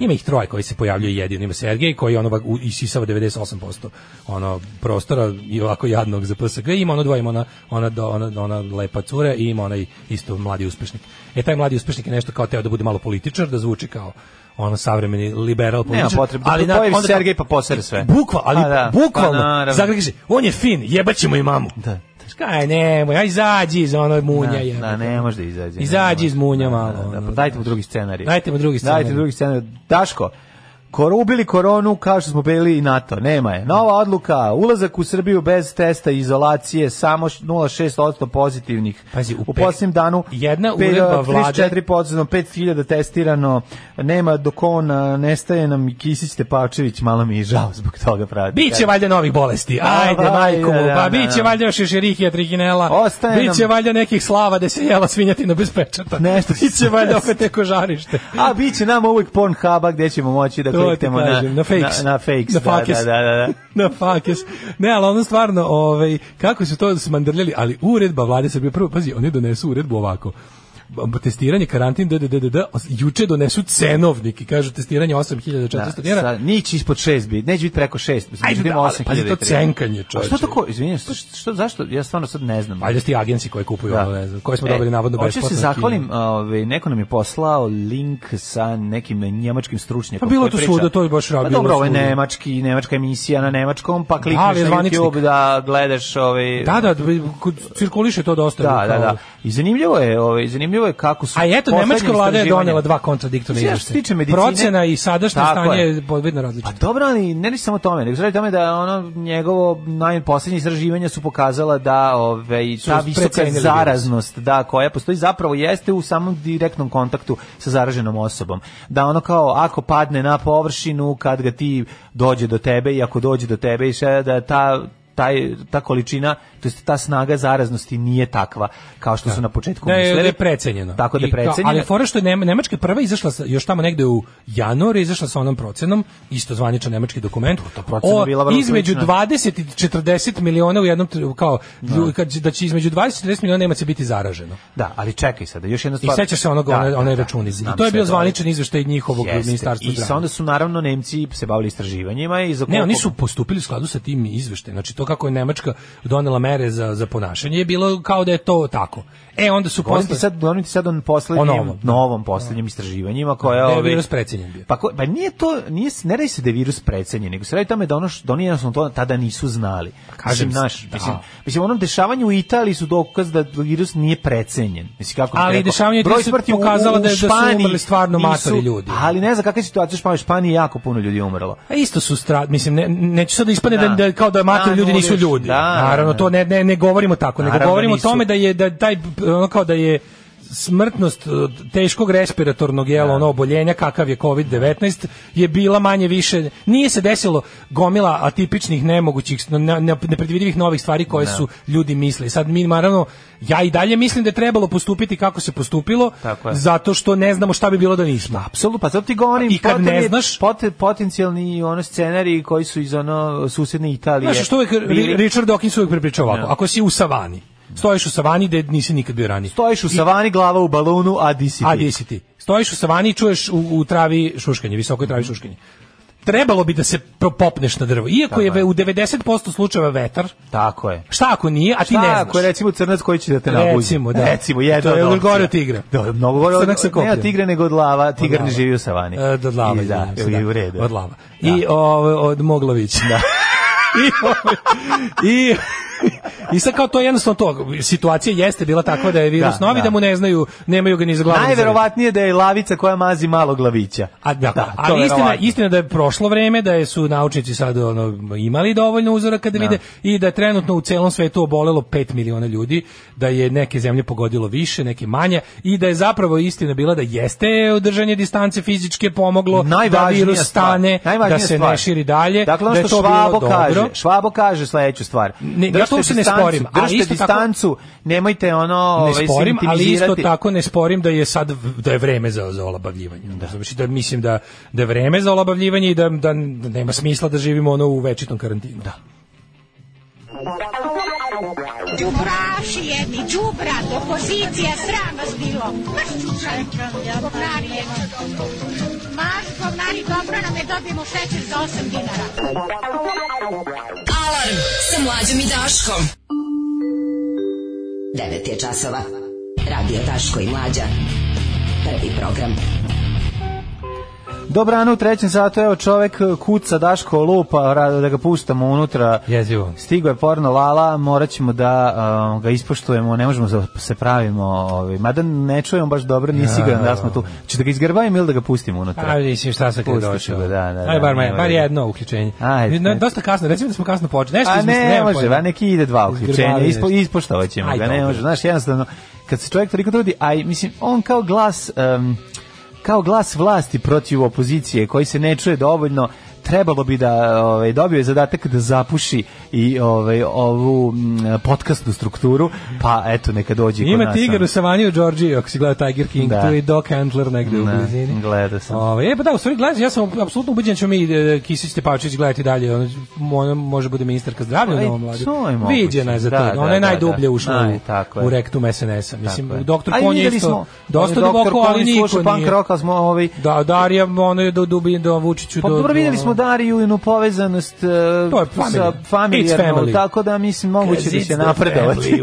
Speaker 7: Ima ih troje koji se pojavljuju jedino. Ima Sergej koji ono vak- u- isisava 98% ono prostora i ovako jadnog za PSG. Ima ono dvoje, ima ona, ona, do- ona, ona lepa cura i ima onaj isto mladi uspešnik. E taj mladi uspešnik je nešto kao teo da bude malo političar, da zvuči kao ono savremeni liberal
Speaker 6: Nema
Speaker 7: političar.
Speaker 6: potrebe. Ali
Speaker 7: na-
Speaker 6: pojavi
Speaker 7: onda-
Speaker 6: Sergej pa posere sve.
Speaker 7: Bukva, ali
Speaker 6: Pa da,
Speaker 7: bukvalno.
Speaker 6: pa naravno.
Speaker 7: Zagreši, on je fin, jebaćemo i mamu. Da. Kaj nemoj, aj izađi iz onog munja.
Speaker 6: Da,
Speaker 7: jebote.
Speaker 6: da, ne može da izađe. ne
Speaker 7: Izađi
Speaker 6: može.
Speaker 7: iz munja
Speaker 6: Da,
Speaker 7: malo,
Speaker 6: da, da,
Speaker 7: ono,
Speaker 6: pa
Speaker 7: da.
Speaker 6: dajte mu drugi scenarij.
Speaker 7: Dajte mu drugi
Speaker 6: Dajte
Speaker 7: scenarij.
Speaker 6: mu drugi scenarij. Daško, Kor ubili koronu kao što smo bili i NATO, nema je. Nova odluka, ulazak u Srbiju bez testa i izolacije, samo š- 0,6% pozitivnih.
Speaker 7: Pazi, u
Speaker 6: u
Speaker 7: pet-
Speaker 6: posljednjem danu
Speaker 7: jedna uredba vlade-
Speaker 6: 34% 5000 testirano, nema dok on a, nestaje nam i Kisić Tepavčević, malo mi je žao zbog toga pravi.
Speaker 7: Biće valjda novih bolesti. Ajde,
Speaker 6: valjda,
Speaker 7: majko mu,
Speaker 6: da, da,
Speaker 7: pa biće
Speaker 6: da.
Speaker 7: valjda još i šerihija, trihinela.
Speaker 6: Ostaje
Speaker 7: biće
Speaker 6: nam-
Speaker 7: valjda nekih slava da se jela svinjatina bez pečata.
Speaker 6: Nešto će
Speaker 7: biće
Speaker 6: se
Speaker 7: valjda opet neko žarište.
Speaker 6: A bit će nam uvijek Pornhuba gdje ćemo moći da
Speaker 7: To ti
Speaker 6: kliknemo na,
Speaker 7: kažem, na fakes.
Speaker 6: Na, na fakes,
Speaker 7: Na
Speaker 6: da,
Speaker 7: fakes.
Speaker 6: da, da, da, da.
Speaker 7: na fakes. Ne, ali ono stvarno, ovaj, kako su to smandrljali, ali uredba vlade Srbije, prvo, pazi, oni donesu uredbu ovako. b- testiranje, karantin, d, d, d, d, d, juče donesu cenovnik i kažu testiranje 8400
Speaker 6: Da,
Speaker 7: dinara.
Speaker 6: sad, nići ispod 6 bit, neće biti preko 6, mislim,
Speaker 7: Ajde,
Speaker 6: Ajde,
Speaker 7: da, ali, pazi, to cenkanje,
Speaker 6: A
Speaker 7: čoveče.
Speaker 6: što tako, izvinjam, što, što, zašto, ja stvarno sad ne znam.
Speaker 7: Valjda su ti agenci koji kupuju ovo, ne znam, koje smo dobili navodno besplatno.
Speaker 6: Hoću E, se
Speaker 7: od Kine.
Speaker 6: zahvalim, ove, neko nam je poslao link sa nekim njemačkim stručnjakom.
Speaker 7: Pa bilo
Speaker 6: koji
Speaker 7: to
Speaker 6: priča-
Speaker 7: svuda, to je baš
Speaker 6: Pa
Speaker 7: bilo
Speaker 6: dobro, ovo je
Speaker 7: svuda.
Speaker 6: nemački, nemačka emisija na nemačkom, pa klikneš
Speaker 7: ali je
Speaker 6: na
Speaker 7: zvaničnik.
Speaker 6: YouTube da gledaš ovaj, ove...
Speaker 7: Da, da, kod- cirkuliše to dosta.
Speaker 6: Da,
Speaker 7: kao-
Speaker 6: da, da. I zanimljivo je, ovaj zanimljivo je kako su
Speaker 7: A eto, nemačka
Speaker 6: poslednja
Speaker 7: vlada je
Speaker 6: istraživanja-
Speaker 7: donela dva kontradiktorne
Speaker 6: Mislim, ja
Speaker 7: izveštaja.
Speaker 6: što se tiče medicine-
Speaker 7: Procena i sadašnje
Speaker 6: Tako
Speaker 7: stanje
Speaker 6: je.
Speaker 7: je podvidno različito.
Speaker 6: Pa dobro, ali ne ni samo tome, nego se radi o tome da ono njegovo najposlednje istraživanja su pokazala da ovaj ta visoka
Speaker 7: precenili virus.
Speaker 6: zaraznost, da, koja postoji zapravo jeste u samom direktnom kontaktu sa zaraženom osobom. Da ono kao ako padne na površinu, kad ga ti dođe do tebe i ako dođe do tebe i sve da ta taj ta količina, to jest ta snaga zaraznosti nije takva kao što su na početku
Speaker 7: Da je,
Speaker 6: mislili.
Speaker 7: da je precenjeno.
Speaker 6: Tako da
Speaker 7: I
Speaker 6: je
Speaker 7: kao-
Speaker 6: precenjeno.
Speaker 7: Ali fora što je Nema- Nemačka je prva izašla sa, još tamo negde u januar je izašla sa onom procenom, isto zvaničan nemački dokument.
Speaker 6: ta procena bila vrlo
Speaker 7: između
Speaker 6: slična.
Speaker 7: 20 i 40 miliona u jednom tr- kao lju- kad, da će između 20 i 40 miliona Nemaca biti zaraženo.
Speaker 6: Da, ali čekaj sada, još jedna
Speaker 7: I
Speaker 6: stvar.
Speaker 7: sećaš se onog
Speaker 6: Pa, Da,
Speaker 7: one,
Speaker 6: da,
Speaker 7: one
Speaker 6: da,
Speaker 7: računice.
Speaker 6: znam
Speaker 7: I to je
Speaker 6: sve
Speaker 7: bio
Speaker 6: to.
Speaker 7: zvaničan izveštaj njihovog
Speaker 6: Jeste.
Speaker 7: ministarstva
Speaker 6: I sa
Speaker 7: zdravlja.
Speaker 6: onda su naravno Nemci se bavili istraživanjima i za
Speaker 7: Ne,
Speaker 6: koliko-
Speaker 7: oni su postupili u skladu sa tim izveštajem. Znači to kako je Nemačka donela mere za, za ponašanje je bilo kao da je to tako. E, onda su
Speaker 6: Govorim ti
Speaker 7: posle...
Speaker 6: sad, govorim ti sad on poslednjim,
Speaker 7: O novom.
Speaker 6: novom poslednjim istraživanjima koja...
Speaker 7: Da je
Speaker 6: ovaj,
Speaker 7: virus precenjen bio.
Speaker 6: Pa, ko- pa nije to, nije, s- ne radi se da je virus precenjen, nego se radi o tome da, ono š, da oni jednostavno to tada nisu znali.
Speaker 7: Pa Kažem
Speaker 6: mislim,
Speaker 7: ti,
Speaker 6: naš,
Speaker 7: da.
Speaker 6: mislim, mislim, u onom dešavanju u Italiji su dokaz da virus nije precenjen. Mislim, kako bih
Speaker 7: Ali
Speaker 6: rekao,
Speaker 7: dešavanje u
Speaker 6: broj
Speaker 7: Italiji su
Speaker 6: smrti u-
Speaker 7: pokazala
Speaker 6: u
Speaker 7: da- da su
Speaker 6: Španiji
Speaker 7: umrli stvarno
Speaker 6: nisu-
Speaker 7: matori ljudi.
Speaker 6: Ali ne znam kakva je situacija u Španiji, u Španiji je jako puno ljudi umrlo.
Speaker 7: A isto su stra, mislim ne neću sad da ispadne da,
Speaker 6: Da.
Speaker 7: da kao da matori
Speaker 6: Da,
Speaker 7: ljudi
Speaker 6: ne
Speaker 7: nisu
Speaker 6: voliš.
Speaker 7: ljudi.
Speaker 6: Da,
Speaker 7: Naravno
Speaker 6: da,
Speaker 7: to ne ne ne govorimo tako, nego
Speaker 6: Naravno,
Speaker 7: govorimo o
Speaker 6: nisu.
Speaker 7: tome da je da taj ono kao da je smrtnost eh, teškog respiratornog jela, ono oboljenja kakav je COVID-19 je bila manje više nije se desilo gomila atipičnih nemogućih ne- ne- nepredvidivih novih stvari koje su ljudi mislili. Sad mi naravno ja i dalje mislim da je trebalo postupiti kako se postupilo
Speaker 6: Tako je.
Speaker 7: zato što ne znamo šta bi bilo da nismo.
Speaker 6: Apsolutno, pa zato ti govorim.
Speaker 7: I kad
Speaker 6: potem
Speaker 7: ne
Speaker 6: je
Speaker 7: znaš-
Speaker 6: pot- potencijalni ono scenarij koji su iz ono susedne Italije.
Speaker 7: Znaš što uvek Ri-
Speaker 6: bili-
Speaker 7: Richard Dawkins uvek prepričao ovako,
Speaker 6: Da.
Speaker 7: ako si u savani, stojiš u savani gde nisi nikad bio ranije.
Speaker 6: Stojiš u savani, glava u balonu, a di si ti.
Speaker 7: A gdje si ti? Stojiš u savani i čuješ u, u travi šuškanje, visokoj travi šuškanje. Trebalo bi da se pro- popneš na drvo. Iako je
Speaker 6: Tako je.
Speaker 7: ve- u 90% slučajeva vetar,
Speaker 6: Tako je.
Speaker 7: šta ako nije, a ti ne znaš.
Speaker 6: Tako je, recimo crnac koji će da te nabuzi.
Speaker 7: Recimo, da.
Speaker 6: Recimo, jedno
Speaker 7: To je
Speaker 6: od opcija.
Speaker 7: gore od tigra.
Speaker 6: Da, mnogo gore od,
Speaker 7: Crnac sa
Speaker 6: ne
Speaker 7: kopljem.
Speaker 6: od tigra, nego od lava. Tigar
Speaker 7: lava.
Speaker 6: ne živi u savani.
Speaker 7: E, da, od lava,
Speaker 6: I, da,
Speaker 7: izvinjam se,
Speaker 6: i u redu. je.
Speaker 7: Od lava. I ovaj, od Moglovića. Da. I, ovaj, i, I sad kao to je jednostavno to, situacija jeste bila takva da je virus
Speaker 6: Da,
Speaker 7: novi, da.
Speaker 6: da.
Speaker 7: mu ne znaju, nemaju ga ni za glavu. ni za rep.
Speaker 6: Najverovatnije da je lavica koja mazi malo glavića.
Speaker 7: A, da,
Speaker 6: Da, to
Speaker 7: ali istina,
Speaker 6: verovatno.
Speaker 7: istina da je prošlo vreme, da je su naučnici sad ono, imali dovoljno uzoraka da vide i da je trenutno u celom svetu obolelo 5 miliona ljudi, da je neke zemlje pogodilo više, neke manje i da je zapravo istina bila da jeste održanje distance fizičke pomoglo da
Speaker 6: Najvažnija
Speaker 7: virus
Speaker 6: stvar,
Speaker 7: stane,
Speaker 6: najvažnija
Speaker 7: da se
Speaker 6: stvar.
Speaker 7: ne širi dalje,
Speaker 6: Dakle, ono
Speaker 7: da je
Speaker 6: što
Speaker 7: to bilo
Speaker 6: Švabo
Speaker 7: dobro.
Speaker 6: kaže, Švabo kaže sledeću stvar.
Speaker 7: Ne, ja to
Speaker 6: Držite
Speaker 7: uopšte ne
Speaker 6: distancu,
Speaker 7: sporim, ali
Speaker 6: Držite
Speaker 7: isto tako-
Speaker 6: distancu, nemojte ono
Speaker 7: ne
Speaker 6: ovaj,
Speaker 7: sporim, ali isto
Speaker 6: simptomizirati.
Speaker 7: tako ne sporim da je sad da je vreme za za olabavljivanje. Da. da mislim da da je vreme za olabavljivanje i da, da nema smisla da živimo ono u večitom karantinu. Da.
Speaker 5: Đubraši jedni, đubrat, opozicija, sram vas bilo. Marš čučaj, govnari jedni. Marš govnari, dobro nam je dobijemo šećer za 8 dinara.
Speaker 9: Alarm sa mlađom i Daškom. 9 je časova. Radio Daško i Mlađa. Prvi program.
Speaker 6: Dobrano u trećem satu, evo čovek eh, kuca Daško lupa, rado da ga pustamo unutra.
Speaker 7: Jezivo.
Speaker 6: Stigo je porno lala, morat ćemo da eh, ga ispoštujemo, ne možemo za- se pravimo, ovaj, mada ne čujemo baš dobro, nisi siguran da smo tu. Ću da ga izgrbavim ili da ga pustimo unutra?
Speaker 7: A Pa, mislim šta se kada
Speaker 6: Pustit ću
Speaker 7: došao.
Speaker 6: ga, da, da,
Speaker 7: Aj
Speaker 6: da,
Speaker 7: bar, me-
Speaker 6: nema
Speaker 7: bar
Speaker 6: veze.
Speaker 7: jedno uključenje.
Speaker 6: Ajde,
Speaker 7: Ne,
Speaker 6: ajde.
Speaker 7: dosta kasno, recimo da smo kasno počeli. Nešto
Speaker 6: A
Speaker 7: izmislim,
Speaker 6: ne
Speaker 7: nema
Speaker 6: može,
Speaker 7: pojma.
Speaker 6: a neki ide dva uključenja,
Speaker 7: Izgrbavili
Speaker 6: ispo,
Speaker 7: nešto.
Speaker 6: ispoštovat ćemo
Speaker 7: Aj,
Speaker 6: ga, ne
Speaker 7: dobro.
Speaker 6: može, znaš, jednostavno, kad se čovjek toliko trudi, a i, mislim, on kao glas, em, kao glas vlasti protiv opozicije, koji se ne čuje dovoljno, trebalo bi da ovaj dobio je zadatak da zapuši i ovaj ovu mm, podcastnu strukturu, pa eto neka dođe i kod
Speaker 7: Ima
Speaker 6: nas.
Speaker 7: tigar
Speaker 6: ono.
Speaker 7: u Savani u Georgiji, ako si gledao Tiger King,
Speaker 6: Da.
Speaker 7: tu je i Doc Handler negde u
Speaker 6: Ne,
Speaker 7: blizini.
Speaker 6: gledao sam.
Speaker 7: Ove, e, pa da, u stvari, gledaj, ja sam apsolutno ubeđen da ćemo mi e, Kisić Tepavčević gledati dalje. Ona, ona može bude ministarka zdravlja u
Speaker 6: Aj,
Speaker 7: Novom
Speaker 6: Pa, to je
Speaker 7: mladu.
Speaker 6: moguće.
Speaker 7: Viđena je za to.
Speaker 6: Da, da,
Speaker 7: ona je
Speaker 6: da,
Speaker 7: najdublje
Speaker 6: da.
Speaker 7: ušla
Speaker 6: Aj, tako
Speaker 7: u,
Speaker 6: je.
Speaker 7: u rektum SNS-a. Mislim,
Speaker 6: Tako je.
Speaker 7: doktor
Speaker 6: A i
Speaker 7: Kon je
Speaker 6: videli
Speaker 7: isto
Speaker 6: smo,
Speaker 7: dosta
Speaker 6: doktor
Speaker 7: duboko,
Speaker 6: Kon
Speaker 7: ali
Speaker 6: i
Speaker 7: niko
Speaker 6: sluša punk
Speaker 7: nije.
Speaker 6: rock, ali smo ovaj
Speaker 7: Da, Darija, ono je do dubi, do Vučiću.
Speaker 6: Pa
Speaker 7: do,
Speaker 6: dobro, videli smo
Speaker 7: da...
Speaker 6: Dariju i nu povezanost to
Speaker 7: ono- To
Speaker 6: je
Speaker 7: je familija.
Speaker 6: sa
Speaker 7: It's
Speaker 6: familijarno,
Speaker 7: family.
Speaker 6: tako da mislim moguće da će napredovati.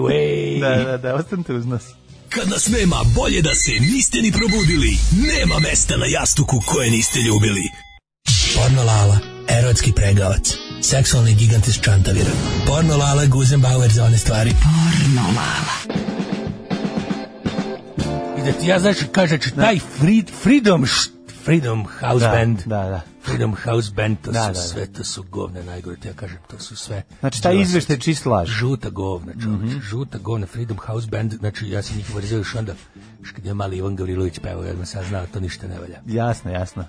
Speaker 7: Da,
Speaker 6: Da, da, da, ostanite uz nas.
Speaker 10: Kad nas nema, bolje da se niste ni probudili. Nema mesta na jastuku koje niste ljubili. Pornolala, erotski pregavac. Seksualni gigant iz Čantavira. Pornolala Guzenbauer za one stvari.
Speaker 7: I da ti ja znaš, kaže, taj Freed, Freedom, Š- Freedom House
Speaker 6: Da,
Speaker 7: Band.
Speaker 6: da, da.
Speaker 7: Freedom House Band, to
Speaker 6: Da,
Speaker 7: su
Speaker 6: da, da.
Speaker 7: sve, to su govne najgore, to ja kažem, to su sve.
Speaker 6: Znači, taj
Speaker 7: Đilasovci.
Speaker 6: izveštaj je čist laž.
Speaker 7: Žuta govna, čovječ,
Speaker 6: Mhm.
Speaker 7: žuta govna, Freedom House Band, znači ja sam ih uvarizao još onda, još kad je mali Ivan Gavrilović pevao, ja sam sad znao, to ništa ne valja.
Speaker 6: Jasno, jasno.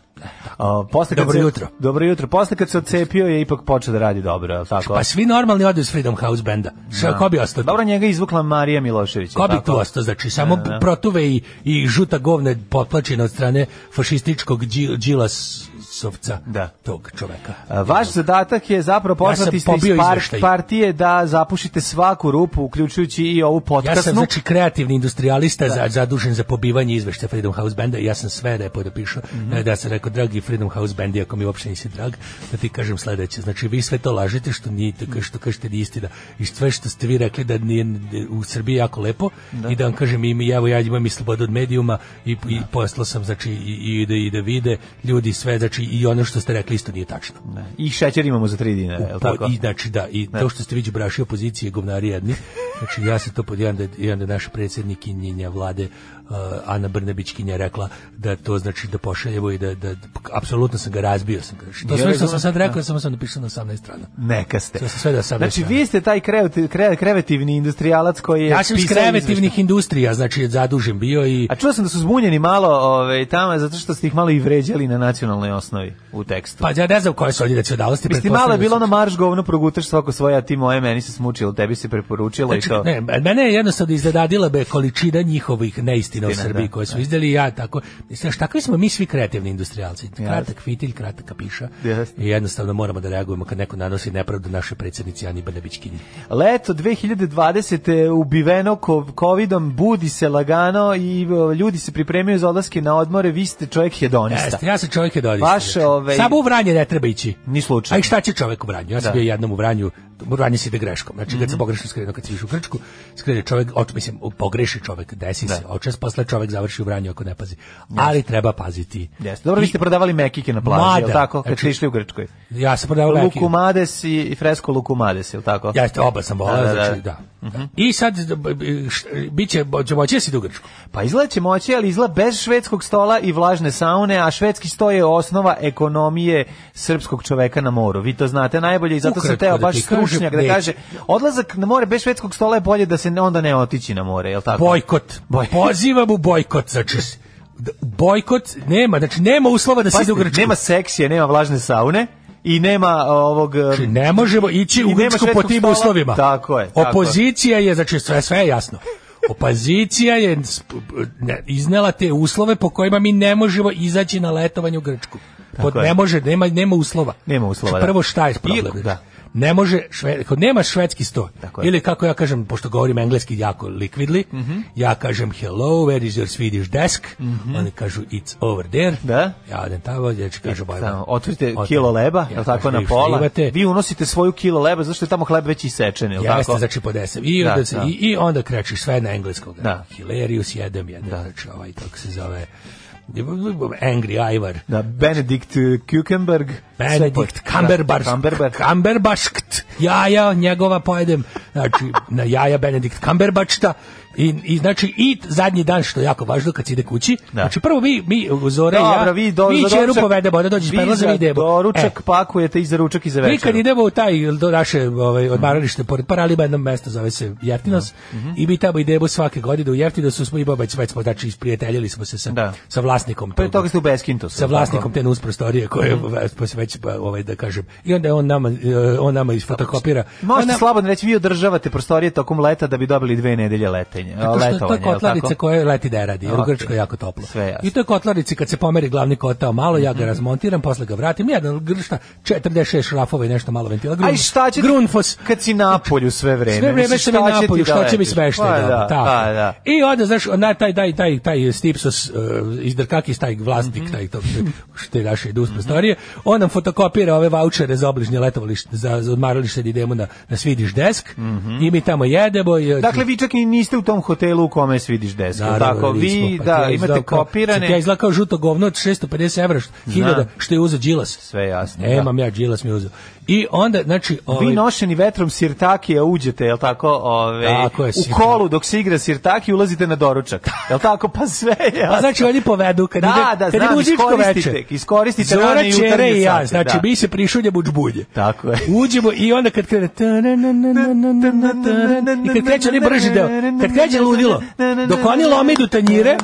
Speaker 6: A, posle kad
Speaker 7: Dobro
Speaker 6: se-
Speaker 7: jutro.
Speaker 6: Dobro jutro. Posle kad se odsepio je ipak počeo da radi dobro, je li tako?
Speaker 7: Pa svi normalni odu iz Freedom House Banda, šta, ko bi ostao?
Speaker 6: Dobro njega je izvukla Marija Milošević. je
Speaker 7: Ko
Speaker 6: li
Speaker 7: bi
Speaker 6: tako?
Speaker 7: tu ostao, znači, samo protuve i, i žuta govna potplačena od strane fašističkog Đi- Đilasovca,
Speaker 6: Da.
Speaker 7: tog čoveka.
Speaker 6: A, Vaš zadatak je zapravo poslati ste
Speaker 7: sam
Speaker 6: iz
Speaker 7: pobio
Speaker 6: par-
Speaker 7: izveštaj.
Speaker 6: partije da zapušite svaku rupu, uključujući i ovu
Speaker 7: Ja sam
Speaker 6: potkasnu.
Speaker 7: znači kreativni industrialista za, zadužen za pobivanje izveštaja Freedom House Banda i ja sam sve repo da pišu da sam rekao dragi Freedom House Band ako mi uopšte nisi drag da ti kažem sledeće znači vi sve to lažete što nije što kažete nije istina i sve što ste vi rekli da nije u Srbiji jako lepo i da vam kažem i mi evo ja imam i slobodu od medijuma i, i poslao sam znači i, i da i da vide ljudi sve znači i ono što ste rekli isto nije tačno
Speaker 6: I šećer imamo za 3 dinara, je li
Speaker 7: po,
Speaker 6: tako?
Speaker 7: I znači da, i to što ste vidi braši opozicije govnari jedni. Znači ja sam to pod jedan da jedan da naš predsednik i njenja vlade uh, Ana Brnabićkinja rekla da to znači da pošaljemo i da, da, da- apsolutno sam ga razbio sam ga. Znači, To
Speaker 6: Ja
Speaker 7: sve što sam
Speaker 6: razumem,
Speaker 7: sad rekao samo sam napisao na 18 strana.
Speaker 6: Neka ste.
Speaker 7: To sam sve da sam
Speaker 6: Znači,
Speaker 7: već-
Speaker 6: vi ste taj krevet, kre- krevetivni industrijalac koji je
Speaker 7: Ja sam iz
Speaker 6: pisao izveštaj.
Speaker 7: kreativnih industrija, znači zadužen bio i
Speaker 6: A čuo sam da su zbunjeni malo ovaj, tamo zato što ste ih malo i vređali na nacionalnoj osnovi u tekstu.
Speaker 7: pa ja ne znam koje su ovdje nacionalnosti.
Speaker 6: Mislim, malo je bilo ono marš govno progutaš svako svoje, a ti moje meni se smučilo, tebi se preporučilo i to.
Speaker 7: Znači, ne, mene je jednostavno iznenadila be količina njihovih neistina u
Speaker 6: Istina,
Speaker 7: Srbiji
Speaker 6: da,
Speaker 7: koje su izdali i ja tako. Znaš, takvi smo mi svi kreativni industrijalci. Kratak
Speaker 6: Jasno.
Speaker 7: fitilj, kratak kapiša.
Speaker 6: Jasno.
Speaker 7: I jednostavno moramo da reagujemo kad neko nanosi nepravdu našoj predsjednici Ani Brnabićkinji.
Speaker 6: Leto 2020. ubiveno ko- covidom, budi se lagano i o, ljudi se pripremaju za odlaske na odmore, vi ste čovjek hedonista.
Speaker 7: Jeste, ja sam čovjek je dođe.
Speaker 6: Vaš, ovaj-
Speaker 7: Samo u Vranje ne treba ići.
Speaker 6: Ni slučajno.
Speaker 7: A i šta će čovjek u Vranju? Ja sam
Speaker 6: Da. Mhm.
Speaker 7: bio jednom u Vranju, u Vranju se ide greškom. Znači, kad se pogrešno skrene, kad se više u Grčku, skrene čovjek, oč, mislim, pogreši čovjek, desi se, očas posle čovjek završi u Vranju ako ne pazi. Ali treba paziti.
Speaker 6: Jeste. Dobro, vi ste prodavali mekike na plaži,
Speaker 7: Mlada.
Speaker 6: je li tako? Kad ste
Speaker 7: Znači,
Speaker 6: išli u Grčkoj.
Speaker 7: Ja sam prodao leki.
Speaker 6: Lukumades i i fresko Lukumades, je li tako?
Speaker 7: Ja ste oba sam volao,
Speaker 6: Da, da, da. Mhm.
Speaker 7: znači da. I sad d- b- b- š- biće će moći da si idu u Grčku.
Speaker 6: Pa izgleda će moći, ali izgleda bez švedskog stola i vlažne saune, a švedski sto je osnova ekonomije srpskog čoveka na moru. Vi to znate najbolje i zato sam
Speaker 7: Ukratko
Speaker 6: teo
Speaker 7: da
Speaker 6: baš
Speaker 7: ti kažem,
Speaker 6: stručnjak da
Speaker 7: neće.
Speaker 6: kaže odlazak na more bez švedskog stola je bolje da se ne- onda ne otići na more, je li tako?
Speaker 7: Bojkot.
Speaker 6: Boj-
Speaker 7: Pozivam u bojkot, znači s- d- bojkot nema, znači nema uslova da se ide u
Speaker 6: Pazite,
Speaker 7: Grčku.
Speaker 6: nema seksije, nema vlažne saune i nema ovog... um, em,
Speaker 7: Znači, ne možemo ići u
Speaker 6: nema
Speaker 7: Grčku po
Speaker 6: švedskog
Speaker 7: tim
Speaker 6: stola.
Speaker 7: uslovima.
Speaker 6: Tako je, tako
Speaker 7: Opozicija je, znači sve, sve je jasno. Opozicija je sp- ne, iznela te uslove po kojima mi ne možemo izaći na letovanje u Grčku. Pod,
Speaker 6: je.
Speaker 7: ne može, nema, nema uslova.
Speaker 6: Nema uslova,
Speaker 7: Znači,
Speaker 6: da.
Speaker 7: Prvo šta je problem?
Speaker 6: Iako,
Speaker 7: znači?
Speaker 6: da.
Speaker 7: Ne može, šve, ako nema švedski sto.
Speaker 6: Tako je. Mhm.
Speaker 7: Ili kako ja kažem, pošto govorim engleski jako likvidli, ja kažem hello, where is your Swedish desk? Oni kažu it's over there.
Speaker 6: Da.
Speaker 7: Ja odem tamo, ja ću kažem bye bye.
Speaker 6: Samo, otvorite
Speaker 7: Otem.
Speaker 6: kilo leba, je
Speaker 7: Ja
Speaker 6: li tako,
Speaker 7: kažem,
Speaker 6: na
Speaker 7: vi šta
Speaker 6: pola.
Speaker 7: imate?
Speaker 6: Vi unosite svoju kilo leba, zašto je tamo hleb već isečen, je li
Speaker 7: Jeste,
Speaker 6: tako?
Speaker 7: znači po 10. I,
Speaker 6: Da,
Speaker 7: onda se,
Speaker 6: da.
Speaker 7: i, I onda krećeš sve na engleskog.
Speaker 6: Da.
Speaker 7: Hilarious jedem, jedem, znači ovaj, kako se zove, Angry Ivar.
Speaker 6: Da, Benedikt eh, Kukenberg.
Speaker 7: Benedikt Kamberbaškt,
Speaker 6: Kamberbar.
Speaker 7: Kamberbaškt, jaja njegova pojedem, znači na jaja Benedikt Kamberbačta I, i znači i zadnji dan što je jako važno kad se ide kući.
Speaker 6: Da.
Speaker 7: Znači prvo mi mi Zore i ja,
Speaker 6: Dobro, vi do,
Speaker 7: mi
Speaker 6: za
Speaker 7: ćeru
Speaker 6: doručak-
Speaker 7: povede bode dođe
Speaker 6: vi
Speaker 7: perlaza
Speaker 6: za
Speaker 7: mi idemo.
Speaker 6: Doručak
Speaker 7: E,
Speaker 6: pakujete i za ručak i za večer.
Speaker 7: Mi kad idemo u taj do naše ovaj odmaralište pored Paraliba jedno mesto zove se Jeftinos
Speaker 6: Mhm,
Speaker 7: i mi tamo idemo svake godine u Jeftinosu smo i već već smo znači isprijateljili smo se sa
Speaker 6: Da.
Speaker 7: sa vlasnikom
Speaker 6: Pre
Speaker 7: tog-
Speaker 6: toga Mhm. ste u Beskintosu.
Speaker 7: sa vlasnikom te nus prostorije koje je pa se već pa, ovaj da kažem i onda je on nama eh, on nama isfotokopira
Speaker 6: Možete
Speaker 7: On nam-
Speaker 6: slobodno reći, vi održavate prostorije tokom leta da bi dobili dve nedelje letenja.
Speaker 7: Zato što je to
Speaker 6: letovanja,
Speaker 7: je
Speaker 6: jel
Speaker 7: kotlarica
Speaker 6: tako?
Speaker 7: koja leti da je radi, jer u
Speaker 6: Ok.
Speaker 7: Grčkoj je jako toplo.
Speaker 6: Sve jasno. Mhm.
Speaker 7: I to je kotlarici kad se pomeri glavni kotao malo, ja ga razmontiram, posle ga vratim, jedan gršta, 46 šrafova i nešto malo ventila.
Speaker 6: Aj šta će ti-
Speaker 7: Grunfos.
Speaker 6: kad si na polju sve vreme?
Speaker 7: Sve vreme
Speaker 6: mislim,
Speaker 7: sam i
Speaker 6: šta će ti
Speaker 7: napolju,
Speaker 6: da
Speaker 7: što će mi
Speaker 6: letiš?
Speaker 7: smešno.
Speaker 6: Pa
Speaker 7: da,
Speaker 6: da,
Speaker 7: tako.
Speaker 6: pa da.
Speaker 7: I onda, znaš, na, taj, taj, taj, taj Stipsos uh, iz Drkakis, taj vlasnik,
Speaker 6: Mhm.
Speaker 7: taj to, što je naše dus prostorije, on nam fotokopira ove vouchere za obližnje letovalište, za, za odmaralište da idemo na, na Swedish desk i mi tamo jedemo. I,
Speaker 6: Mhm. Dakle, vi čak i niste u tom hotelu u kome se vidiš desk. jel
Speaker 7: Naravno,
Speaker 6: tako, vi,
Speaker 7: nismo, pa ti
Speaker 6: da,
Speaker 7: ja izlakao-
Speaker 6: imate kopirane...
Speaker 7: sad ti Ja izlakao žuto govno od 650 evra, što, hiljada, što je uzeo Đilas.
Speaker 6: Sve jasno. da.
Speaker 7: Nemam ja, Đilas mi je uzeo. I onda, znači...
Speaker 6: Vi
Speaker 7: Ovaj,
Speaker 6: nošeni vetrom sirtakija uđete, jel tako, ove,
Speaker 7: Tako je,
Speaker 6: u
Speaker 7: sirtak.
Speaker 6: kolu dok se igra sirtaki ulazite na doručak, jel tako, pa sve je
Speaker 7: Pa znači oni povedu kad
Speaker 6: Da,
Speaker 7: ide,
Speaker 6: da,
Speaker 7: kad
Speaker 6: znam,
Speaker 7: ide muzičko
Speaker 6: iskoristite,
Speaker 7: veče.
Speaker 6: iskoristite
Speaker 7: Zora
Speaker 6: rane jutarnje
Speaker 7: Čere i ja,
Speaker 6: sate,
Speaker 7: znači
Speaker 6: da.
Speaker 7: mi se prišuljamo u džbulje.
Speaker 6: Tako je.
Speaker 7: Uđemo i onda kad krene i kad kreće onaj brži deo, kad kreće ludilo, dok oni lome idu tanjire,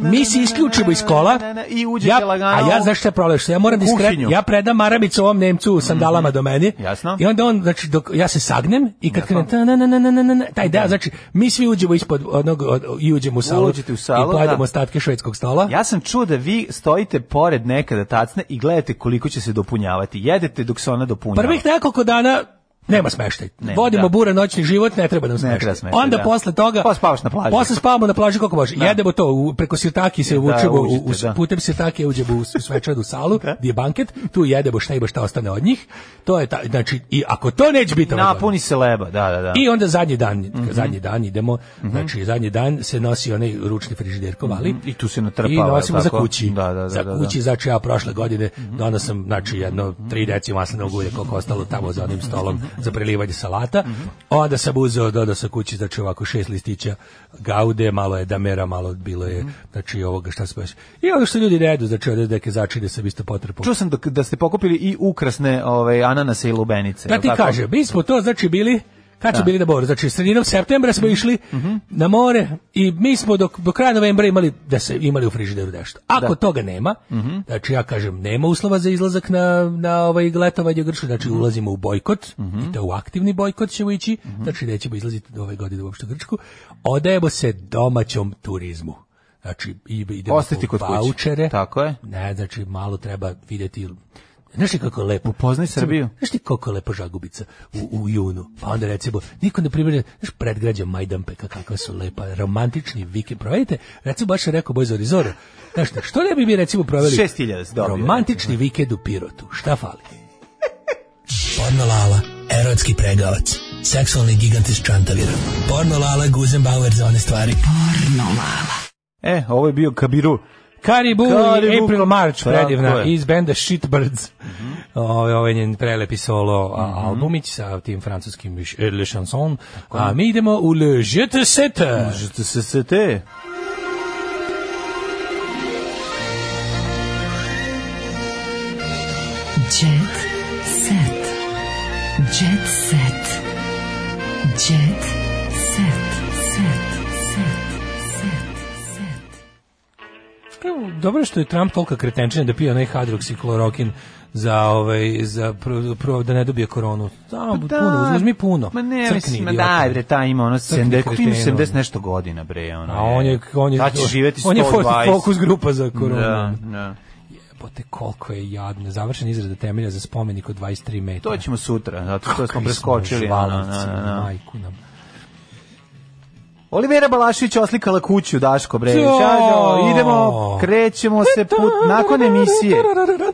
Speaker 7: mi se isključimo iz kola
Speaker 6: i uđete
Speaker 7: ja,
Speaker 6: lagano.
Speaker 7: a ja znaš šta je problem što ja moram
Speaker 6: u
Speaker 7: diskretno
Speaker 6: kuhinju. Mhm.
Speaker 7: ja predam maramicu ovom Nemcu u sandalama do meni
Speaker 6: Jasno.
Speaker 7: i onda on znači dok ja se sagnem i kad krene ta- na na na na na na na, taj da znači mi svi uđemo ispod onog od- i uđemo u salu
Speaker 6: Uđete u salu,
Speaker 7: i pojedemo
Speaker 6: da.
Speaker 7: ostatke švedskog stola
Speaker 6: Ja sam čuo da vi stojite pored nekada tacne i gledate koliko će se dopunjavati. Jedete dok se ona dopunjava.
Speaker 7: prvih nekoliko dana Nema smeštaj.
Speaker 6: Nema,
Speaker 7: Vodimo
Speaker 6: da.
Speaker 7: bura noćni život, ne treba nam smeštaj.
Speaker 6: treba smeštaj,
Speaker 7: Onda
Speaker 6: da.
Speaker 7: posle toga...
Speaker 6: Pa spavaš na plaži.
Speaker 7: Posle spavamo na plaži koliko može. Jedemo to, u, preko sirtaki se vučemo, u-
Speaker 6: uđete,
Speaker 7: u,
Speaker 6: da.
Speaker 7: putem sirtaki uđemo u, u svečanu salu, gdje je banket, tu jedemo šta ima šta ostane od njih. To je ta, znači, i ako to neće biti... ove godine-
Speaker 6: Napuni se leba, da, da, Mhm. da.
Speaker 7: I onda zadnji dan, zadnji dan idemo, znači zadnji dan se nosi onaj ručni frižider kovali.
Speaker 6: Mhm. I tu se natrpava,
Speaker 7: I nosimo
Speaker 6: jel
Speaker 7: za
Speaker 6: tako?
Speaker 7: kući.
Speaker 6: Da, da, da, da,
Speaker 7: za
Speaker 6: da. Mhm.
Speaker 7: kući, znači ja prošle godine donos sam, znači jedno tri deci maslinovog ulja koliko je ostalo tamo za onim
Speaker 6: Mhm.
Speaker 7: stolom za prelivanje salata. Onda sam uzeo, dodao sa kući, znači ovako šest listića gaude, malo je damera, malo bilo je,
Speaker 6: Mhm.
Speaker 7: znači ovoga šta se baš. I ono što ljudi ne jedu, znači one neke začine sam isto potrpao.
Speaker 6: Čuo sam da, da ste pokupili i ukrasne ove, ananase i lubenice.
Speaker 7: Da
Speaker 6: jel
Speaker 7: ti
Speaker 6: tako?
Speaker 7: kaže, mi smo to znači bili Kad smo bili na moru? Znači, sredinom septembra smo išli na more i mi smo do, do kraja novembra imali da se imali u frižideru nešto. Ako toga nema, znači ja kažem, nema uslova za izlazak na, na ovaj letovanje u Grčkoj, znači ulazimo u bojkot, i to u aktivni bojkot ćemo ići, znači nećemo izlaziti do ove godine uopšte u Grčku, odajemo se domaćom turizmu. Znači, i- idemo
Speaker 6: Ostati
Speaker 7: po
Speaker 6: kod kuće.
Speaker 7: vaučere.
Speaker 6: Tako je.
Speaker 7: Ne, znači, malo treba vidjeti Znaš li kako je lepo?
Speaker 6: Upoznaj
Speaker 7: Recimo,
Speaker 6: Srbiju.
Speaker 7: Znaš ti koliko je lepa žagubica u, u junu? Pa onda recimo, niko ne primjer, znaš predgrađa Majdanpeka, kakva su lepa, romantični vikend. Provedite, recimo, baš je rekao Boj Zori Zoro, znaš šta, što ne bi mi recimo proveli?
Speaker 6: 6.000 si dobio,
Speaker 7: Romantični vikend u Pirotu, šta fali?
Speaker 10: Porno Lala, erotski pregavac. Seksualni gigant iz Čantavira. Porno Lala, Guzenbauer za one stvari.
Speaker 6: E, ovo je bio kabiru.
Speaker 7: Karibu,
Speaker 6: Karibu.
Speaker 7: i April March,
Speaker 6: Tako
Speaker 7: predivna,
Speaker 6: je. Mhm.
Speaker 7: iz benda Shitbirds. Ovo je ovaj njen prelepi solo a, albumić sa tim francuskim š- Le Chanson. A mi idemo u Le Je te sete.
Speaker 6: Možete se se te.
Speaker 9: Jet set. Jet set. Jet set. Set.
Speaker 7: Dobro što je Trump tolika kretenčina da pije onaj hadroksiklorokin za ovaj za prvo pr, da ne dobije koronu. Da, Pa, puno, uzmi puno.
Speaker 6: Pa Ma ne,
Speaker 7: Crkni
Speaker 6: mislim, ma
Speaker 7: idiote.
Speaker 6: daj bre, taj ima ono
Speaker 7: Crkni
Speaker 6: 70, koliko ima
Speaker 7: kretenu.
Speaker 6: 70 nešto godina bre, ono.
Speaker 7: A on je on je
Speaker 6: Sad će živeti 120.
Speaker 7: on je fo- fokus grupa za koronu.
Speaker 6: Da, da.
Speaker 7: Jebote, koliko je jadno. Završen izrada temelja za spomenik od 23 metara.
Speaker 6: To ćemo sutra, zato što
Speaker 7: Kakvi
Speaker 6: smo preskočili. ono,
Speaker 7: žvalavci,
Speaker 6: na, na, na.
Speaker 7: Majku nam.
Speaker 6: Olivera Balašević oslikala kuću, Daško bre.
Speaker 7: Jo!
Speaker 6: Čađo, idemo, krećemo se put, nakon emisije.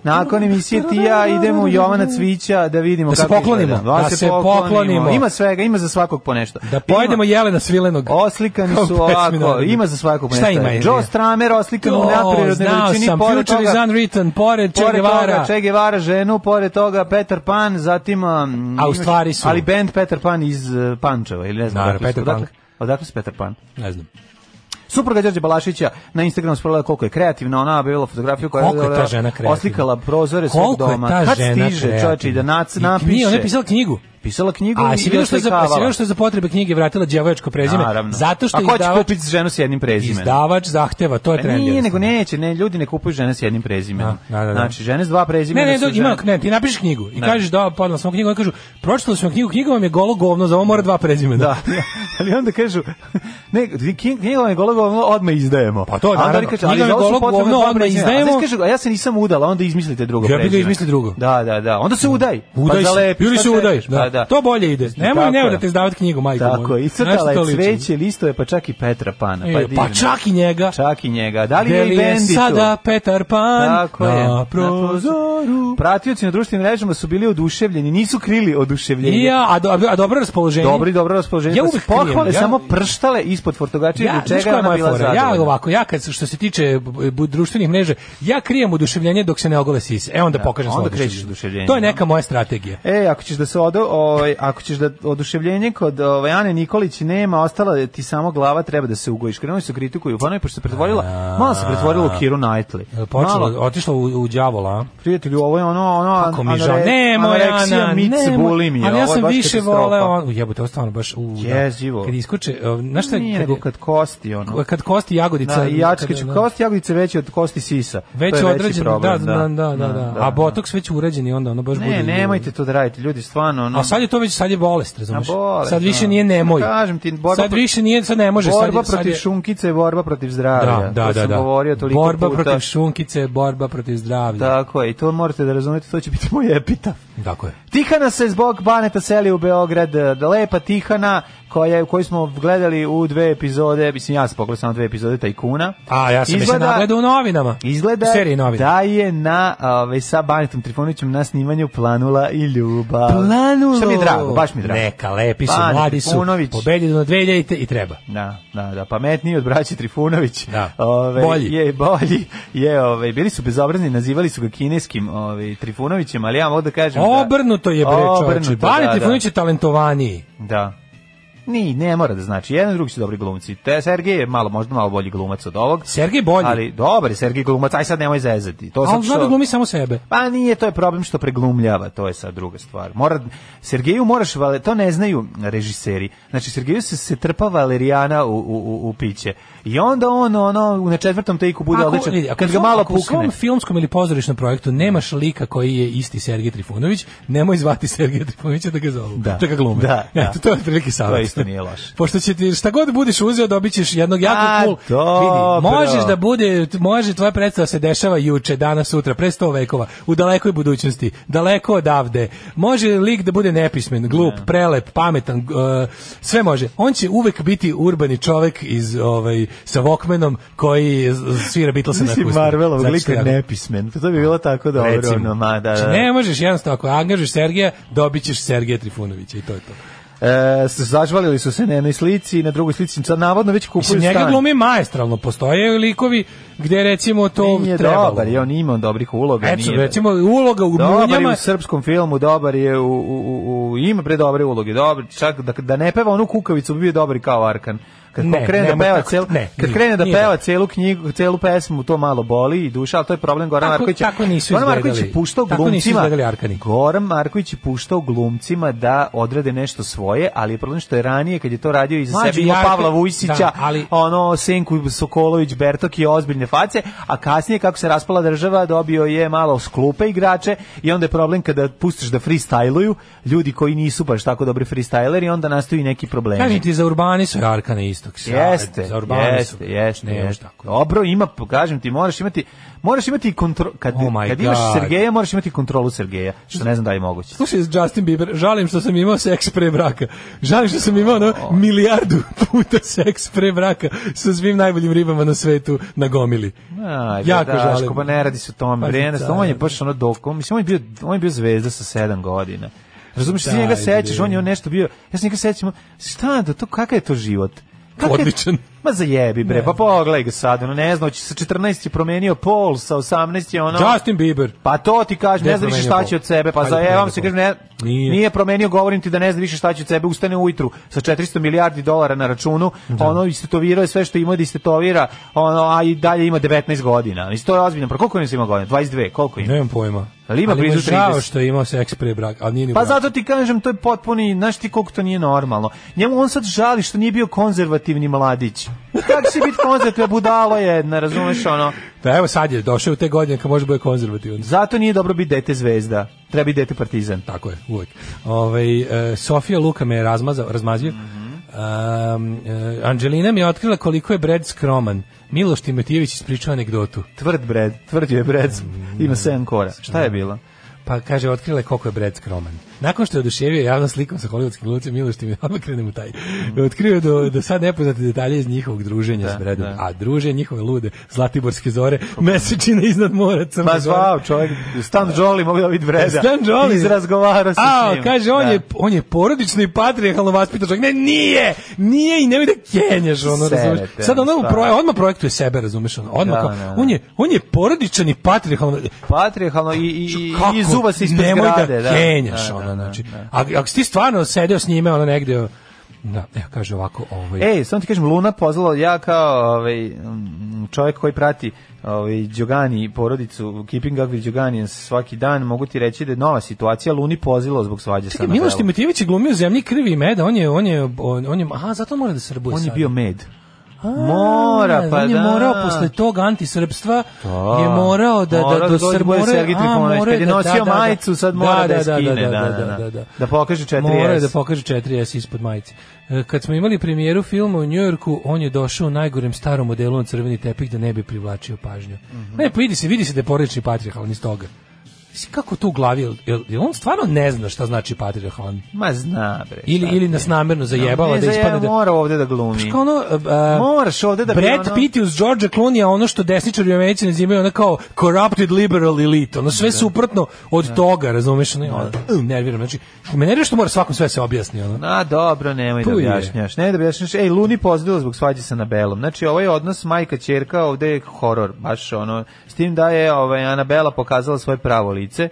Speaker 6: Nakon emisije ti i ja idemo u Jovana Cvića da vidimo
Speaker 7: Da se
Speaker 6: kako
Speaker 7: poklonimo,
Speaker 6: izgleda.
Speaker 7: da se poklonimo.
Speaker 6: Ima svega, ima za svakog ponešto.
Speaker 7: Da pojedemo Jelena Svilenog.
Speaker 6: Oslikani
Speaker 7: Kao
Speaker 6: su
Speaker 7: pesmi
Speaker 6: ovako,
Speaker 7: narodne.
Speaker 6: ima za svakog
Speaker 7: Šta
Speaker 6: mesta.
Speaker 7: ima?
Speaker 6: Joe Stramer oslikan u neprirodnoj
Speaker 7: znao
Speaker 6: veličini,
Speaker 7: sam,
Speaker 6: pored
Speaker 7: Future
Speaker 6: toga,
Speaker 7: is unwritten, pored Che
Speaker 6: pored toga
Speaker 7: Guevara.
Speaker 6: Che Guevara ženu, pored toga Peter Pan, zatim... um,
Speaker 7: A u
Speaker 6: imaš-
Speaker 7: stvari su-
Speaker 6: Ali band Peter Pan iz uh, Pančeva, ili ne znam.
Speaker 7: Naravno,
Speaker 6: dakle su.
Speaker 7: Peter
Speaker 6: Dakle,
Speaker 7: Pan.
Speaker 6: Odakle su Petar Pan?
Speaker 7: Ne znam.
Speaker 6: Supruga Đorđe Balašića na Instagramu spravila koliko je kreativna, ona objavila fotografiju koja
Speaker 7: Koliko je ta žena kreativna?
Speaker 6: oslikala prozore svog
Speaker 7: Koliko je
Speaker 6: doma.
Speaker 7: ta
Speaker 6: Kad
Speaker 7: žena
Speaker 6: stiže, čoveče, i da nac,
Speaker 7: I knjigu,
Speaker 6: napiše.
Speaker 7: Ona je pisala knjigu.
Speaker 6: Pisala knjigu
Speaker 7: A
Speaker 6: i
Speaker 7: si vidio što je za, a si
Speaker 6: oslikavala.
Speaker 7: vidio što je za potrebe knjige vratila djevojačko prezime?
Speaker 6: Naravno.
Speaker 7: Zato što
Speaker 6: A ko će
Speaker 7: izdavač,
Speaker 6: kupiti ženu s jednim prezimenom?
Speaker 7: izdavač zahteva, to je
Speaker 6: Pa
Speaker 7: trend.
Speaker 6: nije, nego
Speaker 7: jednostavno.
Speaker 6: neće, ne, ljudi ne kupuju žene s jednim prezimenom.
Speaker 7: Da, da, da.
Speaker 6: Znači, žene s dva prezimena
Speaker 7: Ne, ne,
Speaker 6: su
Speaker 7: do, ima,
Speaker 6: žene-
Speaker 7: ne, ti napišeš knjigu i
Speaker 6: Ne.
Speaker 7: kažeš da podnela sam ovu knjigu, oni kažu pročitali smo knjigu, knjiga vam je golo govno, za ovo mora dva prezimena.
Speaker 6: Da, ali onda kažu, ne, knjiga vam je golo govno, odmah izdajemo.
Speaker 7: Pa to,
Speaker 6: A onda
Speaker 7: naravno.
Speaker 6: oni kažu, ali
Speaker 7: Knjiga vam je
Speaker 6: za ovo su
Speaker 7: golo
Speaker 6: potrebna
Speaker 7: govno,
Speaker 6: dva
Speaker 7: odmah
Speaker 6: prezimena. A
Speaker 7: izdajemo.
Speaker 6: znaš, kažu, a ja se nisam udala, onda izmislite drugo
Speaker 7: Ja bi ga
Speaker 6: prezime.
Speaker 7: izmislio drugo.
Speaker 6: Da, da, da. Onda se udaj.
Speaker 7: Udaj
Speaker 6: pa
Speaker 7: se,
Speaker 6: zalepi,
Speaker 7: ili
Speaker 6: šta
Speaker 7: se
Speaker 6: čekaš?
Speaker 7: udaj. Da.
Speaker 6: da.
Speaker 7: To bolje ide. Nemoj,
Speaker 6: Tako
Speaker 7: nemoj
Speaker 6: je.
Speaker 7: da te izdavati knjigu, majko
Speaker 6: Tako,
Speaker 7: moja.
Speaker 6: je,
Speaker 7: Znaš što
Speaker 6: iscrtala
Speaker 7: to
Speaker 6: je
Speaker 7: liči?
Speaker 6: cveće, listove, pa čak i Petra Pana.
Speaker 7: E,
Speaker 6: Pa,
Speaker 7: Pa
Speaker 6: divno.
Speaker 7: čak i njega.
Speaker 6: Čak i njega. Da li je i
Speaker 7: Deli je
Speaker 6: Bendi tu?
Speaker 7: sada Petar Pan
Speaker 6: Tako je.
Speaker 7: na
Speaker 6: prozoru.
Speaker 7: prozoru.
Speaker 6: Pratioci na društvenim mrežama su bili oduševljeni, nisu krili oduševljenje.
Speaker 7: I ja, a, do, a dobro raspoloženje.
Speaker 6: Dobro i dobro raspoloženje.
Speaker 7: Ja
Speaker 6: Pa
Speaker 7: uvek
Speaker 6: su pohvale
Speaker 7: krijem, ja-
Speaker 6: samo prštale ispod fortogača
Speaker 7: Ja,
Speaker 6: i
Speaker 7: znaš
Speaker 6: čega
Speaker 7: koja
Speaker 6: je
Speaker 7: je
Speaker 6: ona
Speaker 7: moja
Speaker 6: bila
Speaker 7: fora?
Speaker 6: zadovoljna.
Speaker 7: Ja ovako, ja kad, što se tiče e, b- b- društvenih mreža, ja krijem oduševljenje dok se ne ogole sise. E onda pokažem
Speaker 6: onda
Speaker 7: svoje
Speaker 6: krećeš oduševljenje,
Speaker 7: To je
Speaker 6: da.
Speaker 7: neka moja strategija.
Speaker 6: E, ako ćeš da se odo, ovaj, ako ćeš da oduševljenje kod ovaj Ane Nikolić nema, ostala je ti samo glava, treba da se ugojiš. Krenuli su kritikuju, pa ona je pošto se pretvorila, malo se pretvorila u Kiru Knightley.
Speaker 7: Počela,
Speaker 6: Malo,
Speaker 7: otišla E, u, u đavola. a?
Speaker 6: prijatelju, ovo je ono, ono,
Speaker 7: Kako mi
Speaker 6: anore-
Speaker 7: žao. Nemoj,
Speaker 6: anoreksija,
Speaker 7: Ana,
Speaker 6: mic,
Speaker 7: nemoj.
Speaker 6: bulimija,
Speaker 7: Ali ja
Speaker 6: ovo je
Speaker 7: sam
Speaker 6: baš
Speaker 7: više
Speaker 6: katastrofa.
Speaker 7: voleo... on- U jebote, ovo stvarno baš... U, da.
Speaker 6: Jezivo.
Speaker 7: Kad iskoče... o, Znaš šta,
Speaker 6: Nije
Speaker 7: kad,
Speaker 6: nego
Speaker 7: je-
Speaker 6: kad kosti, ono.
Speaker 7: kad kosti jagodica...
Speaker 6: Da, i jačke ću,
Speaker 7: kada-
Speaker 6: kosti jagodice veće od kosti sisa.
Speaker 7: Već
Speaker 6: to
Speaker 7: je
Speaker 6: je veći
Speaker 7: odrađen,
Speaker 6: problem,
Speaker 7: da, da, da, da, da. A botoks već urađen i onda ono baš
Speaker 6: Ne,
Speaker 7: bude-
Speaker 6: nemojte to da radite, ljudi, stvarno, ono.
Speaker 7: A sad je to već sad je bolest, razumeš?
Speaker 6: A bolest,
Speaker 7: sad više
Speaker 6: da.
Speaker 7: nije nemoj.
Speaker 6: Kažem ti, borba
Speaker 7: sad
Speaker 6: pro-
Speaker 7: više nije, sad ne može. sad
Speaker 6: Borba
Speaker 7: je- sad
Speaker 6: protiv
Speaker 7: je-
Speaker 6: šunkice je borba protiv zdravlja.
Speaker 7: Da, da,
Speaker 6: to
Speaker 7: da,
Speaker 6: sam
Speaker 7: da.
Speaker 6: govorio toliko
Speaker 7: borba
Speaker 6: puta.
Speaker 7: protiv šunkice, borba protiv zdravlja.
Speaker 6: Tako je, i to morate da razumete, to će biti moj epitaf.
Speaker 7: Tako je.
Speaker 6: Tihana se zbog Baneta seli u Beograd, e, da lepa Tihana koja je koju smo gledali u dve epizode, mislim ja sam pogledao samo dve epizode Tajkuna.
Speaker 7: A ja sam se
Speaker 6: Izgleda-
Speaker 7: nagledao u novinama.
Speaker 6: Izgleda
Speaker 7: u seriji novina.
Speaker 6: da je na ove, sa Banetom Trifunićem na snimanju planula i ljubav.
Speaker 7: Planulo.
Speaker 6: Što Pa, mi je drago, baš mi je drago.
Speaker 7: Neka, lepi su,
Speaker 6: Bane
Speaker 7: mladi su.
Speaker 6: Trifunović.
Speaker 7: Pobedili na 2000 i treba.
Speaker 6: Da, da, da, pametniji od braće Trifunović.
Speaker 7: Da.
Speaker 6: Ove,
Speaker 7: Bolji.
Speaker 6: Je, bolji. Je, ove, bili su bezobrazni, nazivali su ga kineskim ove, Trifunovićem, ali ja mogu da kažem
Speaker 7: Obrnuto je bre
Speaker 6: Obrnuto,
Speaker 7: čoveče. Bane
Speaker 6: da,
Speaker 7: Trifunović je talentovaniji.
Speaker 6: Da, da. Ni, ne mora da znači. Jedan i drugi su dobri glumci. Te, Sergej je malo, možda malo bolji glumac od ovog.
Speaker 7: Sergej bolji.
Speaker 6: Ali dobar je Sergej glumac, aj sad nemoj zezati. To sad
Speaker 7: Ali zna da
Speaker 6: što-
Speaker 7: glumi samo sebe.
Speaker 6: Pa nije, to je problem što preglumljava, to je sad druga stvar. Mora, Sergeju moraš, vale- to ne znaju režiseri, znači Sergeju se, se trpa valerijana u, u, u, u piće i onda on ono, u- na četvrtom tejku bude odličan,
Speaker 7: vidi, ako
Speaker 6: kad ga
Speaker 7: u svom-
Speaker 6: malo
Speaker 7: ako u
Speaker 6: pukne.
Speaker 7: svom filmskom ili pozorišnom projektu nemaš lika koji je isti Sergej Trifunović, nemoj zvati Sergeja Trifunovića da ga zovu.
Speaker 6: Da.
Speaker 7: ga glume.
Speaker 6: Da, da.
Speaker 7: Eto, to je prilike savjet.
Speaker 6: To isto nije loše.
Speaker 7: Pošto će ti, šta god budeš uzeo, dobit ćeš jednog
Speaker 6: A,
Speaker 7: jako cool.
Speaker 6: dobro.
Speaker 7: Vidi, možeš da bude, može tvoja predstava se dešava juče, danas, sutra, pre sto vekova, u dalekoj budućnosti, daleko odavde. Može lik da bude nepismen, glup, prelep, pametan, g- e, sve može. On će uvek biti urbani čovek iz, ovaj, sa Walkmanom koji z- svira Beatlesa na
Speaker 6: Mislim,
Speaker 7: akustiku.
Speaker 6: Marvelov
Speaker 7: Zato
Speaker 6: lik
Speaker 7: što
Speaker 6: je
Speaker 7: Znači, ja-
Speaker 6: nepismen, to bi bilo tako dobro.
Speaker 7: Recimo.
Speaker 6: ono, ma, da, da.
Speaker 7: Znači, ne možeš jednostavno, ako angažuješ Sergeja, dobit ćeš Sergeja Trifunovića i to je to.
Speaker 6: E, s- zažvalili su se na jednoj slici, na drugoj slici, sad navodno već kupuju
Speaker 7: Mislim,
Speaker 6: stan.
Speaker 7: njega glumi maestralno, postoje i likovi gdje recimo to
Speaker 6: Nije
Speaker 7: trebalo.
Speaker 6: dobar, je, on ima dobrih uloga.
Speaker 7: Eto,
Speaker 6: nije-
Speaker 7: recimo, uloga u
Speaker 6: Dobar je
Speaker 7: munjama
Speaker 6: u srpskom filmu, dobar je u, u, u, u ima pre dobre uloge, dobar, čak da, da ne peva onu kukavicu bi bio dobar i kao Arkan. Kad
Speaker 7: Ne,
Speaker 6: krene da
Speaker 7: nemoj
Speaker 6: peva
Speaker 7: tako,
Speaker 6: cel,
Speaker 7: ne,
Speaker 6: kad
Speaker 7: nije,
Speaker 6: krene da
Speaker 7: nije
Speaker 6: peva
Speaker 7: dobro.
Speaker 6: celu knjigu, celu pesmu, to malo boli i duša, ali to je problem Goran
Speaker 7: Tako-
Speaker 6: Markovića.
Speaker 7: tako nisu
Speaker 6: Goran Marković je
Speaker 7: izgledali.
Speaker 6: puštao glumcima.
Speaker 7: Tako nisu izgledali Arkani.
Speaker 6: Goran Marković je puštao glumcima da odrade nešto svoje, ali je problem što je ranije kad je to radio iza
Speaker 7: Mlađi
Speaker 6: sebe imao
Speaker 7: Jarko-
Speaker 6: Pavla Vujsića,
Speaker 7: da, ali-
Speaker 6: ono Senku Sokolović, Bertok i ozbiljne face, a kasnije kako se raspala država dobio je malo sklupe igrače i onda je problem kada pustiš da freestyluju ljudi koji nisu baš tako dobri freestyleri onda nastaju i neki problemi.
Speaker 7: Kažem ti, za Urbani su Arkane istok. Sjaj,
Speaker 6: Jeste,
Speaker 7: za Urbani su.
Speaker 6: jeste, jeste,
Speaker 7: Ne,
Speaker 6: jeste.
Speaker 7: tako.
Speaker 6: Dobro, ima, kažem ti, moraš imati, moraš imati kontro, kad,
Speaker 7: Oh my
Speaker 6: kad imaš
Speaker 7: God.
Speaker 6: Sergeja, moraš imati kontrolu Sergeja, što ne znam da li je moguće.
Speaker 7: Slušaj, Justin Bieber, žalim što sam imao seks pre braka. Žalim što sam imao ono, milijardu puta seks pre braka sa svim najboljim ribama na svetu na gomili.
Speaker 6: Aj,
Speaker 7: jako
Speaker 6: jako
Speaker 7: žalim.
Speaker 6: pa ne radi se o tome.
Speaker 7: Pa,
Speaker 6: Bre,
Speaker 7: da.
Speaker 6: on je baš ono dok, on, mislim, on je bio, on je bio zvezda sa 7 godina. Razumeš, ti se
Speaker 7: Daj,
Speaker 6: njega sećaš,
Speaker 7: bre.
Speaker 6: on je on nešto bio, ja se njega sećam, šta da to, kakav je to život? Kak je-
Speaker 7: Odličan.
Speaker 6: Ma zajebi bre, pa pogledaj ga sad, ono ne znam, hoće sa 14 je promenio pol, sa 18 je ono...
Speaker 7: Justin Bieber.
Speaker 6: Pa to ti kažem,
Speaker 7: Gde
Speaker 6: ne znam više
Speaker 7: promenio
Speaker 6: šta
Speaker 7: pol?
Speaker 6: će od sebe, pa
Speaker 7: Ajde,
Speaker 6: zajevam
Speaker 7: promenio
Speaker 6: se,
Speaker 7: pol.
Speaker 6: kažem, ne,
Speaker 7: Nije.
Speaker 6: nije. promenio, govorim ti da ne zna više šta će od sebe, ustane ujutru sa 400 milijardi dolara na računu, ono istetovirao je sve što ima da istetovira, ono, a i dalje ima 19 godina. Mislim, to je ozbiljno, pro koliko on ima godina? 22, koliko ima?
Speaker 7: Nemam pojma.
Speaker 6: Ali ima
Speaker 7: mi je
Speaker 6: blizu
Speaker 7: žao
Speaker 6: 30.
Speaker 7: što je imao seks pre braka, ali nije ni u
Speaker 6: Pa
Speaker 7: braku.
Speaker 6: zato ti kažem, to je potpuni, znaš ti koliko to nije normalno. Njemu on sad žali što nije bio konzervativni mladić. Kako će biti konzervativna budalo jedna, razumeš ono?
Speaker 7: Da, Pa evo sad je došao u te godine kad može bude konzervativan.
Speaker 6: Zato nije dobro biti dete zvezda, treba biti dete partizan.
Speaker 7: Tako je, uvek. Ovaj e, Sofija Luka me je razmazao, razmazio. Um, e, Anđelina mi je otkrila koliko je Brad skroman. Miloš Timotijević ispričao anegdotu.
Speaker 6: Tvrd bred, tvrd je bred, ima 7 kora. Šta je bilo?
Speaker 7: Pa kaže, otkrila je koliko je Brad skroman. Nakon što je oduševio javno slikom sa hollywoodskim glumcem Miloš Timotijević, odmah krenemo taj. Otkrio je do, do sad nepoznate detalje iz njihovog druženja s Bradom. A druže njihove lude, Zlatiborske zore, mesečina iznad mora. Crne
Speaker 6: Ma
Speaker 7: Gore.
Speaker 6: Pa zvao čovjek, Stan Jolly mogu E, da vidi breda.
Speaker 7: Stan Jolly.
Speaker 6: Izrazgovarao se s
Speaker 7: A,
Speaker 6: njim.
Speaker 7: kaže, on,
Speaker 6: Da.
Speaker 7: je, on je porodično i patrijarhalno vaspitan čovjek. Ne, nije! Nije i nemoj da kenješ, ono,
Speaker 6: Sere
Speaker 7: razumeš.
Speaker 6: te,
Speaker 7: Sad ono,
Speaker 6: stvarno.
Speaker 7: proje, odmah projektuje sebe, razumeš, ono, odmah
Speaker 6: Da,
Speaker 7: kao,
Speaker 6: da, da.
Speaker 7: on je, on je porodičan i patrijarhalno,
Speaker 6: patrijarhalno i, i, i, i zuba se ispred
Speaker 7: nemoj
Speaker 6: zgrade.
Speaker 7: da kenjaš, ono, znači. A, ako si ti stvarno sedeo s njime, ono, negde, da, evo, kaže ovako, ovaj,
Speaker 6: Ej, samo ti kažem, Luna pozvala ja kao ovaj, mm, čovjek koji prati ovaj, Đogani, porodicu Keeping Up with Đogani svaki dan, mogu ti reći da je nova situacija, Luni pozilo zbog svađe sa
Speaker 7: Čekaj, Miloš
Speaker 6: Anabelom.
Speaker 7: Timotijević je glumio u zemlji krivi i meda, on je, on je, on, on je, aha, zato mora da srbuje
Speaker 6: On je
Speaker 7: sad.
Speaker 6: bio med.
Speaker 7: A,
Speaker 6: Mora, pa
Speaker 7: on je
Speaker 6: da.
Speaker 7: morao posle tog antisrpstva
Speaker 6: Da.
Speaker 7: je morao da
Speaker 6: Morao
Speaker 7: da
Speaker 6: da
Speaker 7: do
Speaker 6: dođe
Speaker 7: srb
Speaker 6: bude
Speaker 7: morao-
Speaker 6: Sergej
Speaker 7: a,
Speaker 6: Trifunović,
Speaker 7: morao
Speaker 6: kad je
Speaker 7: da-
Speaker 6: nosio
Speaker 7: da, da, da.
Speaker 6: majicu, sad mora da je skine, da, da, da. Da pokaže 4S.
Speaker 7: Morao je da pokaže 4S ispod majice. E, Kad smo imali premijeru filma u Njujorku, on je došao u najgorem starom modelu na crveni tepih da ne bi privlačio pažnju.
Speaker 6: Mhm.
Speaker 7: Ne, pa vidi se, vidi se da je porečni patrijarhalan iz toga. Mislim, kako to u glavi, jel, jel, jel on stvarno ne zna šta znači patrijarhalan?
Speaker 6: Ma zna, bre.
Speaker 7: Ili,
Speaker 6: šta
Speaker 7: ili
Speaker 6: ti
Speaker 7: nas
Speaker 6: je.
Speaker 7: namjerno zajebava
Speaker 6: Ne,
Speaker 7: da ispada
Speaker 6: zajeba,
Speaker 7: da...
Speaker 6: Mora ovde da glumi.
Speaker 7: Kao ono, a,
Speaker 6: Moraš ovde da bi
Speaker 7: Brad
Speaker 6: ono-
Speaker 7: Pitt je uz George Clooney, a ono što desničari u Americi nazivaju ono kao corrupted liberal elite, ono sve suprotno od toga, razumeš, ono, ono, um, nerviram, znači, me nervira što mora svakom sve se objasni, ono.
Speaker 6: Na dobro, nemoj
Speaker 7: Tu
Speaker 6: da
Speaker 7: je.
Speaker 6: objašnjaš. Ne da objašnjaš. Ej, Luni pozdravila zbog svađe sa Anabelom. Znači, ovaj odnos majka ćerka ovde je horor, baš ono. S tim da je ovaj, Anabela pokazala svoje pravo lice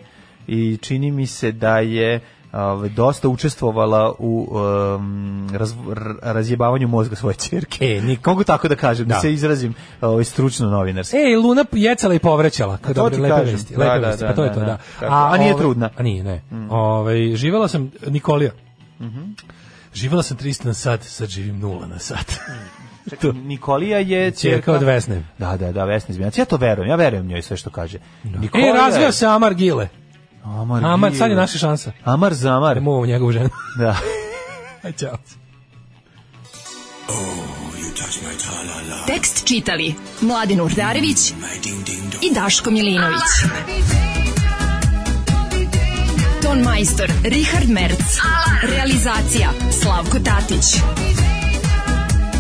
Speaker 6: i čini mi se da je ovaj, dosta učestvovala u um, razv- r- razjebavanju mozga svoje ćerke.
Speaker 7: E, nik-
Speaker 6: Mogu tako da kažem, da,
Speaker 7: Da.
Speaker 6: se izrazim ovaj, stručno novinarski.
Speaker 7: Ej, Luna jecala E, i povraćala. Kad
Speaker 6: Pa to
Speaker 7: dobro,
Speaker 6: ti
Speaker 7: lepe
Speaker 6: kažem.
Speaker 7: vesti,
Speaker 6: Da,
Speaker 7: lepe
Speaker 6: da,
Speaker 7: vesti,
Speaker 6: da,
Speaker 7: pa to je
Speaker 6: da,
Speaker 7: to, da.
Speaker 6: da. Tako. A nije
Speaker 7: ove-
Speaker 6: trudna. Mhm.
Speaker 7: A nije, ne. Ovaj, živela sam, Nikolija, živela sam 300 na sat, sad živim nula na sat.
Speaker 6: Čekaj, Nikolija je
Speaker 7: Ćerka
Speaker 6: ćerka
Speaker 7: od Vesne.
Speaker 6: Da, da, da, Vesna Zmijanac. Ja to verujem, ja verujem njoj sve što kaže. Nikolija
Speaker 7: Ej, E, razvio
Speaker 6: je-
Speaker 7: se Amar Gile.
Speaker 6: Amar,
Speaker 7: Amar, sad je
Speaker 6: Gil.
Speaker 7: naša šansa.
Speaker 6: Amar Zamar.
Speaker 7: Ajmo ovom njegovu ženu.
Speaker 6: Da.
Speaker 7: Aj, Ćao.
Speaker 9: Tekst čitali Mladin Urdarević i Daško Milinović. Ton majstor Richard Merc. Realizacija Slavko Tatić.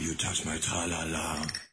Speaker 10: You touch my tra-la-la.